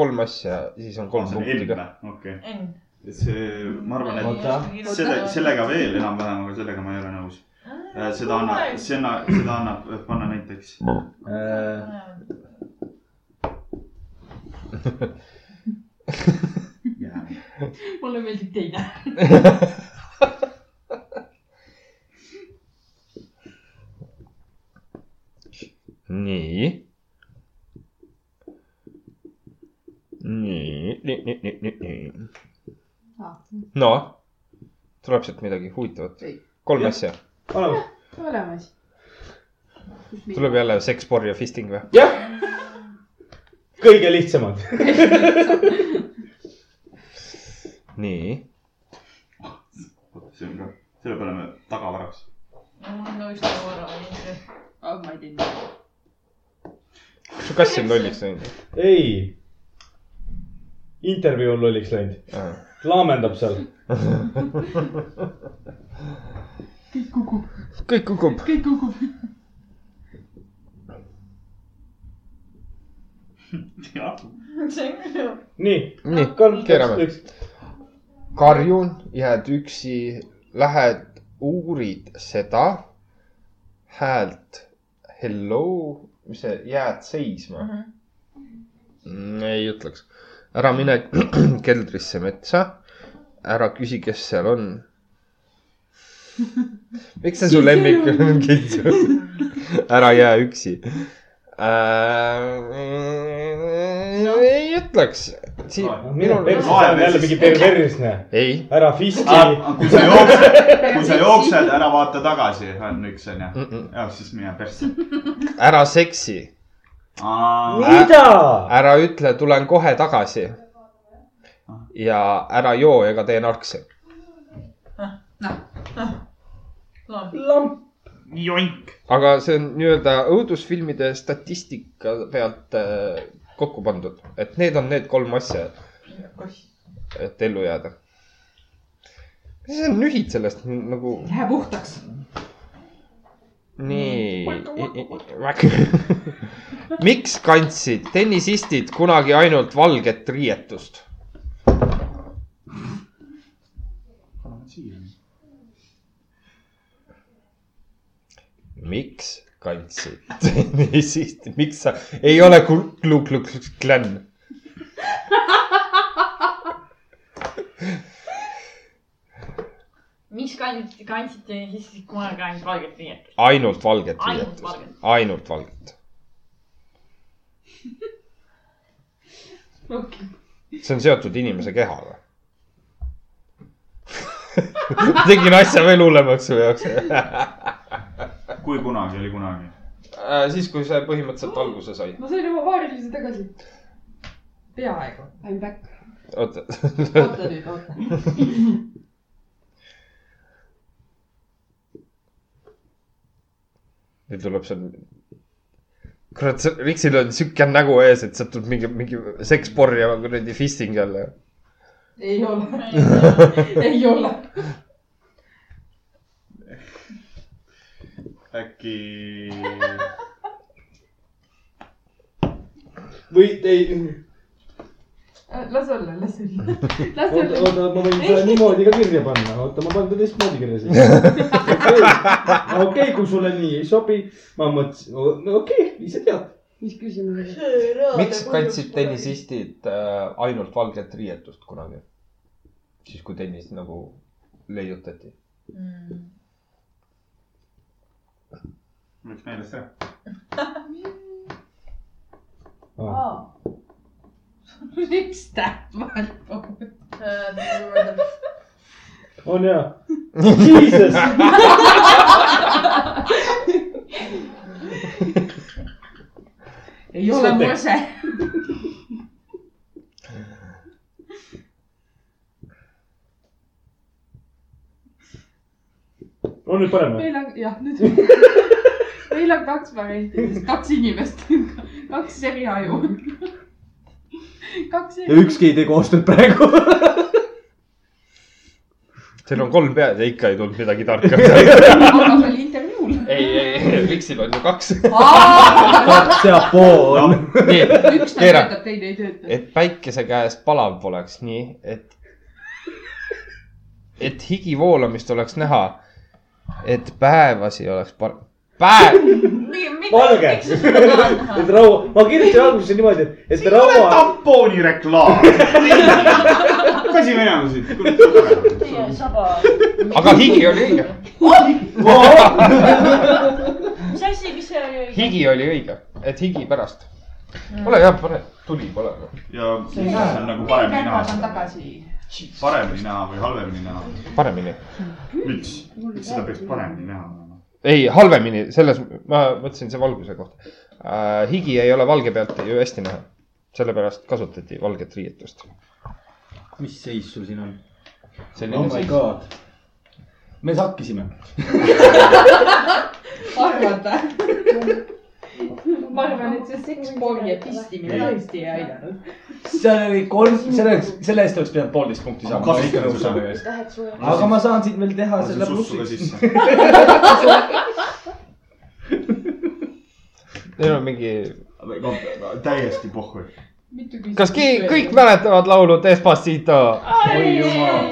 S1: kolm asja , siis on kolm punkti ka .
S3: okei .
S2: Enn .
S3: see , ma arvan , et
S10: Oota.
S3: selle , sellega veel enam-vähem , aga sellega ma ei ole nõus . seda annab , seda , seda annab äh, panna näiteks
S2: Äh.
S3: jääb .
S6: mulle meeldib teine .
S1: nii . nii , nii , nii , nii , nii , nii . no , tuleb sealt midagi huvitavat
S6: Ei. .
S1: kolm
S10: Jah.
S1: asja ,
S10: oleme .
S7: olemas .
S1: tuleb jälle seks , porr ja fisting või ?
S10: jah . kõige lihtsamad .
S1: nii ,
S3: see on ka , selle peale me tagavaraks .
S2: mul on ka vist nagu ära läinud .
S6: ma ei tea .
S1: su kass on lolliks läinud .
S10: ei . intervjuul lolliks läinud , laamendab seal .
S1: kõik kukub .
S7: kõik kukub .
S2: see on küll ju .
S10: nii ,
S1: nii ,
S10: kolm ,
S1: keerame .
S10: üks ,
S1: karjun , jääd üksi , lähed , uurid seda häält . Hello , mis see , jääd seisma Mm, ei ütleks . ära mine [CLEARS THROAT] keldrisse metsa . ära küsi , kes seal on . miks see su lemmik [LAUGHS] on kitsu ? ära jää üksi äh, . ei ütleks .
S10: minu
S1: minul ,
S10: perse , see on jälle mingi perversne ,
S1: ei
S10: ära fiski .
S3: kui sa jooksed , kui
S10: [LAUGHS]
S3: sa jooksed , ära vaata tagasi , on üks onju .
S1: mm , -mm.
S3: jah , siis mine persse .
S1: ära seksi ,
S10: mida ?
S1: ära ütle , tulen kohe tagasi . ja ära joo ega tee narkse .
S10: lamp .
S11: jonk .
S1: aga see on nii-öelda õudusfilmide statistika pealt äh, kokku pandud , et need on need kolm asja , et ellu jääda . sa nühid sellest n- nagu
S6: Lähe puhtaks .
S1: nii . [LAUGHS] miks kandsid tennisistid kunagi ainult valget riietust ? miks kandsid [LAUGHS] tennisistid , miks sa , ei ole Klu-Klu-Klan .
S2: mis kandsid , kandsite siis kunagi ainult valget riiet ?
S1: ainult valget
S2: Ainult
S1: riietust
S2: valget. ,
S1: ainult
S2: [LAUGHS]
S1: valget .
S6: okei .
S1: see on seotud inimese kehaga . tegin asja veel hullemaks su jaoks .
S3: kui kunagi oli kunagi .
S1: Äh, siis , kui see põhimõtteliselt alguse sai .
S7: ma sain oma vaarilise tagasi .
S6: peaaegu .
S4: I m back .
S1: oota ,
S6: oota nüüd , oota .
S1: nüüd tuleb seal . kurat , see Riksil on siuke nägu ees , et sealt tuleb mingi , mingi seksporr ja kuradi fisting jälle .
S6: ei ole , ei ole .
S3: äkki
S5: või te ei ,
S7: Äh,
S6: las olla , las olla . las
S10: oota ,
S6: olla .
S10: oota , ma võin selle niimoodi ka kirja panna , oota , ma panen ta teistmoodi kirja [LAUGHS] siis . okei , kui sulle nii ei sobi , ma mõtlesin , no okei okay, , ise tead .
S4: mis küsimus oli ?
S1: miks kandsid ? tennisistid äh, ainult valget riietust kunagi ? siis , kui tennis nagu leiutati .
S3: võiks meeles teha .
S6: üks täht vahel kogu aeg .
S10: on hea , jesus .
S6: ei ole mose .
S10: on nüüd parem või ?
S7: meil on , jah , nüüd . meil on kaks varianti , kaks inimest , kaks eri aju . kaks eri .
S10: ükski ei tee koostööd praegu .
S1: seal on kolm pead ja ikka ei tulnud midagi tarka . ei ,
S7: aga see oli intervjuul .
S1: [LAUGHS] ei , ei , Miksil on ju kaks .
S10: kaks ja pool .
S1: nii ,
S7: üks
S1: Keera.
S7: töötab , teine ei tööta .
S1: et päikese käes palav poleks nii , et , et higi voolamist oleks näha . et päevasi oleks par- , päev ,
S10: valge , et raua , ma kirjutasin alguses niimoodi , et
S3: siin ei ole
S10: raua ,
S3: tampooni [LAUGHS] reklaam . käsi minema siit .
S1: aga higi oli õige ,
S2: mis asi , mis see oli ?
S1: higi oli õige , et higi pärast . ole hea , pane , tuli pole . noh.
S3: ja siis on nagu paremini
S6: on
S3: näha .
S6: tagasi .
S3: paremini näha või halvemini näha ?
S1: paremini .
S3: miks , miks seda peaks paremini näha olema ?
S1: ei , halvemini , selles , ma mõtlesin see valguse kohta äh, . higi ei ole valge pealt ju hästi näha . sellepärast kasutati valget riietust .
S5: mis seis sul siin on ? oh
S1: selline
S5: my
S1: seis .
S5: god . me sakkisime .
S6: arvata . ma arvan , et see sekspool ja pistimine tõesti ei aidanud .
S5: seal oli kolm , selleks , selle eest oleks pidanud poolteist punkti saama .
S3: Kas-
S4: Läheks või ?
S5: aga ma saan siit veel teha
S3: lasin
S5: selle
S3: sussu ka
S5: plussi .
S3: sisse .
S1: Neil on mingi ,
S3: täiesti pohhu .
S1: kas keegi , kõik mäletavad laulu Despacito ?
S5: oi jumal ,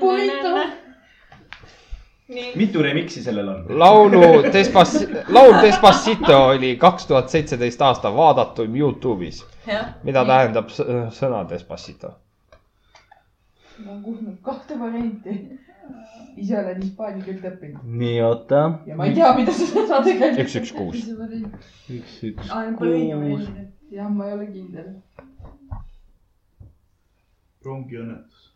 S6: Puitu. .
S2: nii ,
S5: mitu remix'i sellel on ?
S1: laulu Despac- , laul Despacito oli kaks tuhat seitseteist aasta vaadatum Youtube'is .
S2: jah .
S1: mida tähendab s- sõna Despacito ?
S6: ma olen kuulnud kahte varianti . ise olen hispaania keelt õppinud
S5: nii , oota .
S6: ja ma ei tea , mida see sõna tegelikult .
S1: üks , üks , kuus .
S5: üks , üks .
S7: kuus .
S6: jah , ma ei ole kindel .
S3: rongiõnnetus .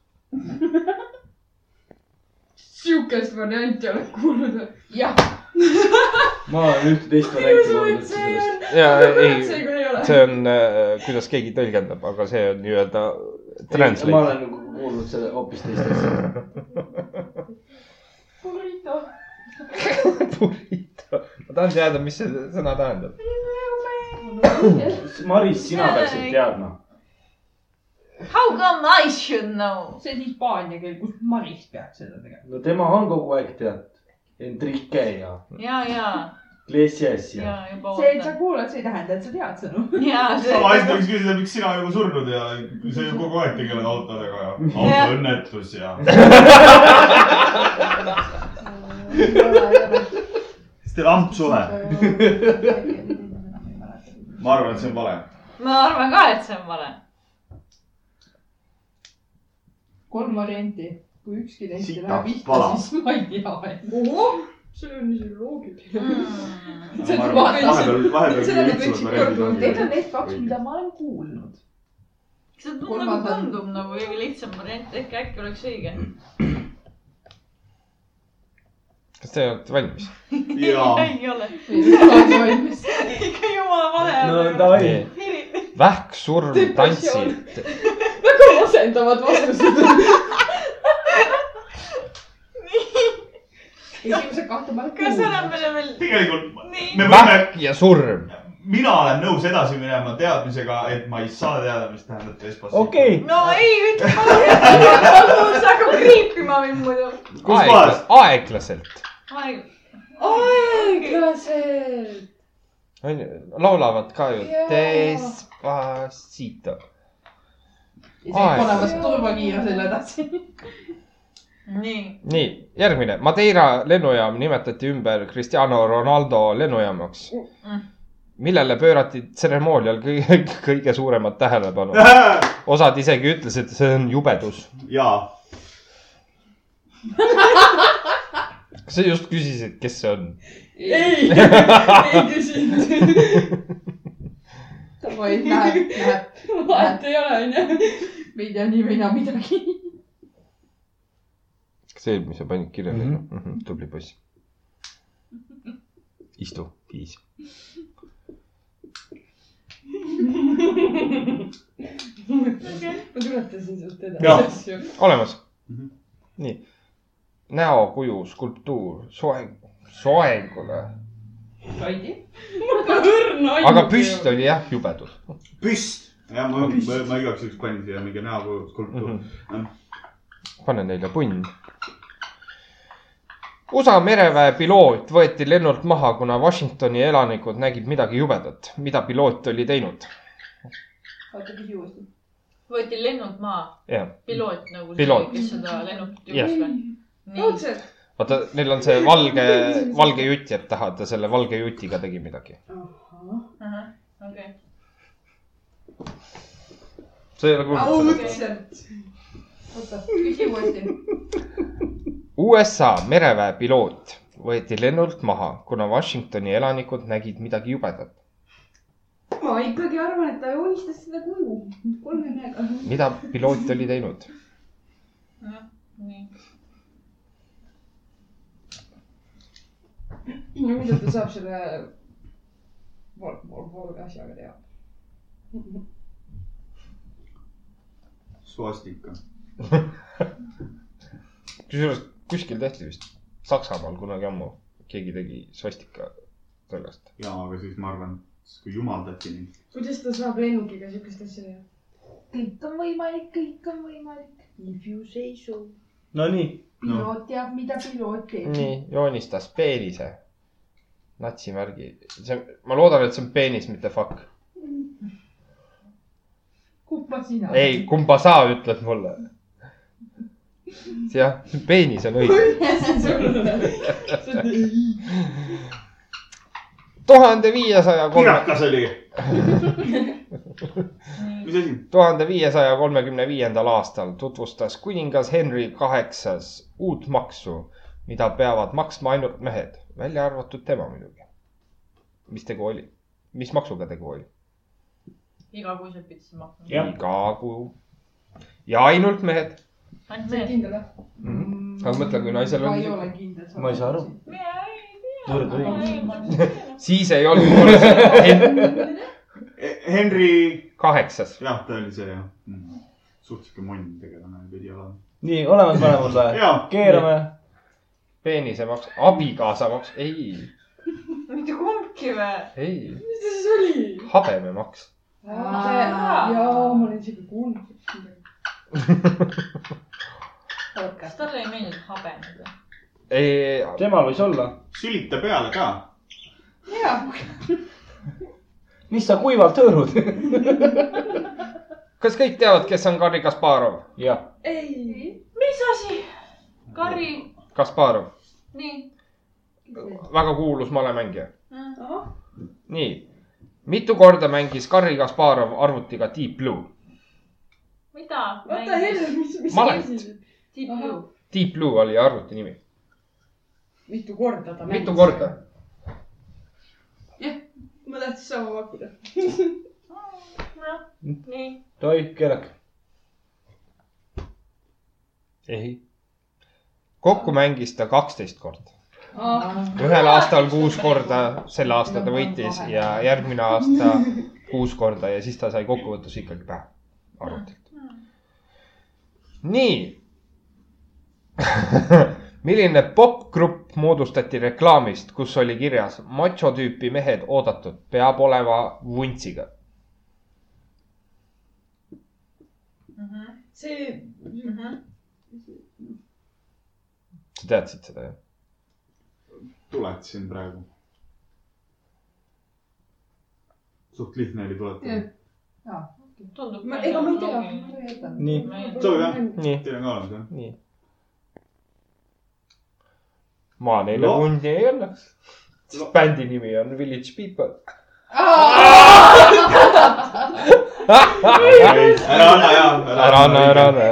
S7: sihukest varianti olen kuulnud .
S6: jah ,
S5: ma olen üht-teist varianti kuulnud sellest .
S1: ja ei ,
S6: seekord ei ole .
S1: see on , kuidas keegi tõlgendab , aga see on nii-öelda
S5: ma
S1: translate .
S5: olen nagu kuulnud selle hoopis teist asja .
S6: Burrito .
S1: burrito . ma tahan teada , mis see sõna tähendab .
S5: Maris , sina peaksid teadma .
S2: How come I should know ?
S6: see on hispaania keel , kus Maris peaks seda tegema .
S5: no tema on kogu aeg teadnud . Enrique ja
S2: ja , ja ,
S5: Iglesias ja .
S2: ja juba
S6: see , et sa
S2: ootan .
S6: kuulad , see ei tähenda , et sa tead sõnu .
S2: ja ,
S3: sama
S2: see
S3: hästi . võiks küsida , miks sina juba surnud ja sa ju kogu aeg tegeled autodega
S6: [LAUGHS]
S3: ja
S2: Jah.
S3: autoõnnetus ja . siis teil amp suhe . ma arvan , et see on vale .
S2: ma arvan ka , et see on vale .
S6: kolm varianti , kui ükski neist ei
S3: Sita
S6: lähe pihta
S3: pala. ,
S6: siis ma ei tea .
S7: see on isegi loogiline .
S6: Mm.
S2: Mm.
S6: See on vale.
S3: vahepeal , vahepeal küll lihtsamad
S6: Seda me võiksime
S3: variandid
S6: Need on
S3: ongi .
S6: need kaks , mida ma olen kuulnud .
S2: see tundub nagu
S6: Kolmas on-
S2: tundub nagu kõige lihtsam variant , ehk äkki oleks õige .
S1: kas te olete valmis ?
S3: jaa ,
S2: [LAUGHS] ei ole ,
S6: [LAUGHS] valmis .
S2: ikka jumala
S5: no
S2: vale .
S5: davai ,
S1: vähksurm tantsid .
S6: väga masendavad [LAUGHS] vastused . esimesed kahte ma olen
S2: kas
S6: kuulnud .
S2: enam meil on veel ,
S3: tegelikult
S2: nii .
S3: me võime ,
S1: vähk ja surm .
S3: mina olen nõus edasi minema teadmisega , et ma ei saa teada , mis tähendab Despacito .
S5: okei .
S2: no ei , ütle [LAUGHS] palun , see hakkab kriipima mind muidu .
S3: Kus kohas?
S1: aeglaselt .
S2: aeg ,
S4: aeglaselt .
S1: laulavad ka ju
S6: Jaa.
S1: Despacito . Aeg.
S6: isegi olemas turvakiirusel edasi .
S2: nii ,
S1: nii , järgmine . Madeira lennujaam nimetati ümber Cristiano Ronaldo lennujaamaks
S2: Mm. ,
S1: millele pöörati tseremoonial kõige, kõige suuremat tähelepanu . osad isegi ütlesid , see on jubedus .
S3: [LAUGHS] jaa ,
S1: sa just küsisid , kes see on .
S6: ei , ei küsinud . oi , läheb , läheb ,
S7: vahet ei ole , onju .
S6: me ei tea nii või naa midagi .
S1: kas see , mis sa panid kirja
S10: Mhm.
S1: mm ? -hmm. tubli poiss . istu , viis .
S6: ma tuletasin sult
S3: Jah.
S6: edasi asju .
S1: olemas
S3: Mhm. .
S1: nii . näokuju skulptuur , soeng , soengule ,
S6: Kaidi .
S1: aga püst oli jah jubedus .
S3: püst . ja ma ,
S1: Püst.
S3: ma, ma igaks juhuks panin siia mingi näokuju
S1: Nagu
S3: skulptuuri
S1: Mhm.
S3: mm .
S1: pane neile punn . USA mereväe piloot võeti lennult maha , kuna Washingtoni elanikud nägid midagi jubedat , mida piloot oli teinud .
S6: oota , küsi uuesti .
S2: võeti lennult maha ,
S1: jah ,
S2: piloot nagu
S1: Piloot.
S2: see , kes seda
S6: Mm-hmm.
S2: lennukilt
S1: Jah.
S2: juhtis või ? nii ,
S6: õudselt .
S1: vaata , neil on see valge , valge jutt jääb taha , ta selle valge jutiga tegi midagi .
S2: okei .
S1: see ei ole kuulnud .
S6: õudselt . oota , küsi uuesti .
S1: USA mereväe piloot võeti lennult maha , kuna Washingtoni elanikud nägid midagi jubedat .
S4: ma ikkagi arvan , et ta joonistas seda kuju kolme käega .
S1: mida piloot oli teinud ?
S2: nii ,
S6: no mida ta saab selle vol- , vol- , volga asjaga teha ?
S3: -hmm. suastika .
S1: kusjuures kuskil tehti vist Saksamaal kunagi ammu , keegi tegi svastika sellest .
S3: ja , aga siis ma arvan , siis kui jumaldati neid .
S6: kuidas ta saab lennukiga siukest asja teha ?
S4: kõik on võimalik , kõik on võimalik .
S6: If you say so .
S5: Nonii ,
S3: no
S6: piloot teab , mida piloot teeb .
S1: nii , joonistas peenise , natsimärgi , see , ma loodan , et see on peenis , mitte fuck .
S6: kumba sina ? [LAUGHS]
S1: ei , kumba sa ütled mulle ? jah , peenis on õige . tuhande viiesaja kolme ,
S3: pirakas oli .
S2: nii ,
S3: mis asi ?
S1: tuhande viiesaja kolmekümne viiendal aastal tutvustas kuningas Henry Kaheksas uut maksu , mida peavad maksma ainult mehed , välja arvatud tema muidugi . mis tegu oli , mis maksuga tegu oli ?
S2: igakuiselt pidi siis maksma .
S5: Jah.
S1: iga kuu ja ainult mehed .
S2: ainult
S6: sa oled
S2: mees .
S6: kindel või ?
S1: aga mõtle , kui naisel
S6: ma ei ole
S1: on ,
S6: kindel .
S5: Ma ei saa aru.
S2: mina ei
S5: Võrd õigus .
S2: tea .
S1: siis ei olnud .
S3: E, Henry ,
S1: kaheksas ,
S3: jah , ta oli see jah mm. . suht siuke monn tegelane pidi olema .
S5: nii olemas mõlemad või ?
S3: jaa ,
S5: keerame .
S1: peenise maks , abikaasa maks , ei ,
S2: mitte kumbki või ?
S1: ei ,
S6: mis ta siis oli ?
S1: habememaks .
S2: Aa.
S6: jaa , ma olin siuke kuulnud .
S2: kas talle ei meeldinud habemad või ?
S1: ei ,
S5: temal võis olla .
S3: sülita peale ka .
S6: jaa ,
S5: mis sa kuivalt hõõrud ? [LAUGHS]
S1: kas kõik teavad , kes on Garri Kasparov ?
S5: jah ,
S6: ei .
S2: mis asi ? Kari ,
S1: Kasparov ,
S2: nii .
S1: väga kuulus malemängija .
S6: ahah ,
S1: nii , mitu korda mängis Garri Kasparov arvutiga Deep Blue ?
S2: mida ?
S6: what the hell , mis , mis
S1: Malet.
S6: asi ?
S2: Deep
S6: Ahah.
S2: Blue .
S1: Deep Blue oli arvuti nimi .
S6: mitu korda ta mängis ?
S1: mitu korda ??
S6: ma tahtsin sama pakkuda .
S2: noh , nii .
S5: tohi , keelake .
S1: ei . kokku mängis ta kaksteist korda .
S6: ah ,
S1: ühel aastal kuus korda , sel aastal ta võitis ja järgmine aasta kuus korda ja siis ta sai kokkuvõttes ikkagi pähe arvutilt . nii . milline popgrupp moodustati reklaamist , kus oli kirjas macho tüüpi mehed oodatud , peab olema vuntsiga .
S6: see ,
S1: sa teadsid seda jah ?
S3: tuletasin praegu . suht lihtne oli tuletada
S7: Jah. .
S2: tundub .
S6: ma , ega ma ei tea , ma ei tea .
S5: nii ,
S3: sobib jah ?
S1: nii ,
S3: Teil on ka olemas jah ?
S1: nii . ma neile
S3: No.
S1: hundi ei anna .
S3: No.
S1: bändi nimi on Village People .
S3: ära anna ja .
S1: ära anna , ära . anna .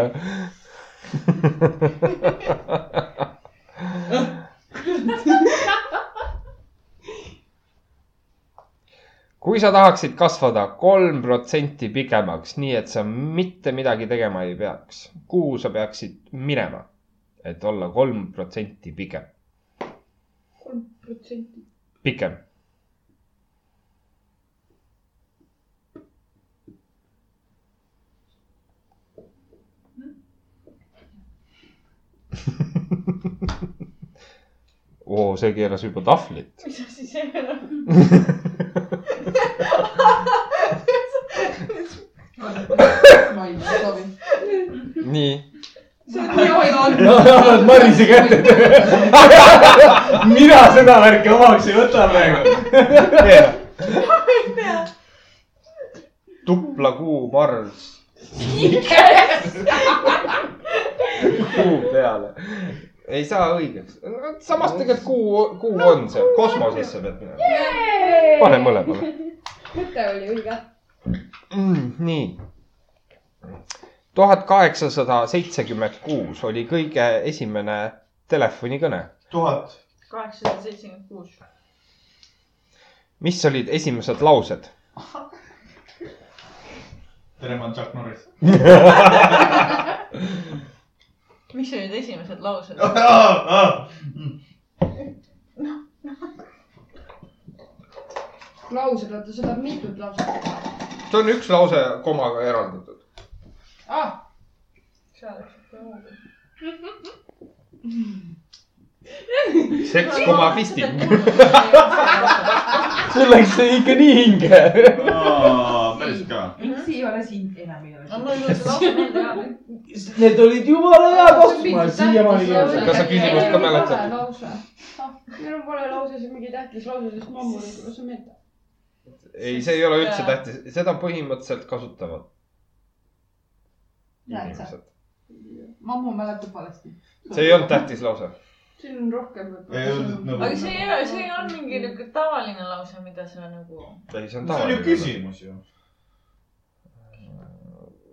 S1: kui sa tahaksid kasvada kolm protsenti pikemaks , nii et sa mitte midagi tegema ei peaks , kuhu sa peaksid minema , et olla kolm protsenti pikem ,
S6: kolm protsenti .
S1: pikem ? [LAUGHS] oo , see keeras juba tahvlit .
S2: mis asi see veel on ?
S6: ma ei tea , soovin .
S1: nii .
S6: see on nii hoidnud .
S5: annad Marise kätte . mina seda värki omaks ei võta praegu .
S1: tupla kuu marss . kuu peale . ei saa õigeks . samas tegelikult kuu , kuu on seal , kosmosesse pead minema . pane mõlemale .
S4: mõte oli õige .
S1: Mm, nii . tuhat kaheksasada seitsekümmend kuus oli kõige esimene telefonikõne ,
S11: tuhat .
S2: kaheksasada seitsekümmend kuus .
S1: mis olid esimesed laused ?
S11: tere , ma olen Chuck Norris .
S2: mis olid esimesed laused ?
S6: laused , oota , sa tahad mitut lauset ?
S1: see on üks lause komaga eraldatud .
S6: aa ,
S1: seks koma [LAUGHS] fisting .
S5: sul läks see ikka nii hinge .
S3: päris ka .
S6: miks ei ole sind enam ei ole
S2: no
S6: sind ?
S2: mul ei olnud lauset meelde .
S5: Need olid jumala hea vastus , ma siiamaani ei
S1: Kas sa küsimust ka mäletad? ?
S4: meil pole lauses mingi tähtis lause , sest mammu ei tule see meelde .
S1: ei , see ei ole üldse tähtis , seda põhimõtteliselt kasutavad
S6: Näed sa?
S1: inimesed .
S6: mammu mäletab valesti .
S1: see ei olnud tähtis lause .
S4: siin on rohkem
S11: ei olnud
S4: võib-olla .
S11: nagu
S2: aga . see ei ole , see on mingi niuke tavaline lause , mida sa nagu .
S1: ei ,
S11: see
S1: see on
S11: on ju
S1: tavaline .
S11: küsimus ju .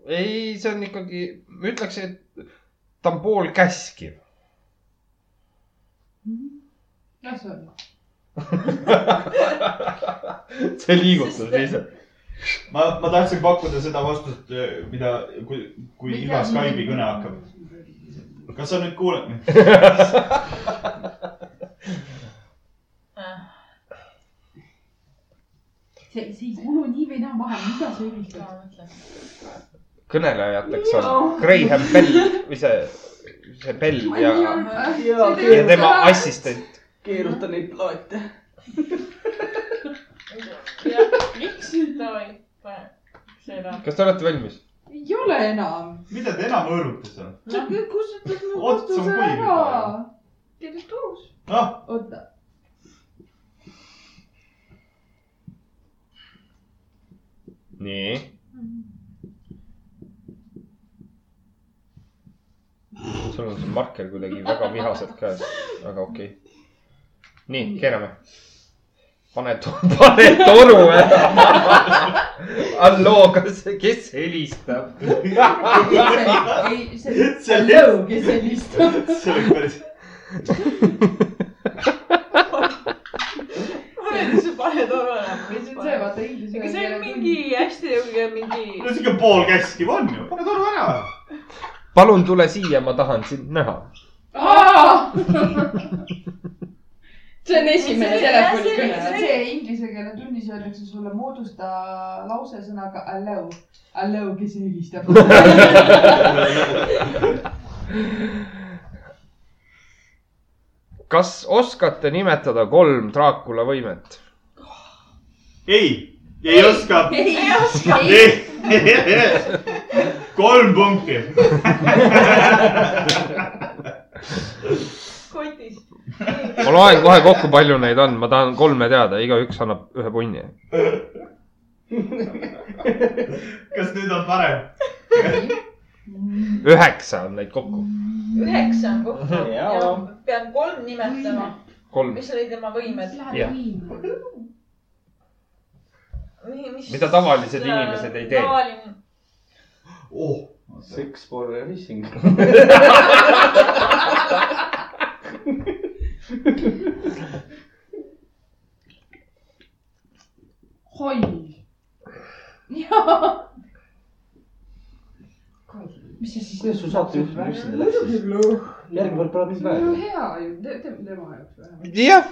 S1: ei , see on ikkagi , ma ütleks , et ta on poolkäskiv .
S6: Mhm. las on .
S1: see liigutas lihtsalt .
S11: ma , ma tahtsin pakkuda seda vastust , mida , kui , kui ilma Skype'i kõne hakkab . kas sa nüüd kuuled mind ?
S2: äh,
S6: see , see ei kulu nii või naa maha , mida sa üritad ?
S1: kõnelejateks on Graham Bell või see , see Bell ja , ja
S5: olnud .
S1: tema assistent .
S5: keeruta neid plaate .
S2: miks ? davai , pane . see ära .
S1: kas te olete valmis ?
S6: ei ole enam .
S11: mida te enam hõõrute seal ?
S6: sa kustutad mu
S11: Ots on
S6: vastuse
S11: kuiv
S6: ära
S11: juba, jah. .
S6: tegelikult uus .
S11: ah ,
S6: oota .
S1: nii . sul on see marker kuidagi väga vihaselt käes , aga okei okay. . nii , keerame . pane , [LAUGHS] pane toru ära . halloo , kas , kes helistab ?
S6: ei , see ,
S11: See
S6: see
S11: oli-
S6: lõugi sellist .
S11: see oli päris ,
S2: mul ei olnud see pane toru ära .
S6: see , vaata inglise .
S2: ega see on mingi hästi niuke mingi .
S11: no siuke poolkäskiv on ju , pane toru ära .
S1: palun tule siia , ma tahan sind näha .
S4: see on esimene
S2: See-
S4: telefonikõne .
S6: see inglise keele tunnis öeldakse sulle moodusta lause sõnaga allow , allow , kes helistab .
S1: kas oskate nimetada kolm Draakula võimet ?
S11: ei , ei oska .
S4: ei oska .
S11: kolm punkti .
S2: kotis .
S1: ma loen kohe kokku , palju neid on , ma tahan kolme teada , igaüks annab ühe punni .
S3: kas nüüd on parem ?
S1: üheksa on neid kokku .
S2: üheksa on kokku ja
S5: Jaa.
S2: pean kolm nimetama .
S1: kolm .
S2: mis oli tema võimed ?
S1: Jah.
S6: võim .
S1: Mida tavalised inimesed ei tee.
S2: tavaline ,
S3: oh ,
S5: Six for a missing .
S6: hoi .
S5: mis see siis , kuidas sul saatejuht nii üksinda läks ? järgmine kord pole mind vaja .
S4: hea ju , teeme tema jaoks vähemalt .
S1: jah ,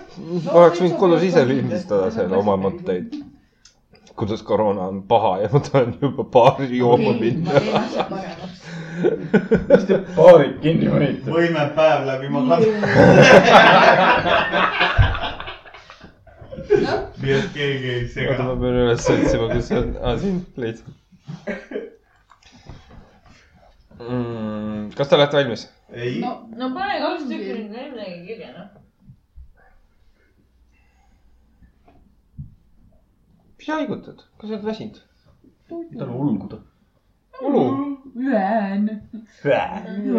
S1: oleks võinud kodus ise lindistada seal oma mõtteid . kuidas koroona on paha ja ma tahan juba baari jooma minna .
S18: ma teen asja paremaks .
S5: mis te paarid kinni panite ?
S3: võime päev läbi magada . nii et keegi ei
S1: oota ,
S3: sega
S1: ma . pean üles otsima , kus see on , aa siin leidsin mm, . kas te olete valmis ?
S3: ei ,
S2: no pane kaks tükki nüüd veel midagi kirja , noh .
S1: mis sa haigutad , kas sa oled väsinud ?
S5: tahan ulguda .
S1: ulu .
S6: Lään .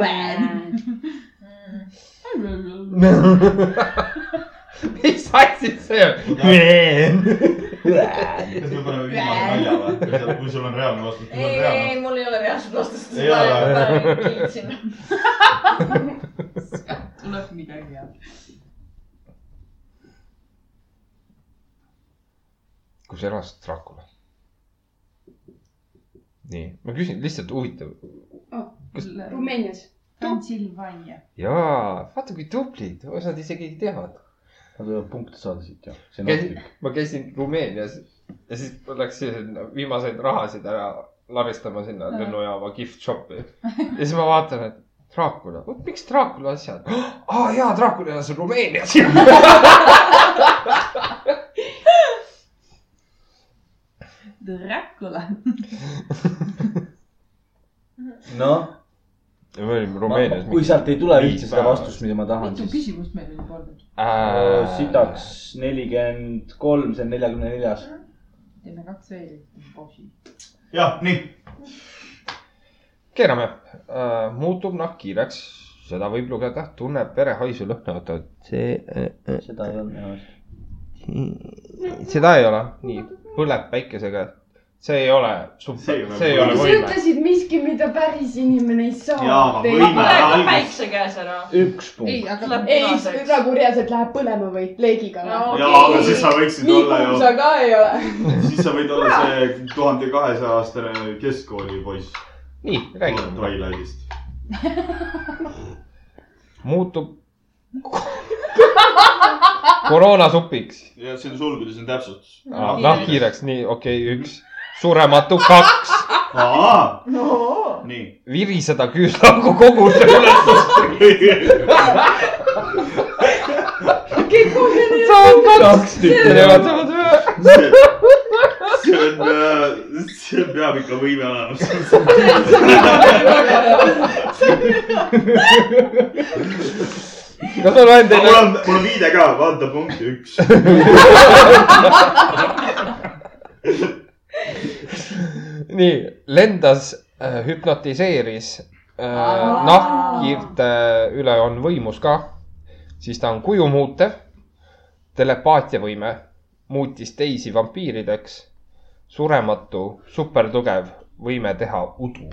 S6: Lään .
S1: [LAUGHS]
S2: Mm.
S6: [LAUGHS]
S1: mis asi see on ?
S3: kas me paneme viimase nalja või ? kui sul on reaalne vastus , kui
S2: ei ,
S3: on
S2: ei , ei ,
S3: reaalne .
S2: mul ei ole reaalset vastust .
S3: Ei ole.
S2: kiitsin .
S6: tuleb midagi head .
S1: kus elas Dracula ? nii , ma küsin lihtsalt huvitav .
S4: Rumeenias .
S6: Transilvaania .
S1: jaa , vaata kui tublid , osad isegi teavad .
S5: Nad võivad punkte saada siit ja . see on
S1: käisin
S5: ohtlik .,
S1: ma käisin Rumeenias ja siis ma läksin viimaseid rahasid ära laristama sinna
S6: Aa.
S1: lennujaama gift shop'i . ja siis ma vaatan , et Dracula , vot miks Dracula asjad ? [GASPS] aa jaa , Dracula elas Rumeenias .
S6: Dracula .
S5: noh ,
S1: me olime
S5: kui sealt ei tule
S3: Viis
S5: üldse seda
S3: päeva.
S5: vastust , mida ma tahan ,
S6: mitu
S5: siis
S6: küsimust meil oli polnud ?
S5: Äh, sitaks nelikümmend kolm , see on neljakümne neljas .
S6: teeme kaks veel , pausi .
S3: jah , nii .
S1: keerame äh, , muutub nahk kiireks , seda võib lugeda , tunneb verehaisu lõhna , oota , see äh, ,
S5: seda ei olnud minu arust .
S1: äh, seda ei ole , nii , põleb päikesega . see ei ole ,
S3: See ei ole
S1: see ei ole
S4: sa
S1: võime .
S4: ütlesid miski , mida päris inimene ei
S3: Jaa,
S4: saa
S3: aga
S2: ma
S3: võime.
S4: teha .
S2: praegu
S3: Algus.
S2: päikse käes ära .
S5: üks
S6: ei ,
S5: punkt .
S6: aga
S2: Tuleb
S4: ei ,
S2: punaseks .
S4: nagu reaalselt läheb põlema või leegiga või ?
S2: No,
S3: ja ,
S2: okei.
S3: aga siis sa võiksid
S4: nii
S3: olla
S4: kuum
S3: ju ,
S4: sa ka ei ole .
S3: siis sa võid olla see tuhande kahesaja aastane keskkooli poiss
S1: nii , räägime .
S3: Twilightist .
S1: muutub [LAUGHS] koroonasupiks .
S3: ja siin sulgudes on täpsustus .
S1: nahkhiireks , nii , okei okay, , üks , surematu , kaks ,
S3: aa ,
S2: no. .
S3: nii .
S1: viriseda nagu küüslaugu koguse üles . saad kaks tükki , nemad saavad ühe .
S3: see on , see peab ikka võime olemas .
S1: kas on ainult
S3: mul
S1: teine ?
S3: on , mul on viide ka , vaata punkt üks .
S2: [LAUGHS]
S1: nii , lendas äh, , hüpnotiseeris äh,
S2: Aa.
S1: nahkhiirte üle on võimus ka , siis ta on kuju muutev , telepaatiavõime , muutis teisi vampiirideks , surematu , supertugev , võime teha udu .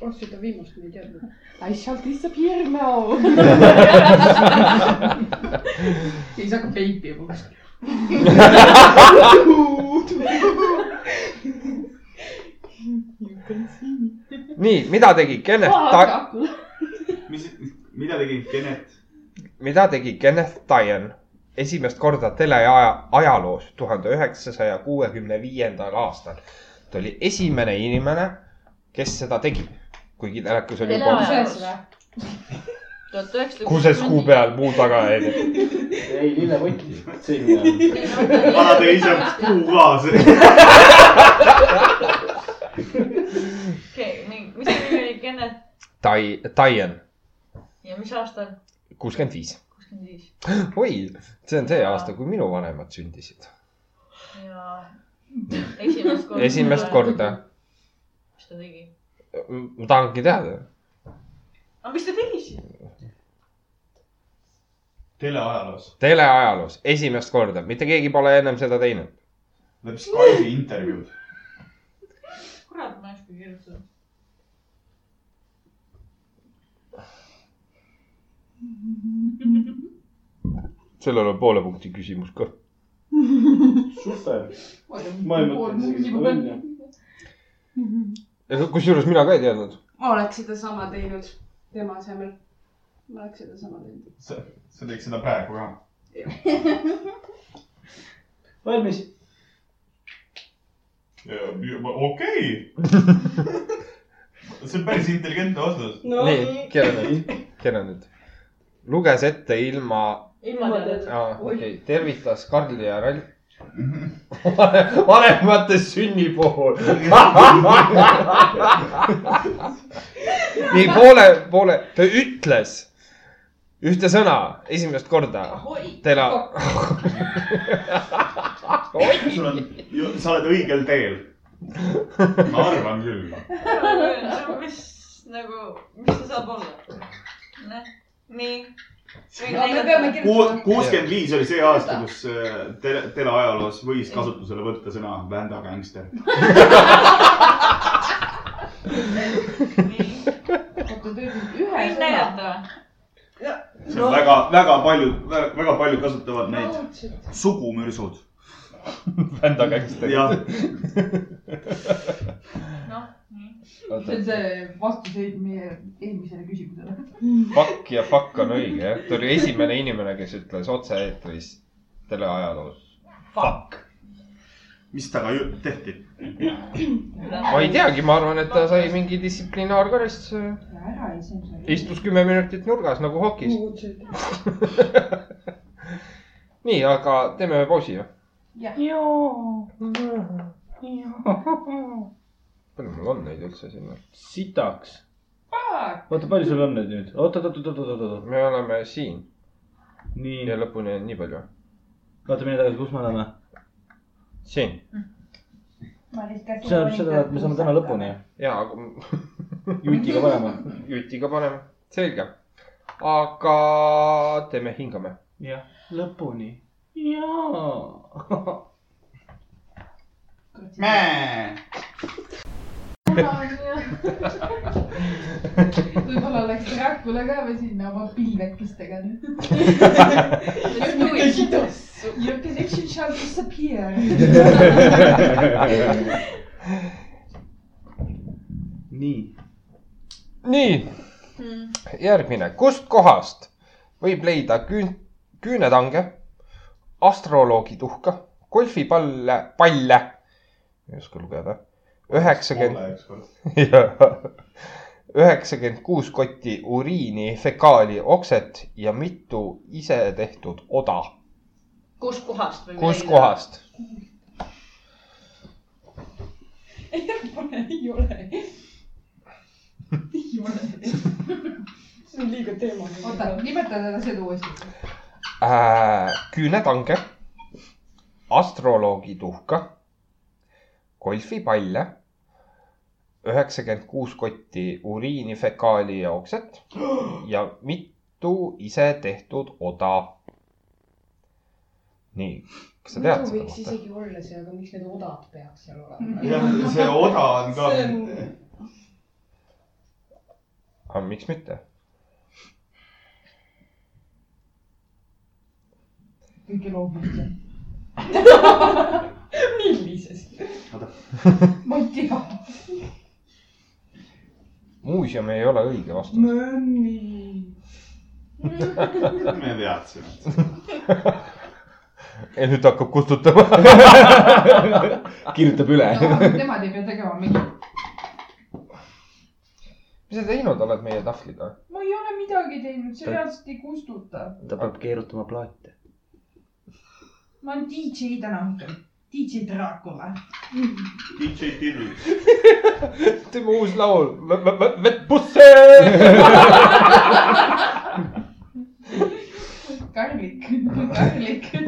S4: oh , seda viimast ma ei teadnud . I shall disappear now .
S6: siis hakkab veipima kuskil .
S1: nii , mida tegi Kenneth Ta- ,
S3: mis , mida tegi Kennet ?
S1: mida tegi Kenneth Dian esimest korda teleaja , ajaloos tuhande üheksasaja kuuekümne viiendal aastal ? ta oli esimene inimene , kes seda tegi , kuigi telekas oli juba
S2: tuhat üheksasada .
S1: kuseskuu . peal muu taga onju .
S5: ei , Lille võttis , see ei olnud .
S3: vana tegi ise kuu kaasa .
S2: okei , nii , mis nimi oli Kennet
S1: Tai- , Taien ,
S2: ja mis aastal ?
S1: kuuskümmend viis .
S2: kuuskümmend viis .
S1: oi , see on see aasta , kui minu vanemad sündisid .
S2: ja esimest korda .
S1: esimest . korda .
S2: mis ta tegi ?
S1: ma tahangi teada .
S2: aga mis ta tegi siis ?
S3: [LAUGHS] teleajaloos .
S1: teleajaloos esimest korda , mitte keegi pole ennem seda teinud .
S3: läheb Skype'i intervjuud .
S2: kurat , ma ei oska kirjutada .
S1: sellel on poole punkti küsimus ka .
S19: super , ma ei mõtelnud isegi seda välja .
S1: kusjuures mina ka ei teadnud .
S4: ma oleks sedasama teinud tema asemel . ma oleks sedasama teinud .
S3: sa , sa teeks seda praegu ka .
S5: valmis .
S3: okei . [LAUGHS] see on päris intelligentne vastus .
S1: no, . nii , kera nüüd , kera nüüd . luges ette ilma ,
S2: ilma teadeta .
S1: aa , okei okay. , tervitas Karli ja Ralf . [LAUGHS] vanemate sünni puhul . [LAUGHS] nii poole , poole , ta ütles ühte sõna esimest korda . Teil on .
S3: sul on , sa oled õigel teel . ma arvan küll .
S2: mis nagu , mis see saab olla ? noh , nii .
S6: me peame kirjutama .
S3: kuuskümmend viis oli see aasta , kus äh, tele , teleajaloos võis kasutusele võtta sõna Vända gängster .
S6: oota , ta ütles ühe
S2: võin
S6: sõna .
S2: näidata või ?
S3: see on väga , väga paljud , väga paljud kasutavad neid sugumürsud .
S1: vända kängster .
S3: jah ,
S2: noh , nii .
S6: see on see vastus eel- meie eelmisele küsimusele .
S1: Fuck ja fuck on õige jah , ta oli esimene inimene , kes ütles otse-eetris teleajaloos . Fuck .
S3: mis temaga ju- tehti ?
S1: ma ei teagi , ma arvan , et ta sai mingi äh, distsiplinaarkaristuse .
S6: ära ei see .
S1: istus kümme minutit nurgas nagu hokis .
S4: Mm.
S1: nii , aga teeme pausi jah . palju mul on neid üldse siin ?
S5: sitaks . oota , palju sul on neid nüüd ? oot , oot , oot , oot , oot , oot ,
S1: me oleme siin
S5: oot . nii
S1: ja , lõpuni on nii palju .
S5: oota , mine tagasi , kus me oleme ?
S1: siin
S5: see tähendab seda , et me saame täna lõpuni .
S1: ja , aga
S5: jutiga panema .
S1: [LAUGHS] jutiga paneme , selge . aga teeme , hingame .
S5: jah , lõpuni . jaa .
S6: võib-olla läks Dracula ka või sinna oma pilvekestega nüüd . Your connection shall disappear .
S5: [LAUGHS] nii .
S1: nii , järgmine , kust kohast võib leida küün- , küünetange , astroloogi tuhka , golfipalle , palle , ei oska lugeda , üheksakümmend , üheksakümmend kuus kotti uriini , fekaali , okset ja mitu isetehtud oda .
S2: kust kohast või ?
S1: kust ? kohast ?
S20: ei ole . ei ole . see on liiga teema .
S6: oota , nimeta teda seda uuesti .
S1: Äh, küünetange , astroloogi tuhka , golfipalle , üheksakümmend kuus kotti uriini , fekaali ja okset ja mitu ise tehtud oda . nii , kas sa tead
S4: muidu
S1: seda
S4: võiks
S1: kohta ?
S4: isegi olla see , aga miks need odad peaks seal olema ?
S3: jah , see oda on ka .
S20: See on-
S1: aga Ah, miks mitte ?
S6: kõige loomulikum .
S20: millises ?
S6: ma ei tea .
S1: muuseum ei ole õige vastus .
S6: mõni .
S3: me teadsime .
S1: ei , nüüd hakkab kustutama .
S5: kirjutab üle .
S6: nemad ei pea tegema mingit .
S1: [LAUGHS] mis sa teinud oled meie ah? tahvliga ?
S6: ma ei ole midagi teinud , see reaalselt ei kustuta .
S5: [LAUGHS] ta peab keerutama plaate .
S6: ma olen DJ täna õhtul . DJ Dracula .
S3: DJ Till .
S1: tema uus laul , vett pusse .
S6: Karlik , Karlik .
S1: [LAUGHS]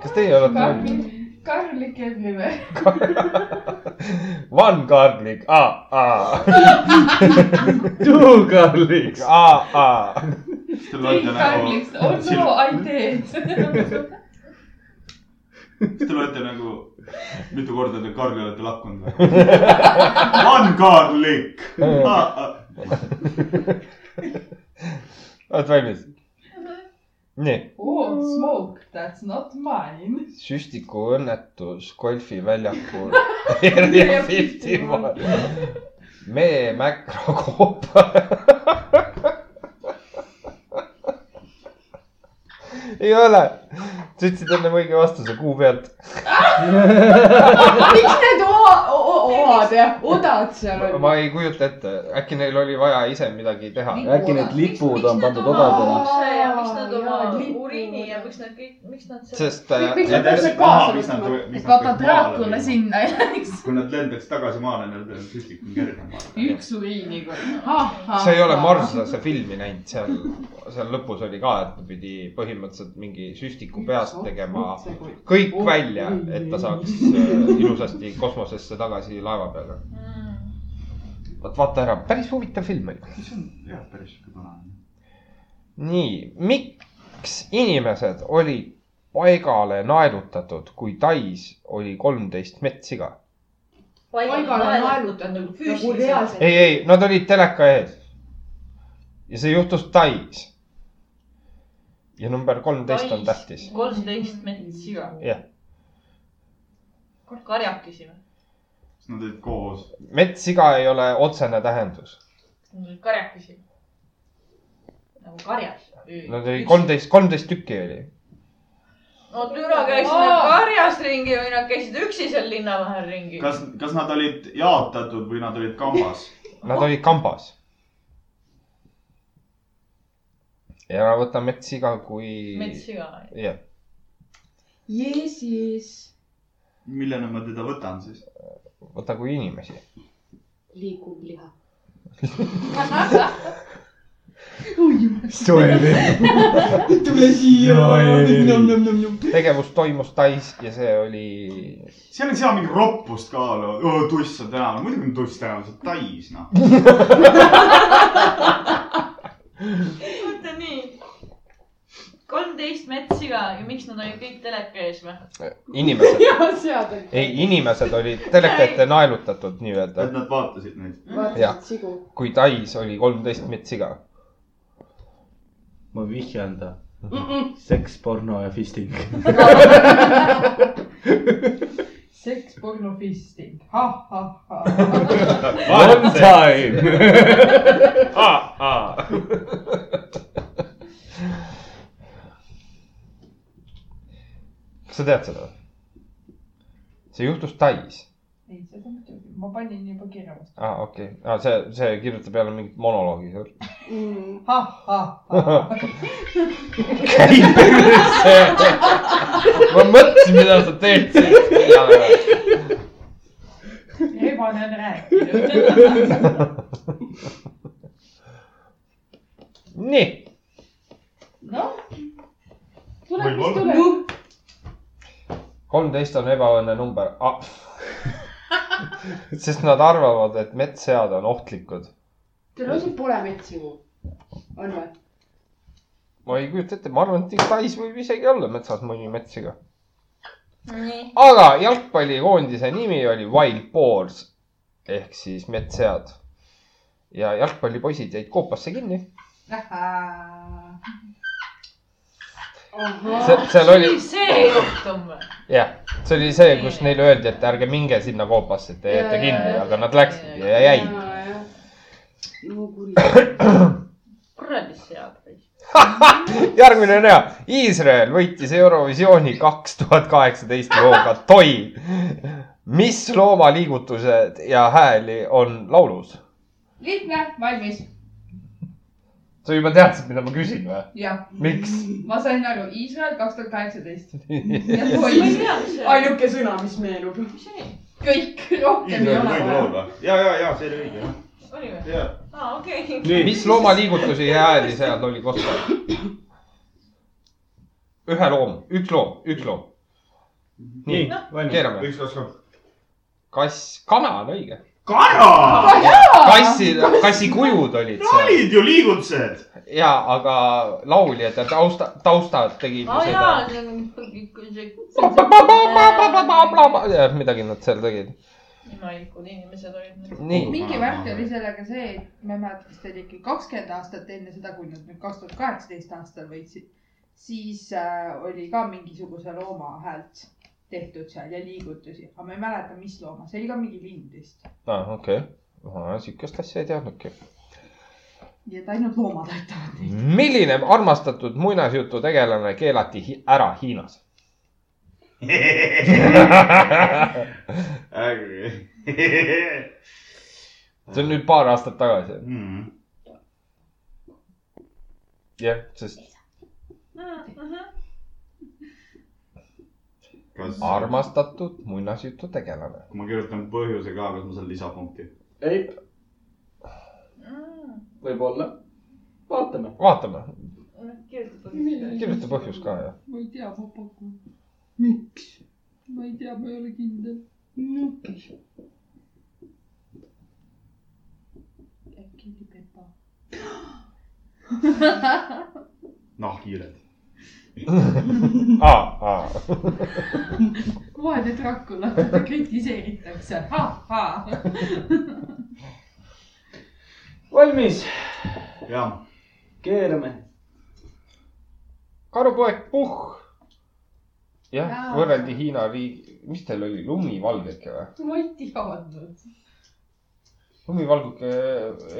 S1: kas
S6: Karl , Karl käib nime .
S1: One garlic , aa , aa . Two garlics , aa , aa .
S3: Te
S6: kõik
S3: loete nagu ,
S6: Karliks , oh no I did .
S3: siis te loete nagu , mitu korda te Karli olete lakkunud või ? One Karlik .
S1: oled valmis ? nii ,
S6: Oh smoke , that's not mine .
S1: süstikuõnnetus golfi [LAUGHS] väljakul . Area fifty one . mee mäkrakoopa . [LAUGHS] ei ole , sa ütlesid enne õige vastuse kuu pealt .
S4: miks need oa , oad ja odad seal on ?
S1: ma ei kujuta ette , äkki neil oli vaja ise midagi teha .
S5: äkki need lipud on pandud odadena .
S2: ja miks nad oma uriini ja miks nad kõik , miks nad seal
S1: sest
S7: Miks
S1: äh,
S7: nad täpselt kaasa võtavad ?
S6: et vaata Dracula . [LAUGHS] sinna ei läheks .
S3: kui nad lendaks tagasi maale , neil peaks püstik kergema .
S7: üks uriini korraga .
S1: sa ei ole marslase filmi näinud , seal , seal lõpus oli ka , et ta pidi põhimõtteliselt mingi süstiku peast tegema kõik välja , et ta saaks äh, ilusasti kosmosesse tagasi laeva peale .
S2: mm. ?
S1: vot vaata ära , päris huvitav film oli .
S3: jah , päris sihuke vana .
S1: nii , miks inimesed olid paigale naelutatud , kui Tais oli kolmteist metssiga ?
S2: paigale naelutatud
S4: nagu
S2: füüsiliselt .
S4: reaalselt .
S1: ei , ei , nad olid teleka ees . ja see juhtus Tais . ja number kolmteist on tähtis .
S2: kolmteist meetrit siga .
S1: Jah. .
S2: karjakesi või ?
S3: siis nad olid koos .
S1: metssiga ei ole otsene tähendus .
S2: karjakesi . nagu karjas .
S1: Nad oli . kolmteist , kolmteist tükki oli .
S2: no türa käisid nad karjas ringi või nad käisid üksi seal linna vahel ringi .
S3: kas , kas nad olid jaotatud või nad olid kambas ?
S1: Nad olid kambas . ja ära võta metssiga kui .
S2: metssiga .
S1: jah ,
S4: Jeesus ,
S3: millena ma teda võtan siis ?
S1: võta kui inimesi .
S4: liigub liha .
S5: [LAUGHS]
S10: tule siia .
S1: tegevus toimus Tais ja see oli ,
S3: seal ei saa mingit roppust ka olla . tuss on tänaval , muidugi on tuss tänaval , see on Tais noh .
S2: vaata nii . kolmteist metssiga ja miks nad olid kõik teleka ees või ?
S1: inimesed ,
S4: ja sead on .
S1: ei , inimesed olid teleka ette naelutatud nii-öelda
S3: et nad vaatasid neid .
S1: Jah.
S4: vaatasid sigu .
S1: kui Tais oli kolmteist metssiga .
S5: ma vihjan ta . seks , porno ja fisting .
S6: seks , porno , fisting , ha-ha-ha .
S5: One time .
S1: kas sa tead seda ? see juhtus Tais .
S6: ei , seda muidugi , ma panin juba kirja vastu .
S1: aa ah, , okei okay. ah, , see , see kirjutab jälle mingit monoloogi seal .
S6: Mm. ha-ha-ha .
S1: käib üldse . ma mõtlesin , mida sa teed siin .
S6: ebane on rääkinud .
S1: nii ,
S6: noh ,
S7: tuleb , mis
S11: Võib-olla.
S7: tuleb .
S1: kolmteist on ebaõnne number ah. . [LAUGHS] sest nad arvavad , et metssead on ohtlikud .
S4: Teil ausalt pole metssigu ? on või ?
S1: ma ei kujuta ette , ma arvan , et Tais võib isegi olla metsas mõni metssiga .
S2: nii .
S1: aga jalgpallikoondise nimi oli Wild Boars ehk siis metssead . ja jalgpallipoisid jäid koopasse kinni . seal seal oli
S2: oli see juhtum või ?
S1: jah , see oli see , kus neile öeldi , et ärge minge sinna koopasse , et te jääte
S4: Ja, ja,
S1: kinni ,
S4: ja.
S1: aga nad läksid ja jäid .
S4: no kuri .
S2: kuradi sead või ?
S1: järgmine on hea , Iisrael võitis Eurovisiooni kaks tuhat kaheksateist looga Toil . mis loomaliigutused ja hääli on laulus ?
S6: lihtne , valmis .
S1: sa juba teadsid , mida ma küsin või ?
S6: jah ,
S1: miks ?
S6: ma sain aru , Iisrael kaks tuhat
S1: [LAUGHS]
S6: kaheksateist .
S2: ma ei tea , mis see oli .
S4: ainuke sõna , mis meenub .
S2: mis see oli?
S6: kõik , rohkem ei
S11: Iisraeli
S6: ole
S11: võidu
S6: vaja .
S11: laul või ? ja , ja , ja see oli õige jah .
S2: oli või ?
S11: ja ,
S2: aa , okei .
S1: mis loomaliigutusi ja hääli seal oli kosta ? ühe loom , üks loom , üks loom . nii , keerame .
S11: üks , kaks , kolm .
S1: kass , kana on õige .
S11: kana !
S1: kassi , kassi kujud olid seal
S11: olid ju liigutused .
S1: ja , aga lauljad ja tausta , taustad tegid ju
S2: aa jaa ,
S1: seda .
S2: see on mingi see .
S1: midagi nad seal tegid .
S2: imelikud inimesed olid .
S1: nii ,
S6: mingi värk oli sellega see , et ma ei mäleta , kas ta oli ikka kakskümmend aastat enne seda , kui nad nüüd kaks tuhat kaheksateist aastal võitsid , siis äh, oli ka mingisuguse looma häält tehtud seal ja liigutusi , aga ma ei mäleta , mis looma , see oli ka mingi lind vist
S1: Ah, okei , sihukest asja ei teadnudki .
S6: nii et ainult loomad aitavad neid .
S1: milline armastatud muinasjutu tegelane keelati hi- ära Hiinas ? see on nüüd paar aastat tagasi ,
S3: Mm.
S1: jah , sest
S11: kas ,
S1: armastatud muinasjutu tegelane .
S11: kui ma kirjutan põhjuse ka , kas ma saan lisapunkti ?
S21: ei , võib-olla . vaatame .
S1: vaatame ,
S2: kirjutatud .
S1: kirjuta põhjus ka ja .
S7: ma ei tea , ma pakun . miks ? ma ei tea , ma ei ole kindel . nukis . äkki oli Pepa ?
S11: nahkhiired .
S1: aa , aa ,
S7: vaene Dracula ,
S6: [LAUGHS]
S7: teda kritiseeritakse , ha-ha .
S5: valmis ,
S11: jah ,
S5: keerame .
S1: karupoeg Puhh . jah , võrreldi Hiina riigi , mis tal oli , lumivalgeke või ?
S6: ma ei teadnud .
S1: lumivalguke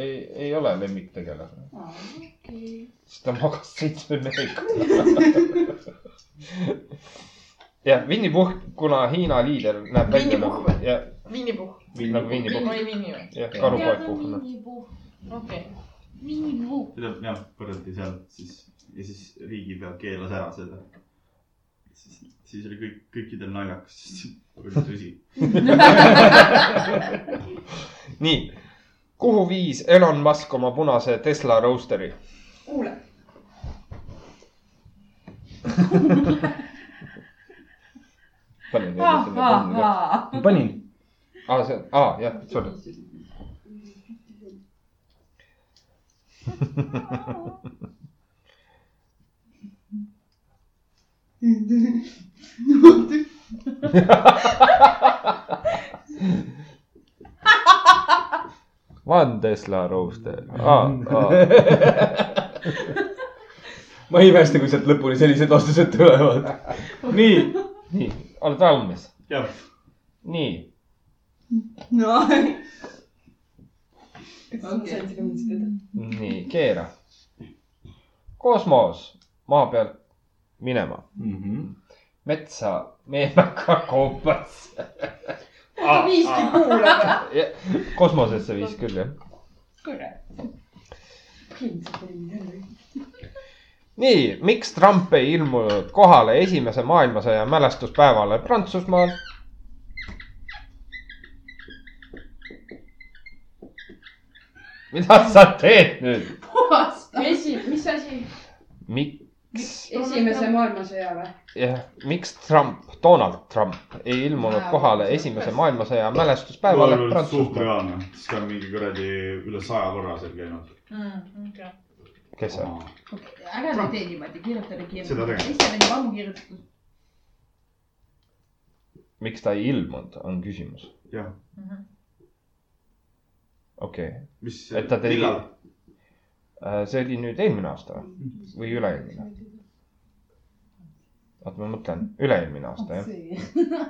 S1: ei , ei ole lemmiktegelane , sest ta magas seitsme mehega . jah , Winny Puhh , kuna Hiina liider näeb
S2: Winnie
S1: välja nagu
S2: Puhh ,
S1: jah ,
S2: Winnie-Puhh .
S1: nagu Winny Puhh ,
S2: oli Winnie või ?
S1: jah , karupoeg Puhh . noh.
S2: okei .
S11: seda jah , põrgati sealt siis ja siis riigipea keelas ära selle . siis , siis oli kõik , kõikidel naljakas , [LAUGHS] sest see oli tõsi .
S7: [LAUGHS]
S1: nii , kuhu viis Elon Musk oma punase Tesla roosteri ?
S6: kuule ,
S1: panin
S6: Ah,
S1: jälle sinna kummile .
S6: ha-ha-ha .
S5: ma panin .
S1: aa , see , aa jah , sorry . Van Tesla rooster ah, . Ah.
S5: [LAUGHS] ma ei imesta , kui sealt lõpuni sellised vastused tulevad . nii ,
S1: nii , oled valmis ?
S11: jah ,
S1: nii ,
S6: no
S1: nii , keera . kosmos maa pealt minema mm .
S5: Mhm.
S1: -hmm. metsa meemega koopasse .
S6: ta viiski kuule .
S1: kosmosesse viis küll jah . nii , miks Trump ei ilmunud kohale esimese maailmasõja mälestuspäevale Prantsusmaal ? mida sa teed nüüd ?
S7: esi , mis asi ?
S1: miks ,
S4: esimese maailmasõja või ?
S1: jah , miks Trump , Donald Trump ei ilmunud kohale esimese maailmasõja
S11: mul
S1: mälestuspäevale
S11: on suht
S1: Prantsusmaal ?
S11: reaalne , siis ka mingi kuradi üle saja korra seal käinud .
S2: Mm,
S1: kes see on ?
S6: ära nüüd tee niimoodi , kirjuta nüüd
S11: Seda
S6: kirjutada .
S11: tegema.
S6: ise tegid ammu kirjutatud .
S1: miks ta ei ilmunud , on küsimus .
S11: jah ,
S1: okei okay. ,
S11: mis .
S1: Et ta tegi-
S11: millal ?
S1: see oli nüüd eelmine aasta või? või üle-eelmine ? oota , ma mõtlen , üle-eelmine aasta jah .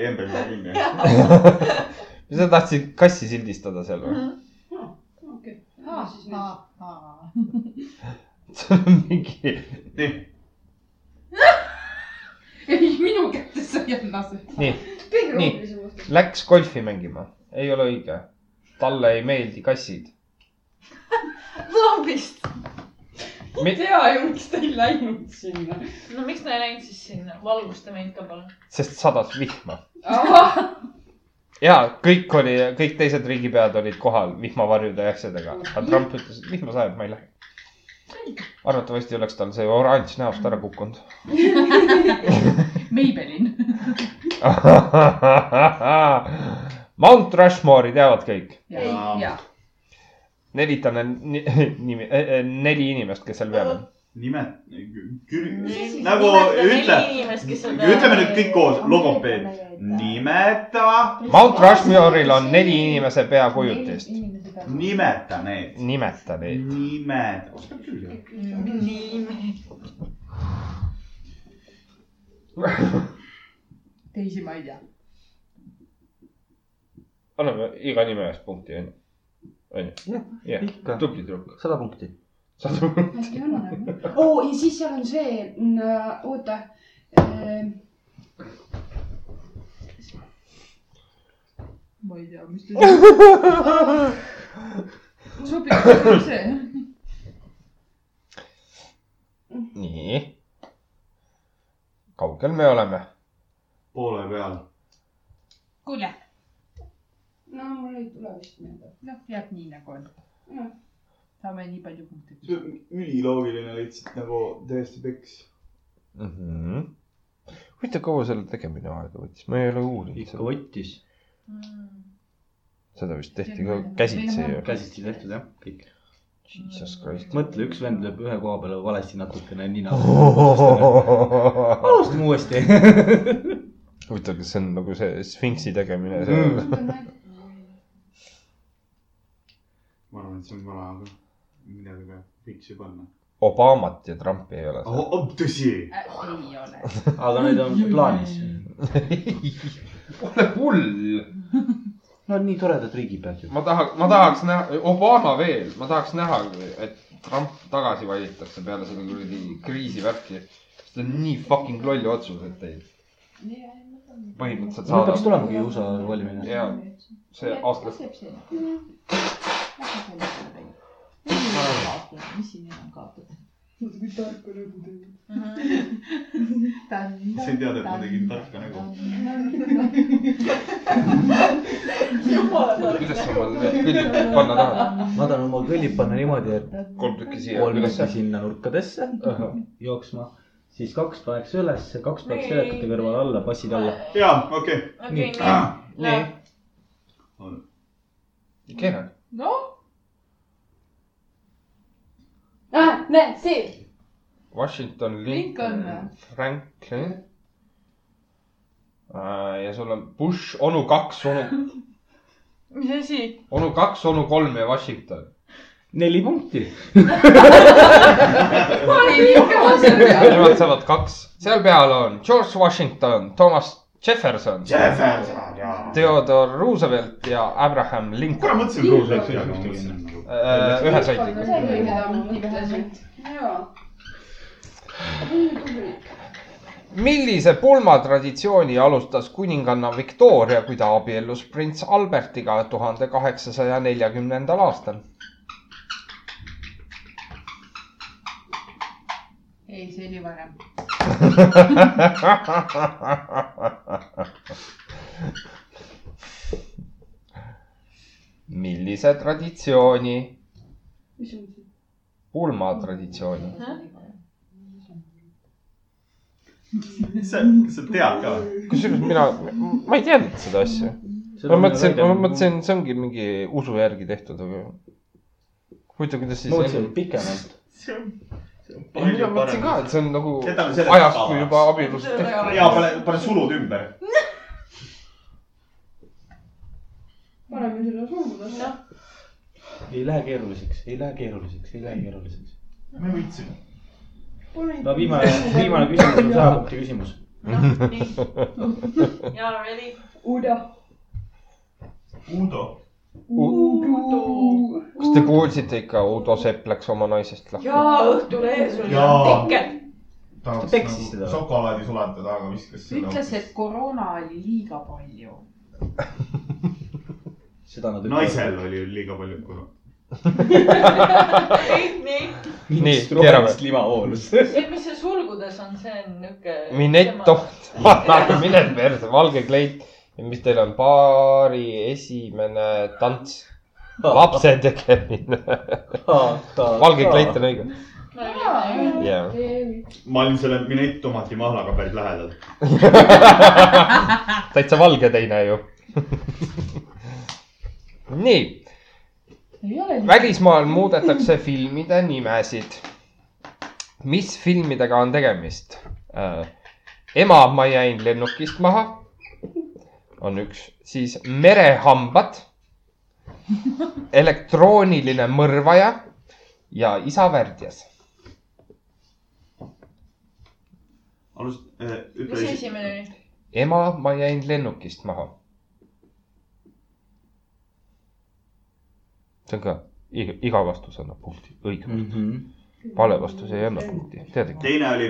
S11: Embel ja Kinni .
S1: sa tahtsid kassi sildistada seal või ? see on [LAUGHS] mingi ,
S11: nii ,
S6: ei , minu kätte sa ei anna seda .
S1: nii , Nii.
S4: kõige rohkem küsimus .
S1: läks golfi mängima , ei ole õige . talle ei meeldi kassid .
S2: lambist .
S1: Mi-
S4: tea ju , miks ta ei läinud sinna .
S2: no miks ta ei läinud siis sinna , valgusta meid ka palun .
S1: sest sadas vihma . ja kõik oli , kõik teised riigipead olid kohal vihmavarjude ja asjadega , aga Trump ütles , et vihma sajab , ma ei lähe . arvatavasti oleks tal see oranž näost ära kukkunud . [LAUGHS]
S6: Maybelline .
S1: Mount Rushmore'i teavad kõik .
S6: jaa .
S1: nelitame ni- nimi , neli inimest , kes seal peal on .
S11: nimed ,
S2: siis
S11: nagu
S2: nimetame
S11: ütle
S2: neli inimest, kes on peal.
S11: ütleme nüüd kõik koos , logopeed , nimeta ,
S1: Mount Rushmore'il on neli inimese peakujutist .
S11: nimeta need ,
S1: nimeta neid .
S11: nimed , oskad küll
S4: Mm,
S11: ju .
S6: teisi ma ei tea .
S1: anname iga nime eest punkti , onju . onju .
S10: ikka.
S1: tubli tüdruk .
S10: sada punkti .
S1: sadu .
S4: äkki on enam . oo , nagu? Oh, ja siis seal on see , oota . äh,
S6: ma ei tea , mis te . sobib see .
S1: nii . kaugel me oleme ?
S11: poole peal ,
S6: kuule ,
S4: no mul ei tule vist meelde .
S6: noh , jääb nii nagu on . saame nii palju punkte .
S11: see on üliloogiline lihtsalt nagu täiesti peks .
S1: Mhm. huvitav , kaua selle tegemine aega võttis , ma ei ole uurinud
S5: ikka
S1: seda .
S5: võttis .
S1: seda vist tehti ka käsitsi ju .
S5: käsitsi tehtud jah , kõik .
S1: Jesus Christ .
S5: mõtle , üks vend lööb ühe koha peale valesti natukene nina . [LAUGHS]
S1: huvitav ,
S5: alustame uuesti . [LAUGHS]
S1: kas see on nagu see sfinksi tegemine
S5: Mm.
S1: seal ?
S11: ma arvan , et see on vana , aga midagi peab , võiks ju panna .
S1: Obamat ja Trumpi ei
S11: Oh,
S1: ole seal .
S11: tõsi ,
S6: Äh, ei ole .
S5: aga need on plaanis .
S1: [LAUGHS] ole hull .
S5: Nad on nii toredad riigipead ju .
S1: ma taha , ma tahaks näha , Obama veel , ma tahaks näha , et Trump tagasi valitakse peale seda kuradi kriisivärki . see on nii fucking lolli otsus , et ei , põhimõtteliselt
S5: nüüd
S1: saadab
S5: peaks tulemagi USA valimine .
S1: ja see aasta ,
S2: mis siin enam kaotada ?
S11: sa ei teadnud , et ma tegin tarka nägu .
S2: jumala tark .
S1: kuidas sa oma need kõllid panna tahad ?
S5: ma tahan oma kõllid panna niimoodi , et
S1: kolm tükki siia
S5: kolm
S1: ülesse
S5: tükki . sinna nurkadesse jooksma , siis kaks pannakse ülesse , kaks pannakse telekate kõrvale alla , passid alla .
S11: ja okei okay. ,
S2: okei ,
S11: Ah,
S1: nii
S2: nii .,
S1: keera .
S6: noh ,
S4: näe , Ah, see .
S1: Washington
S6: Lincoln või?
S1: Lincoln , Franklin . ja sul on Bush , onu kaks , onu ,
S2: mis asi ?
S1: onu kaks , onu kolm ja Washington .
S5: neli punkti .
S6: er
S1: Nemad saavad kaks , seal peal on George Washington , Thomas Jefferson ,
S11: Jefferson ja .
S1: Theodore Roosevelt ja Abraham
S11: kuule ,
S1: Lincoln . Äh,
S11: mõtlesin , et Roos läks üle , aga ma mõtlesin nagu .
S1: ühes hoidlikus . millise pulmatraditsiooni alustas kuninganna Victoria , kui ta abiellus prints Albertiga tuhande kaheksasaja neljakümnendal aastal ?
S6: ei , see oli varem .
S1: millise traditsiooni ,
S4: mis on see ?
S1: pulmatraditsiooni ?
S11: kas sa , kas sa tead ka või ?
S1: kusjuures mina , ma ei teadnud seda asja . ma mõtlesin , ma mõtlesin , see ongi mingi usu järgi tehtud , aga huvitav , kuidas
S5: ma mõtlesin
S1: siis .
S5: pikemalt .
S11: see on , see on
S1: mina
S11: palju
S1: mõtlesin ka ,
S11: parem .
S1: et see on nagu
S11: Jätame selle
S1: ajast ,
S11: tavaks.
S1: kui juba abielus tehti .
S11: ja pane , pane sulud ümber .
S4: paneme selle suunas .
S5: ei lähe keeruliseks , ei lähe keeruliseks , ei lähe keeruliseks .
S11: me võitsime .
S5: no viimane , viimane küsimus on saja punkti küsimus .
S2: noh ,
S11: [LAUGHS]
S2: nii . You are ready ?
S4: Udo .
S11: Uudo .
S4: Udo .
S1: kas te kuulsite ikka , Udo Sepp läks oma naisest lahti ?
S2: jaa , Õhtulehes oli
S11: Jaa.
S2: artikkel .
S5: Ta peksis seda või?
S11: šokolaadi sulata taga viskas
S6: ütles , et koroona oli liiga palju .
S5: seda nad ..
S11: naisel oli liiga palju kuru .
S2: nii ,
S1: Nii,
S5: nii ,
S1: keerame.
S5: rohelist lima voolus .
S2: see , mis see sulgudes on , see on niuke .
S1: Minett . [LAUGHS]
S2: [LAUGHS]
S1: Toht , mine perse , valge kleit ja mis teil on baari esimene
S5: [LAUGHS] Ah,
S1: tants , lapse tegemine . valge kleit on õige . Jaa.
S11: ma olin selle minett tomatimahlaga päris lähedal .
S1: täitsa valge teine ju . nii ,
S6: ei ole .
S1: välismaal muudetakse filmide nimesid . mis filmidega on tegemist ? ema , ma jäin lennukist maha . on üks , siis Merehambad , elektrooniline mõrvaja ja isa värdjas .
S11: alust- ,
S2: mis
S11: ütle
S2: esimene oli ?
S1: ema , ma jäin lennukist maha . see on ka iga , iga vastus annab punkti , õige vastus mm .
S5: Mhm.
S1: -hmm. vale vastus ei anna punkti , tead ikka .
S11: teine oli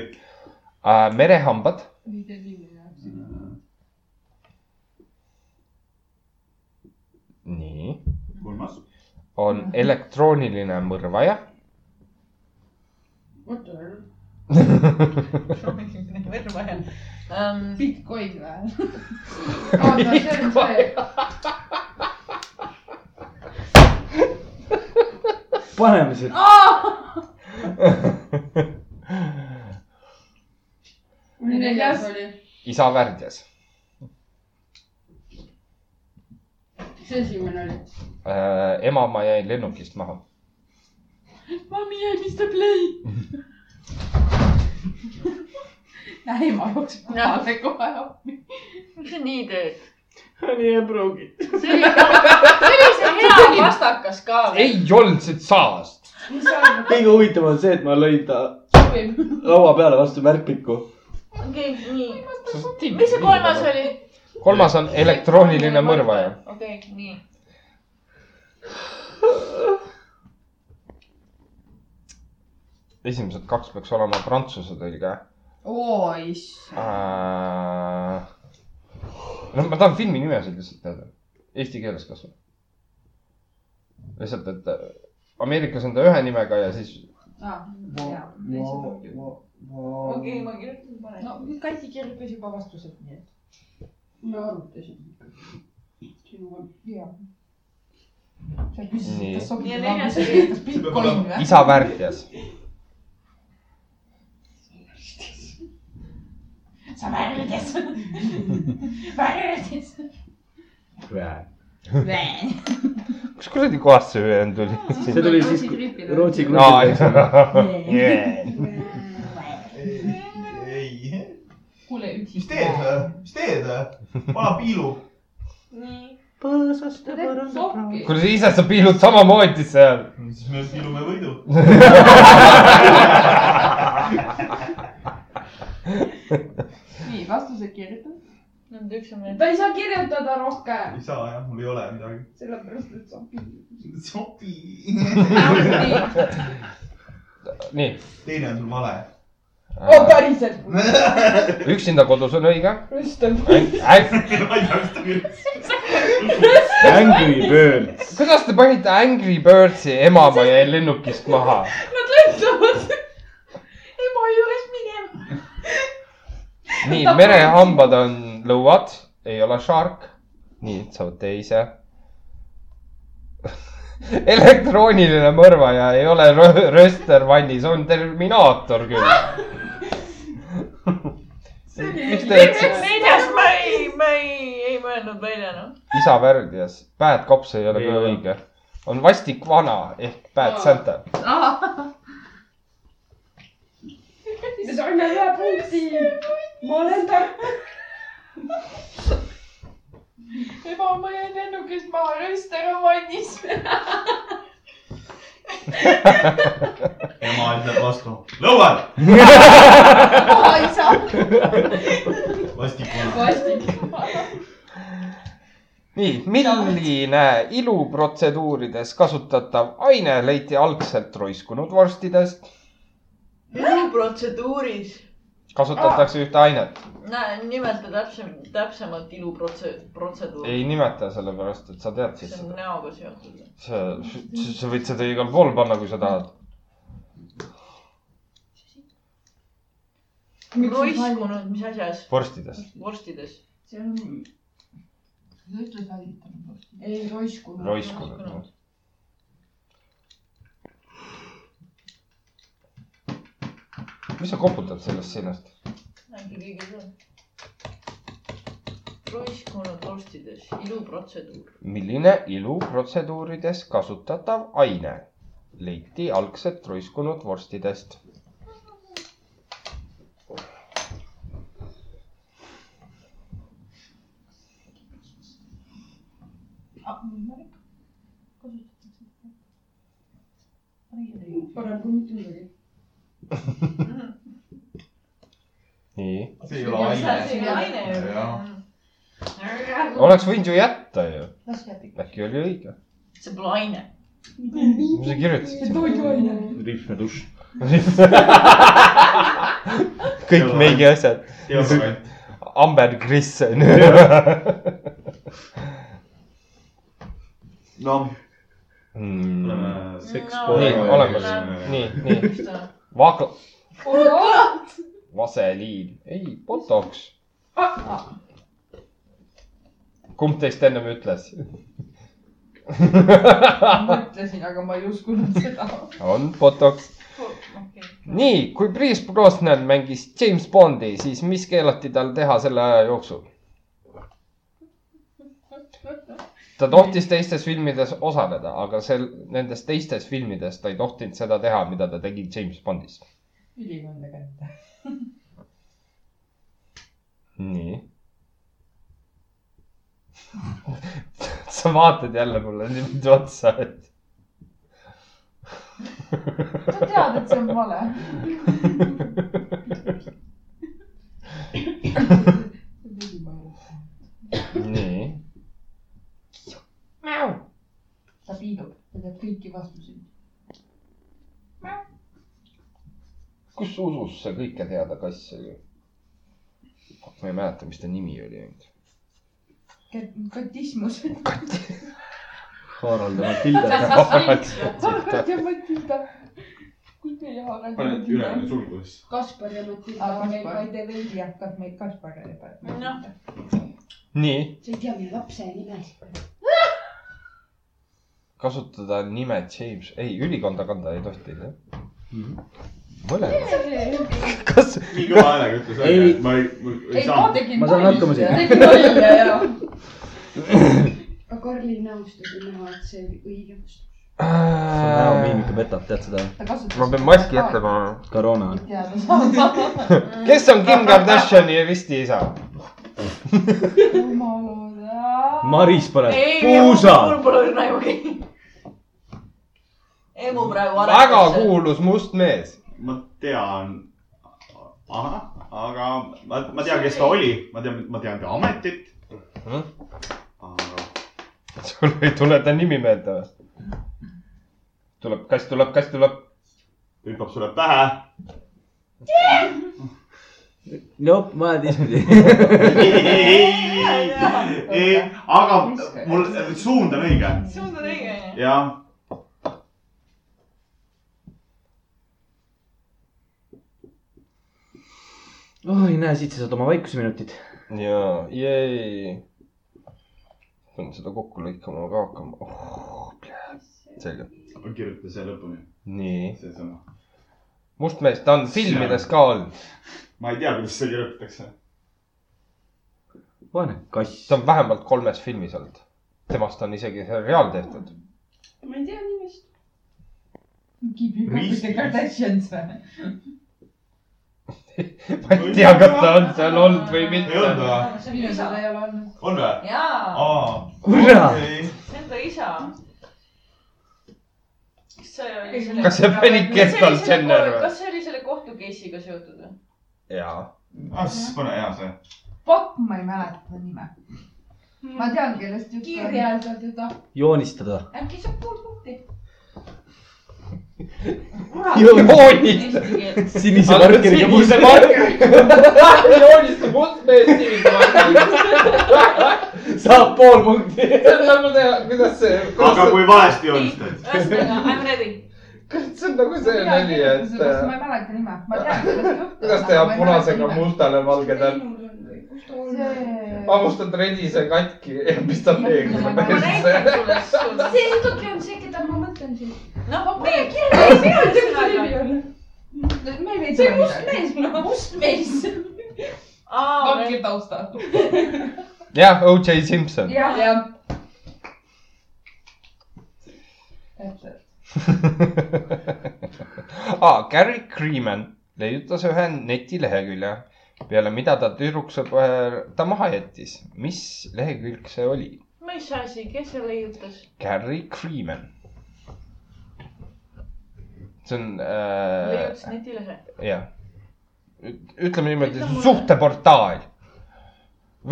S1: äh, . merehambad ,
S6: nii tee kinni ja
S1: nii ,
S11: kolmas ,
S1: on elektrooniline mõrvaja . [LAUGHS]
S6: oota veel .
S2: proovime veel vahel . Ehm,
S6: Bitcoin või ?
S5: paneme [LAUGHS] selle .
S6: neljas oli .
S1: isa värdjas
S6: mis esimene oli ?
S1: äh, , ema , ma jäin lennukist maha .
S6: Mami jäi , mis ta [LAUGHS] play ? ei , ma jooksen kohale kohe appi .
S2: mis sa nii teed ?
S21: Honey I broke it .
S2: see oli , see oli see hea pastakas ka
S1: ei olnud see saast .
S5: kõige huvitavam on see , et ma lõin ta laua peale vastu märkmikku .
S2: okei , nii . mis see kolmas ? oli ?
S1: kolmas on elektrooniline mõrvaja .
S2: okei , nii .
S1: esimesed kaks peaks olema prantsuse tõlge
S6: oo , issand .
S1: Äh, no ma tahan filmi nimesid lihtsalt teada , eesti keeles kasvõi . lihtsalt , et äh, Ameerikas on ta ühe nimega ja siis
S6: Ah,
S2: okei , ma kirjutan , panen .
S6: no Kati kirjutas juba vastused , nii et . me arutasime . sinuga , jaa . sa küsisid ,
S1: Nii.
S6: kas
S2: Ja
S6: sobib
S2: neljas
S6: või
S2: oli-
S6: mitte , kas Bitcoin või ?
S1: isa väärteas .
S6: sa värvides . värvides .
S1: kus kuradi kohast see ühend tuli ? [LAUGHS]
S5: see tuli siis Rootsi
S1: aa ,
S5: klubi .
S1: jah .
S11: ei ,
S6: kuule , üks .
S11: mis teed , mis teed , vana piilu .
S2: nii .
S5: põõsaste
S6: sokki .
S1: kuule , ise sa piilud samamoodi seal .
S11: siis me piilume võidu .
S6: nii , vastused kirjutad .
S2: Nad üks on veel .
S7: ta ei saa kirjutada rohkem ,
S11: ei saa jah , mul ei ole midagi .
S7: sellepärast et sobib .
S11: sopi .
S6: [LAUGHS]
S1: nii ,
S11: [LAUGHS] teine on sul vale .
S4: Oh,
S7: oo , päriselt .
S1: [LAUGHS] üksinda kodus on õige .
S7: Rüstem .
S11: [LAUGHS] ma ei tea , mis ta kirjutas .
S5: Angry Bird .
S1: kuidas te panite Angry Birdsi ema ma jäin lennukist maha ?
S2: Nad lendavad ema juures minema .
S1: nii , merehambad on lõuad , ei ole shark . nii , saavad teise . [LAUGHS] elektrooniline mõrvaja ei ole rö- rööster vannis , on Terminaator küll . mis te ütlesite ?
S2: neljas ma ei , ma ei , ei mõelnud välja noh .
S1: isa värdjas , Bad Cops ei ole
S5: Ei
S1: ka
S5: ole.
S1: õige . on vastik vana ehk Bad Santa .
S7: me saime ühe punkti . ma olen tark .
S6: ema , ma jäin lennukist maha , rööster on vannis .
S11: ema ütleb vastu . lõuad ,
S6: maha ei saa .
S11: vastik vana .
S6: vastik .
S1: nii , milline iluprotseduurides kasutatav aine leiti algselt roiskunud vorstidest ?
S2: iluprotseduuris .
S1: kasutatakse ühte ainet ,
S2: nimeta täpsem , täpsemalt iluprotseduur .
S1: ei nimeta sellepärast , et sa tead siis
S2: see
S1: seda
S2: on . näoga seotud .
S1: sa , sa võid seda igal pool panna , kui sa tahad .
S2: roiskunud , mis asjas ?
S1: vorstidest ,
S2: vorstides .
S6: see on . sa ütled valitanud . ei , roiskunud .
S1: noh. roiskunud . mis sa koputad sellest seinast ?
S2: äkki keegi tuleb . roiskunud vorstides iluprotseduur .
S1: milline iluprotseduurides kasutatav aine leiti algselt roiskunud vorstidest ?
S6: parem kui mitte midagi .
S1: nii .
S3: see ei ole aine .
S2: see on aine
S3: Jah.
S2: ju .
S1: oleks võinud ju jätta ju .
S6: las jääb ikka .
S1: äkki oli õige .
S2: see pole aine .
S1: mis sa
S6: [LAUGHS]
S1: kirjutasid ?
S6: toiduaine .
S11: rihve dušš .
S1: kõik meigi asjad .
S11: deodorant .
S1: Amber Kris on
S3: noh ,
S1: ju .
S11: oleme
S2: Seks
S11: seks
S2: No.
S1: Hmm. nii ,
S2: pole-
S1: olemas . nii , nii .
S2: mis ta on ?
S1: Vak- , vaseliin , ei , botox .
S6: Ah!
S1: kumb teist ennem ütles ?
S6: ma ütlesin , aga ma ei uskunud seda .
S1: on botox . nii , kui Priis Brosnan mängis James Bondi , siis mis keelati tal teha selle aja jooksul ? ta tohtis teistes filmides osaleda , aga seal nendes teistes filmides ta ei tohtinud seda teha , mida ta tegi James Bondis .
S6: ülikonda kätte .
S1: nii . sa vaatad jälle mulle niimoodi otsa , et
S6: sa tead , et see on vale .
S1: nii .
S6: ta piilub , ta teab kõiki vastuseid .
S1: kus usus see kõike teada kass oli ? ma ei mäleta , mis ta nimi oli ainult . [LAUGHS]
S6: katismus .
S11: Harald ja Matilda .
S1: Ah,
S6: Harald ja Matilda . kus meie Harald ja
S11: paned
S6: Matilda
S11: ülejäänu sulgudesse .
S7: Kaspar ja Matilda
S6: aga
S7: on
S6: meil
S7: meil vaid .
S6: Kaide Veidi jätkab meid Kaspar ja
S2: Noh.
S6: Matilda .
S1: [LAUGHS] nii ,
S7: sa ei tea meie lapse nimesid .
S1: kasutada nime James , ei ülikonda kanda ei tohti , jah ? mõlemad , kas ,
S11: nii kõva häälega ütles välja , et ma ei , ma ei
S6: ei , ma
S11: saanud .
S6: tegin .
S5: ma saan hakkama
S6: ta
S5: siin .
S6: tegi nalja ja .
S4: aga Karli näost oli näha , et see oli õige vastus .
S5: näomiimika petab , tead seda ?
S6: ta kasutas .
S1: Äh, ma pean maski ette . panema .
S5: koroona .
S6: teada saada .
S1: kes on Kim Kardashini risti isa ?
S6: jumala .
S5: Maris paneb
S2: Ei, mul
S5: puusa .
S2: pole õrna juhi . [LAUGHS] emu praegu
S1: väga . kuulus must mees . [LAUGHS]
S11: ma tean , aga ma , ma tean , kes ta oli , ma tean , ma tean ta ametit .
S1: Mhm.
S11: aga
S1: sul ei tule ta nimi meelde või ? tuleb , kass tuleb , kass tuleb .
S11: hüppab sulle pähe .
S5: no ma olen teistpidi . [LAUGHS]
S11: ei , aga mul suund on õige
S2: suund on õige , onju .
S11: ja
S5: oi , Ah, näe , siit sa saad oma vaikuseminutid .
S1: jaa , jee . pean seda kokku lõikama ka hakkama oh, . selge ,
S11: kirjuta see lõpuni ,
S1: nii .
S11: see sõna .
S1: must mees , ta on filmides ka olnud ,
S11: ma ei tea , kuidas see kirjutatakse .
S5: vaene kass .
S1: ta on vähemalt kolmes filmis olnud . temast on isegi seriaal tehtud . [LAUGHS]
S4: ma ei tea nimest .
S6: kibi kappide Kardashians või ?
S1: ma ei tea , kas ta on seal olnud või
S11: ei olnud
S1: mitte .
S11: või ?
S6: minu seda ei ole olnud .
S11: on või ?
S2: jaa ,
S11: aa .
S5: kurat .
S2: see on ta isa . kas see oli selle .
S1: kas see pani Kertol Jenner või ?
S2: kas see oli selle kohtu case'iga seotud või ?
S1: jaa .
S11: ah , siis pane hea see .
S6: Fuck , ma ei mäleta ta nime . ma tean , kellest jutt on .
S7: kirjelda teda .
S5: joonistada .
S2: äkki saab kuus punkti .
S1: joonista .
S5: sinise markeriga
S1: sinise [LAUGHS] markeriga . joonista must mees sinise markeriga .
S5: saab pool punkti .
S1: seda ma tean , kuidas see ,
S11: aga
S1: kuidas see ,
S11: kui valesti joonistad ?
S2: ühesõnaga , I m ready .
S1: see on nagu see nali , et
S6: ma
S1: äh,
S6: ei mäleta nime , ma tean , kellest jutt on .
S1: kuidas teha punasega . mustale valgedel .
S6: see ,
S1: hamustad redise katki ja pistad peegli
S2: ma näitan
S1: persse .
S2: sulle , sulle .
S7: see muidugi on see , keda ma mõtlen siin .
S2: noh , meie kirjutame .
S4: me ei
S2: see
S4: leidnud
S2: must
S4: midagi .
S2: mees , must mees . aa ,
S6: vangi taustal .
S1: jah , O.J. Simpson . [LAUGHS]
S4: jah ,
S6: jah .
S1: ah, Gary Creeman leiutas ühe netilehekülje , peale mida ta tüdruksõber ta maha jättis . mis lehekülg see oli ?
S2: mis asi , kes see leiutas ?
S1: Gary Creeman . see on
S2: leiutas
S1: äh, ,
S2: netilehe .
S1: jah , ütleme niimoodi
S2: Ütle mulle.
S1: suhteportaal ,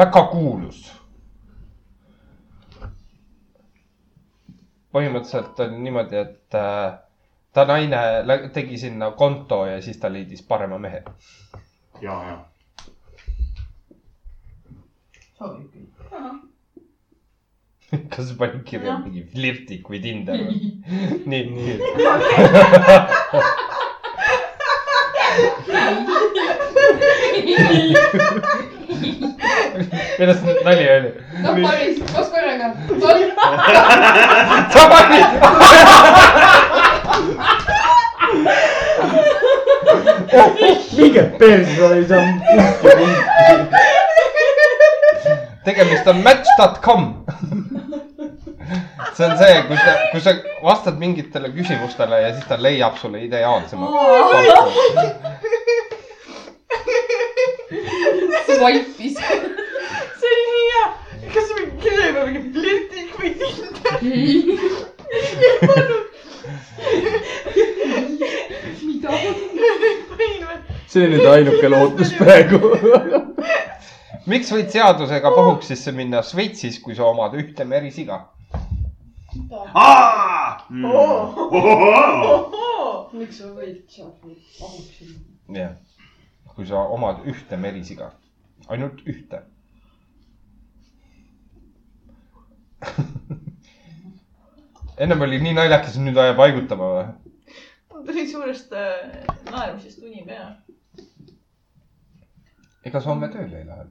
S1: väga kuulus . põhimõtteliselt on niimoodi , et äh, ta naine lä- tegi sinna konto ja siis ta leidis parema mehe . [LAUGHS]
S3: ja , ja .
S6: sobib küll .
S1: kas sa panid kirja
S2: Jah.
S1: mingi flirtik või Tinder
S2: [LAUGHS]
S1: või ? nii , nii . milles nali oli ?
S6: noh , Maris , koos korraga . on ,
S1: sa panid ,
S5: minge persse , ei saa .
S1: tegemist on match.com . see on see , kus sa , kus sa vastad mingitele küsimustele ja siis ta leiab sulle ideaalsema .
S6: swipe'is .
S2: see oli nii hea . kas me kirjame mingi flirtik või Tinder ?
S22: see on nüüd ainuke lootus praegu .
S1: miks võid seadusega pahuksisse minna Šveitsis , kui sa omad ühte merisiga ?
S3: Hmm.
S23: miks sa võid sealt pahuks minna ?
S1: jah , kui sa omad ühte merisiga , ainult ühte . ennem oli nii naljakas , nüüd ajab haigutama või ?
S2: mul tuli suurest äh, naermisest uni pea .
S1: ega sa homme tööle ei lähe ?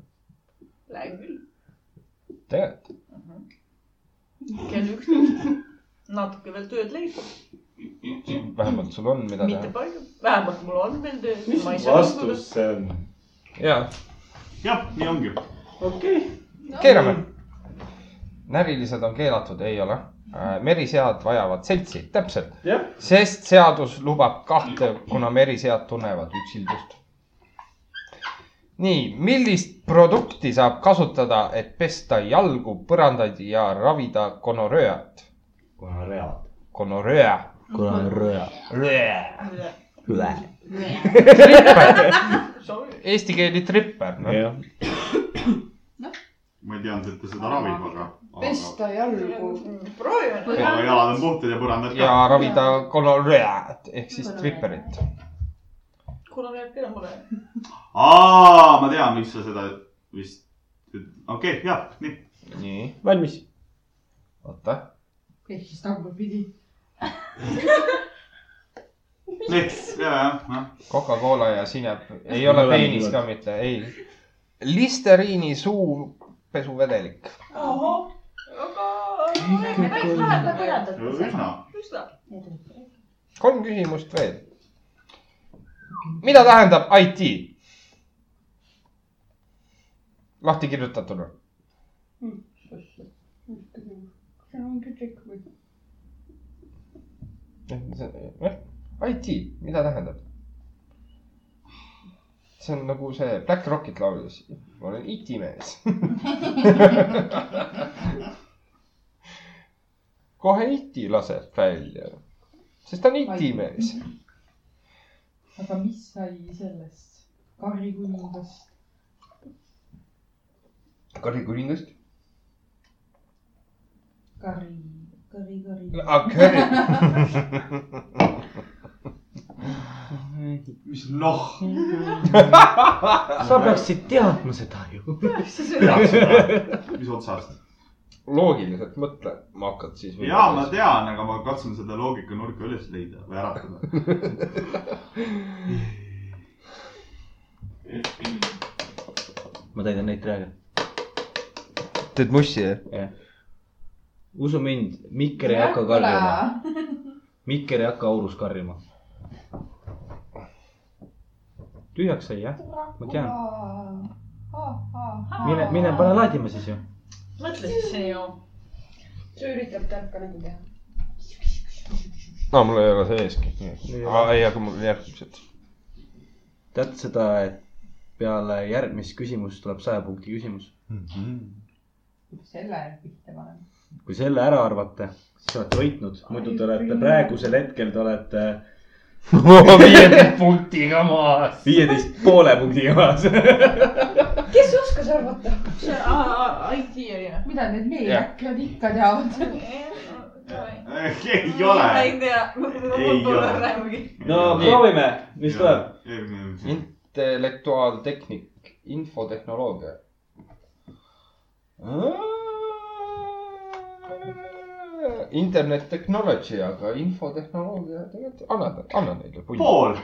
S2: Lähen küll .
S1: tegelikult ,
S2: kell üksteist . natuke veel tööd leidub ,
S1: vähemalt sul on , mida
S2: mitte
S1: teha .
S2: palju , vähemalt mul on veel tööd .
S22: mis vastus see
S5: ähm,
S22: on ?
S1: ja ,
S3: jah , nii ongi .
S22: okei .
S1: keerame . närilised on keelatud , ei ole . merisead vajavad seltsi , täpselt ,
S22: jah ,
S1: sest seadus lubab kahte , kuna merisead tunnevad üksildust . nii , millist produkti saab kasutada , et pesta jalgu , põrandaid ja ravida gonorööat ?
S5: gonorrea .
S1: gonoröö .
S5: gonorrea . üle .
S1: Eesti keeli tripper noh. no. .
S22: jah .
S3: ma ei teadnud , et ta seda ravib , aga, aga .
S23: pesta jalgu .
S2: proovime .
S3: aga jalad on puhtad ja põrandad ka .
S1: ja ravida gonorööat ehk siis tripperit .
S2: kuna me enam pole .
S3: aa , ma tean , miks sa seda vist , okei , jah , nii .
S1: nii ,
S22: valmis .
S1: oota .
S4: ehk siis tagurpidi .
S3: nii , ja , ja , jah .
S1: Coca-Cola ja sinep , ei
S22: Me
S1: ole
S22: oleme
S1: peenis ka
S22: niimoodi.
S1: mitte , ei . listeriini suupesuvedelik .
S2: ohoh , aga oleme päris lähedal põrandat .
S3: üsna .
S2: üsna .
S1: kolm küsimust veel . mida tähendab IT ? lahti kirjutatuna .
S4: see on kõik või ?
S1: IT , mida tähendab ? see on nagu see Black Rockit laulis . ma olen IT mees . kohe IT laseb välja , sest ta on IT mees .
S4: aga mis sai sellest Karri kuningast ?
S1: Karri kuningast .
S4: Karri , Karri , Karri .
S1: okei ,
S3: mis noh ,
S5: sa peaksid teadma seda ju .
S1: [LAUGHS]
S3: mis otsast ?
S1: loogiliselt mõtlema hakkad siis .
S3: ja ma . tean , aga ma katsun seda loogikanurka üles leida või äratada .
S5: ma täidan neid praegu .
S1: teed mussi , jah ?
S5: usu mind , Mikker ei hakka karjuma ,. Mikker ei hakka aurus karjuma .
S24: tühjaks sai jah , ma tean . mine
S6: mine ,
S24: mine pane . laadima siis ju .
S2: mõtle siis see ju .
S6: see üritab tarka nägu teha .
S1: no mul ei ole see eeski . ei , aga mul on järgmised .
S5: tead seda , et peale järgmist küsimust tuleb saja punkti küsimus mm .
S3: Mhm.
S5: -hmm.
S6: selle pihta paneme .
S5: kui selle ära arvate , siis olete võitnud , muidu te olete praegusel hetkel , te olete
S1: viieteist punktiga maas .
S5: viieteist poole punktiga maas .
S24: [LAUGHS]
S6: kes oskas arvata ?
S2: see aa, IT oli või ?
S6: mida need meie
S5: Jah.
S6: äkklad ikka teavad ?
S3: [LAUGHS] ei ole .
S2: ma ei tea , mul
S3: Ei
S2: pole
S3: ole.
S2: praegugi .
S5: no proovime , mis tuleb .
S1: intellektuaaltehnik , infotehnoloogia . Internet technology , aga infotehnoloogia tegelikult , anna , anna neile .
S3: Pool.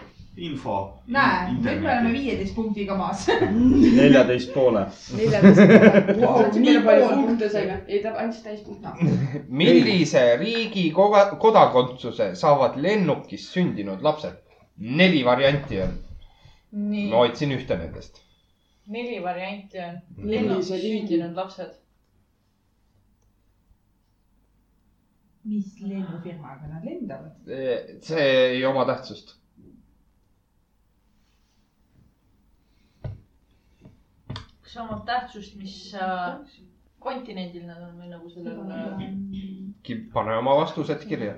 S3: info .
S6: näe , nüüd me oleme viieteist punktiga maas .
S5: neljateist poole .
S4: neljateist . nii palju punkte saime , ei ta andis täispunkti .
S1: millise riigi koga- kodakondsuse saavad lennukis sündinud lapsed ? neli varianti on ,
S2: nii
S1: ma , hoidsin ühte nendest .
S2: neli varianti on .
S4: Neli,
S2: lennukis
S4: see oli õige.
S2: sündinud lapsed .
S6: mis lennufirmaga nad lendavad ?
S1: see ei oma tähtsust .
S2: kas omab tähtsust , mis äh, kontinendil nad on või nagu sellel äh,
S1: pane oma vastused kirja .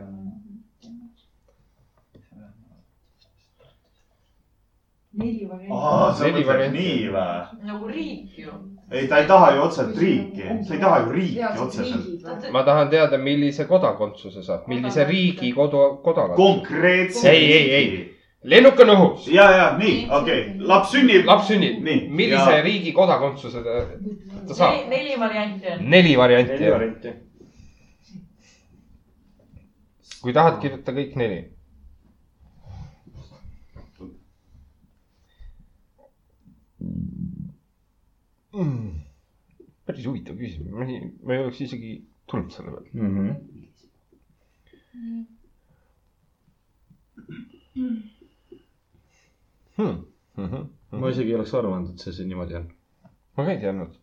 S6: neli varianti .
S3: aa , sa
S1: Neli
S3: mõtled
S1: varianti.
S3: nii või ?
S2: äh, nagu riik ju .
S3: ei , ta ei taha ju otseselt riiki , sa ei taha ju riiki
S2: Reaalselt
S3: otseselt .
S2: riigid või?
S1: ma tahan teada , millise kodakondsuse saab , millise riigi kodu , kodakondsuse .
S3: konkreetselt .
S1: ei , ei , ei , lennuk on õhus .
S3: ja , ja nii , okei okay. , laps sünnib .
S1: laps sünnib ,
S3: Nii,
S1: millise
S3: ja-
S1: riigi kodakondsuse ta, ta
S2: neli ,
S1: saab ?
S2: neli varianti on .
S1: neli varianti
S5: neli
S1: on ,
S5: varianti .
S1: kui tahad , kirjuta kõik neli . päris huvitav küsimus , ma ei , ma ei oleks isegi tulnud selle peale .
S5: Mhm.
S1: Hmm.
S5: ma isegi ei oleks arvanud , et see siin niimoodi on .
S1: ma ka ei teadnud .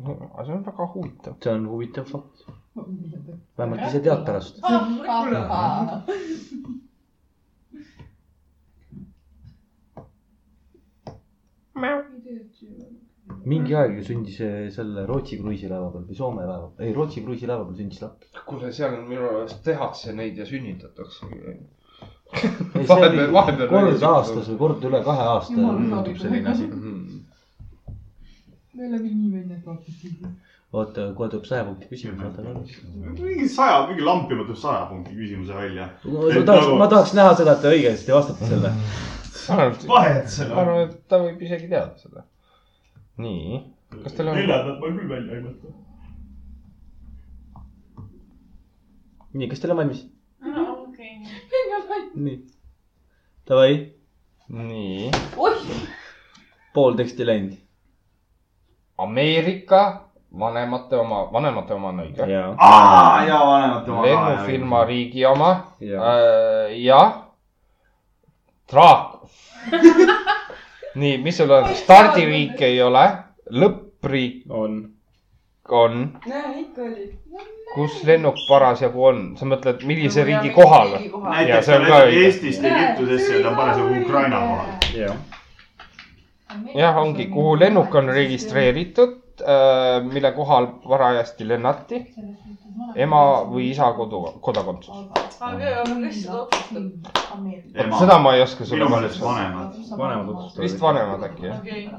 S1: aga see on väga huvitav .
S5: see on huvitav fakt . vähemalt ise tead pärast . mingi aeg ju sündis eh, selle Rootsi kruiisilaeva peal või Soome laeva , ei Rootsi kruiisilaeva peal sündis laps .
S1: kuule , seal on minu arust tehakse neid ja sünnitatakse .
S5: Ei, see
S1: vahepeal ,
S5: oli
S1: vahepeal .
S5: kord aastas või kord üle kahe aasta
S6: Jumal
S5: juhtub
S6: hoidku.
S5: selline asi .
S6: me oleme nii välja kaotanud .
S5: oota , kohe tuleb saja punkti küsimus , oota korra .
S3: mingi saja , mingi lampima tuleb saja punkti küsimuse välja .
S5: ma tahaks , ma tahaks näha seda , et te õigesti vastate selle .
S3: vahet selle
S1: ma arvan , et ta võib isegi teada seda . nii , kas teil on ?
S11: neljandat ma küll välja ei mõtle .
S5: nii , kas te olete valmis ?
S2: okei .
S5: nii . Davai ,
S1: nii ,
S2: oih ,
S5: pool teksti läinud .
S1: Ameerika vanemate oma , vanemate oma on õige .
S5: jaa .
S3: aa , ja vanemate oma .
S1: lennufirma . riigi oma
S5: Jaa.
S1: äh, . jah , traak . [LAUGHS] nii , mis sul on , stardiriik ei ole , lõppriik
S5: on .
S1: on ,
S4: näe , ikka oli .
S1: kus lennuk parasjagu on , sa mõtled , millise riigi kohal ? Jaa,
S3: näiteks
S1: see
S3: ta
S1: on ka
S3: läheb
S1: õige.
S3: Eestist Egiptusesse ja ta on parasjagu Ukraina kohal .
S5: jah .
S1: jah , ongi , kuhu lennuk on . registreeritud , mille kohal varajasti lennati , ema või isa kodu , kodakondsus .
S2: aga aga kes seda otsustab ?
S3: Ema. [LAUGHS]
S1: seda ma ei oska sulle
S3: minu meelest
S1: vastata .
S3: vanemad .
S5: vanemad otsustavad .
S1: vist . vanemad äkki jah .
S2: okei ,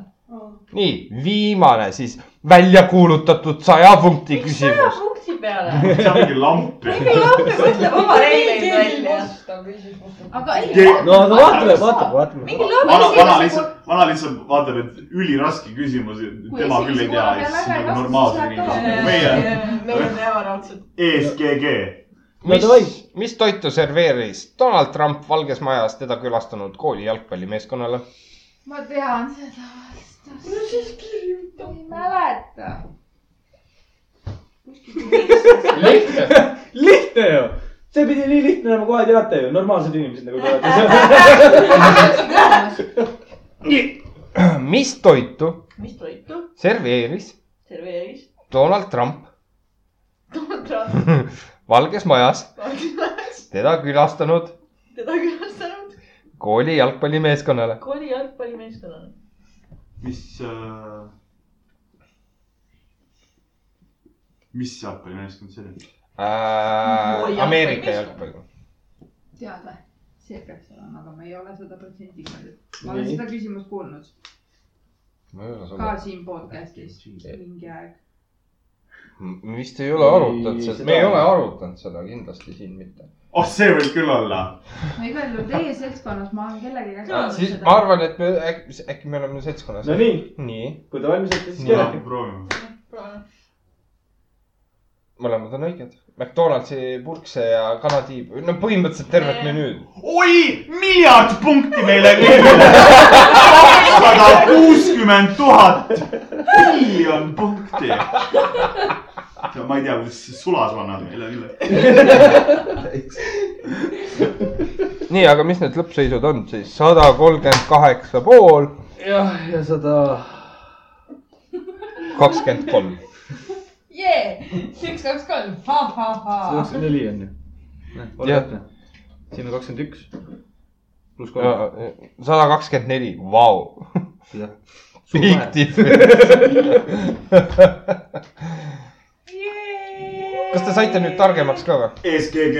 S1: nii , viimane siis välja kuulutatud saja punkti
S2: saja
S1: küsimus .
S2: punkti peale .
S3: see on mingi lamp ju .
S2: lampi mõtleb oma reegleid välja . aga ei ,
S5: no aga vaatame , vaatame , vaatame .
S2: mingi lamp .
S3: vana , vana lihtsalt , vana lihtsalt vaatab , et üliraske küsimus , tema küll ei tea ja siis nagu normaalse inimesena . meie E
S2: meie teame raudselt .
S3: ESGG .
S5: no
S1: mis
S5: davai ,
S1: mis toitu serveeris Donald Trump Valges Majas teda külastanud kooli jalgpallimeeskonnale ? [CLEARS THROAT]
S6: ma tean seda vastust . no siis kirjuta . ei mäleta .
S1: lihtne .
S5: lihtne ju . see pidi nii lihtne olema , kohe teate ju , normaalsed inimesed nagu te olete .
S1: mis toitu
S2: mis toitu
S1: serveeris
S2: serveeris
S1: Donald Trump
S2: Donald Trump
S1: Valges Majas
S2: valgilas
S1: teda külastanud
S2: teda külastanud
S1: kooli jalgpallimeeskonnale ?
S2: kooli jalgpallimeeskonnale .
S3: mis äh, , mis jalgpallimeeskond see oli ?
S1: äh, Ameerika jalgpall .
S6: teada , see peaks olema , aga ma ei ole sada protsenti kindel . ma
S1: Nii.
S6: olen seda küsimust kuulnud
S1: ma ei ole
S6: ka
S1: seda ,
S6: siin podcast'is mingi aeg .
S1: me vist ei ole arutanud seda , me ei ole arutanud seda kindlasti siin mitte .
S3: oh , see võib küll olla .
S6: ma igal juhul teie seltskonnas , ma olen kellegi käest
S1: siis ma . arvan , et me äkki , äkki me oleme seltskonnas .
S25: No nii.
S1: nii .
S25: kui te valmis olete , siis
S1: Nii.
S25: keelake .
S3: proovime .
S1: mõlemad on õiged . McDonaldsi purkse ja kanatiib , no põhimõtteliselt tervet menüüd .
S3: oi , miljard punkti meile kõigile . kakssada kuuskümmend tuhat , miljon punkti . ma ei tea , kuidas sulas annab meile üle .
S1: nii , aga mis need lõppseisud on siis ? sada kolmkümmend kaheksa pool ,
S26: jah , ja sada .
S1: kakskümmend kolm .
S4: jee , üks , kaks , kolm , ha-ha-ha .
S5: kakskümmend neli on ju . ole
S1: Jah.
S5: täpne . siin on kakskümmend üks . pluss kolm .
S1: sada kakskümmend neli , vau .
S5: Jah. Suur
S1: Big
S5: vahe.
S1: difference . kas te saite nüüd targemaks ka või ?
S3: E SGG .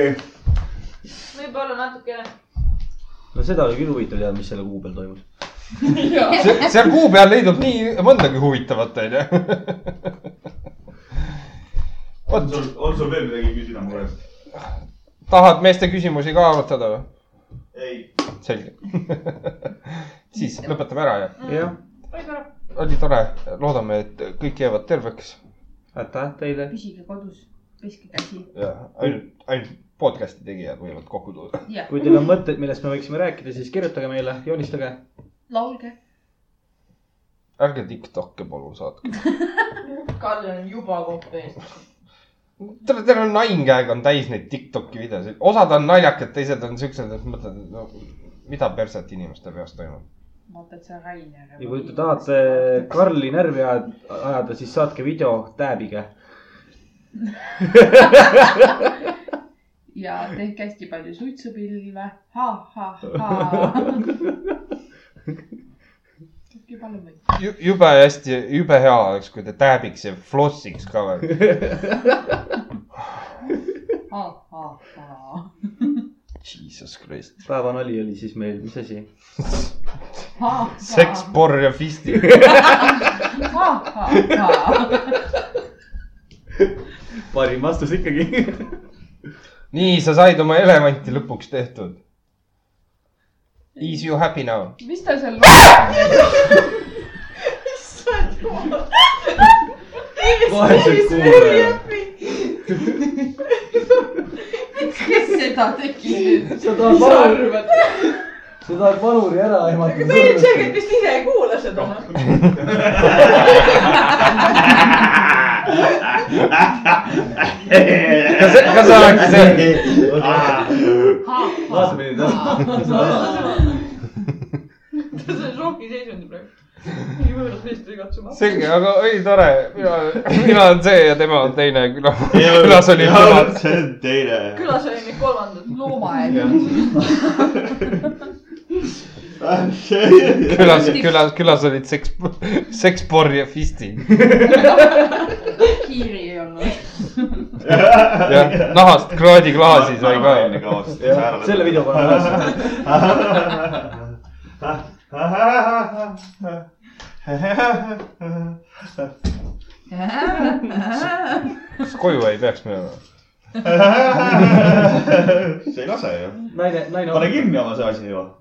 S2: võib-olla natukene .
S5: no seda oli küll huvitav teada , mis selle kuu peal toimus .
S1: Se- seal kuu peal leidub nii mõndagi huvitavat , onju .
S3: on sul , on sul veel midagi küsida mu käest ?
S1: tahad meeste küsimusi ka arutada või ?
S3: ei .
S1: selge . siis lõpetame ära ja .
S5: jah ,
S1: oli tore , loodame , et kõik jäävad terveks
S5: aitäh teile .
S6: püsige kodus , peske käsi .
S1: ja ainult , ainult podcast'i tegijad võivad kokku tulla .
S5: kui teil on mõtteid , millest me võiksime rääkida , siis kirjutage meile , joonistage .
S6: laulge .
S1: ärge Tiktok'e palun saatke .
S2: Kalle on juba kokku ees .
S1: terve , terve nainkäeg on täis neid Tiktok'i videosid , osad on naljakad , teised on siuksed , et mõtled , et no mida perset inimeste peas toimub .
S6: ma mõtlen , et see on Rainer .
S5: ja kui te tahate Karli närvi ajad- ajada , siis saatke video tääbiga . [LAUGHS]
S6: ja tehke hästi palju suitsupilve , ha-ha-ha . tehke palju muid .
S1: jube hästi , jube hea oleks , kui te tääbiks ja flossiks ka veel .
S6: ha-ha-ha .
S1: Jesus Christ .
S5: päevanali oli siis meil , mis asi ?
S1: seks , porr ja fistid .
S5: parim vastus ikkagi .
S1: nii , sa said oma elevanti lõpuks tehtud . Is you happy now ?
S4: mis ta seal
S6: [LAUGHS]
S4: loob ?
S2: issand jumal .
S5: Vaesed
S4: kes seda tegi nüüd ?
S26: sa tahad vanuri , sa tahad vanuri ära ehmatada .
S2: see ilmselgelt vist ise ei kuula seda . noh. [LAUGHS]
S1: kas , kas see oleks see ?
S5: vaatame nüüd ära .
S2: ta on šokiseisundi praegu . nii võõras mees tuli katsuma .
S1: selge , aga oli tore , mina , mina olen see ja tema on teine küla , [LAUGHS] külas oli
S3: külas .
S1: külas .
S3: see on teine .
S2: külas oli nüüd kolmandad .
S6: loomaaed .
S3: [LAUGHS]
S1: külas , külas , külas olid seks , seks , porr ja fistid .
S6: kiiri ei olnud .
S1: jah , nahast kraadiklaasi sai Ah, ka .
S5: selle video paneme üles .
S1: kas koju ei peaks minema ?
S3: see ei lase ju .
S5: naine , naine .
S3: pane kinni oma see asi juba .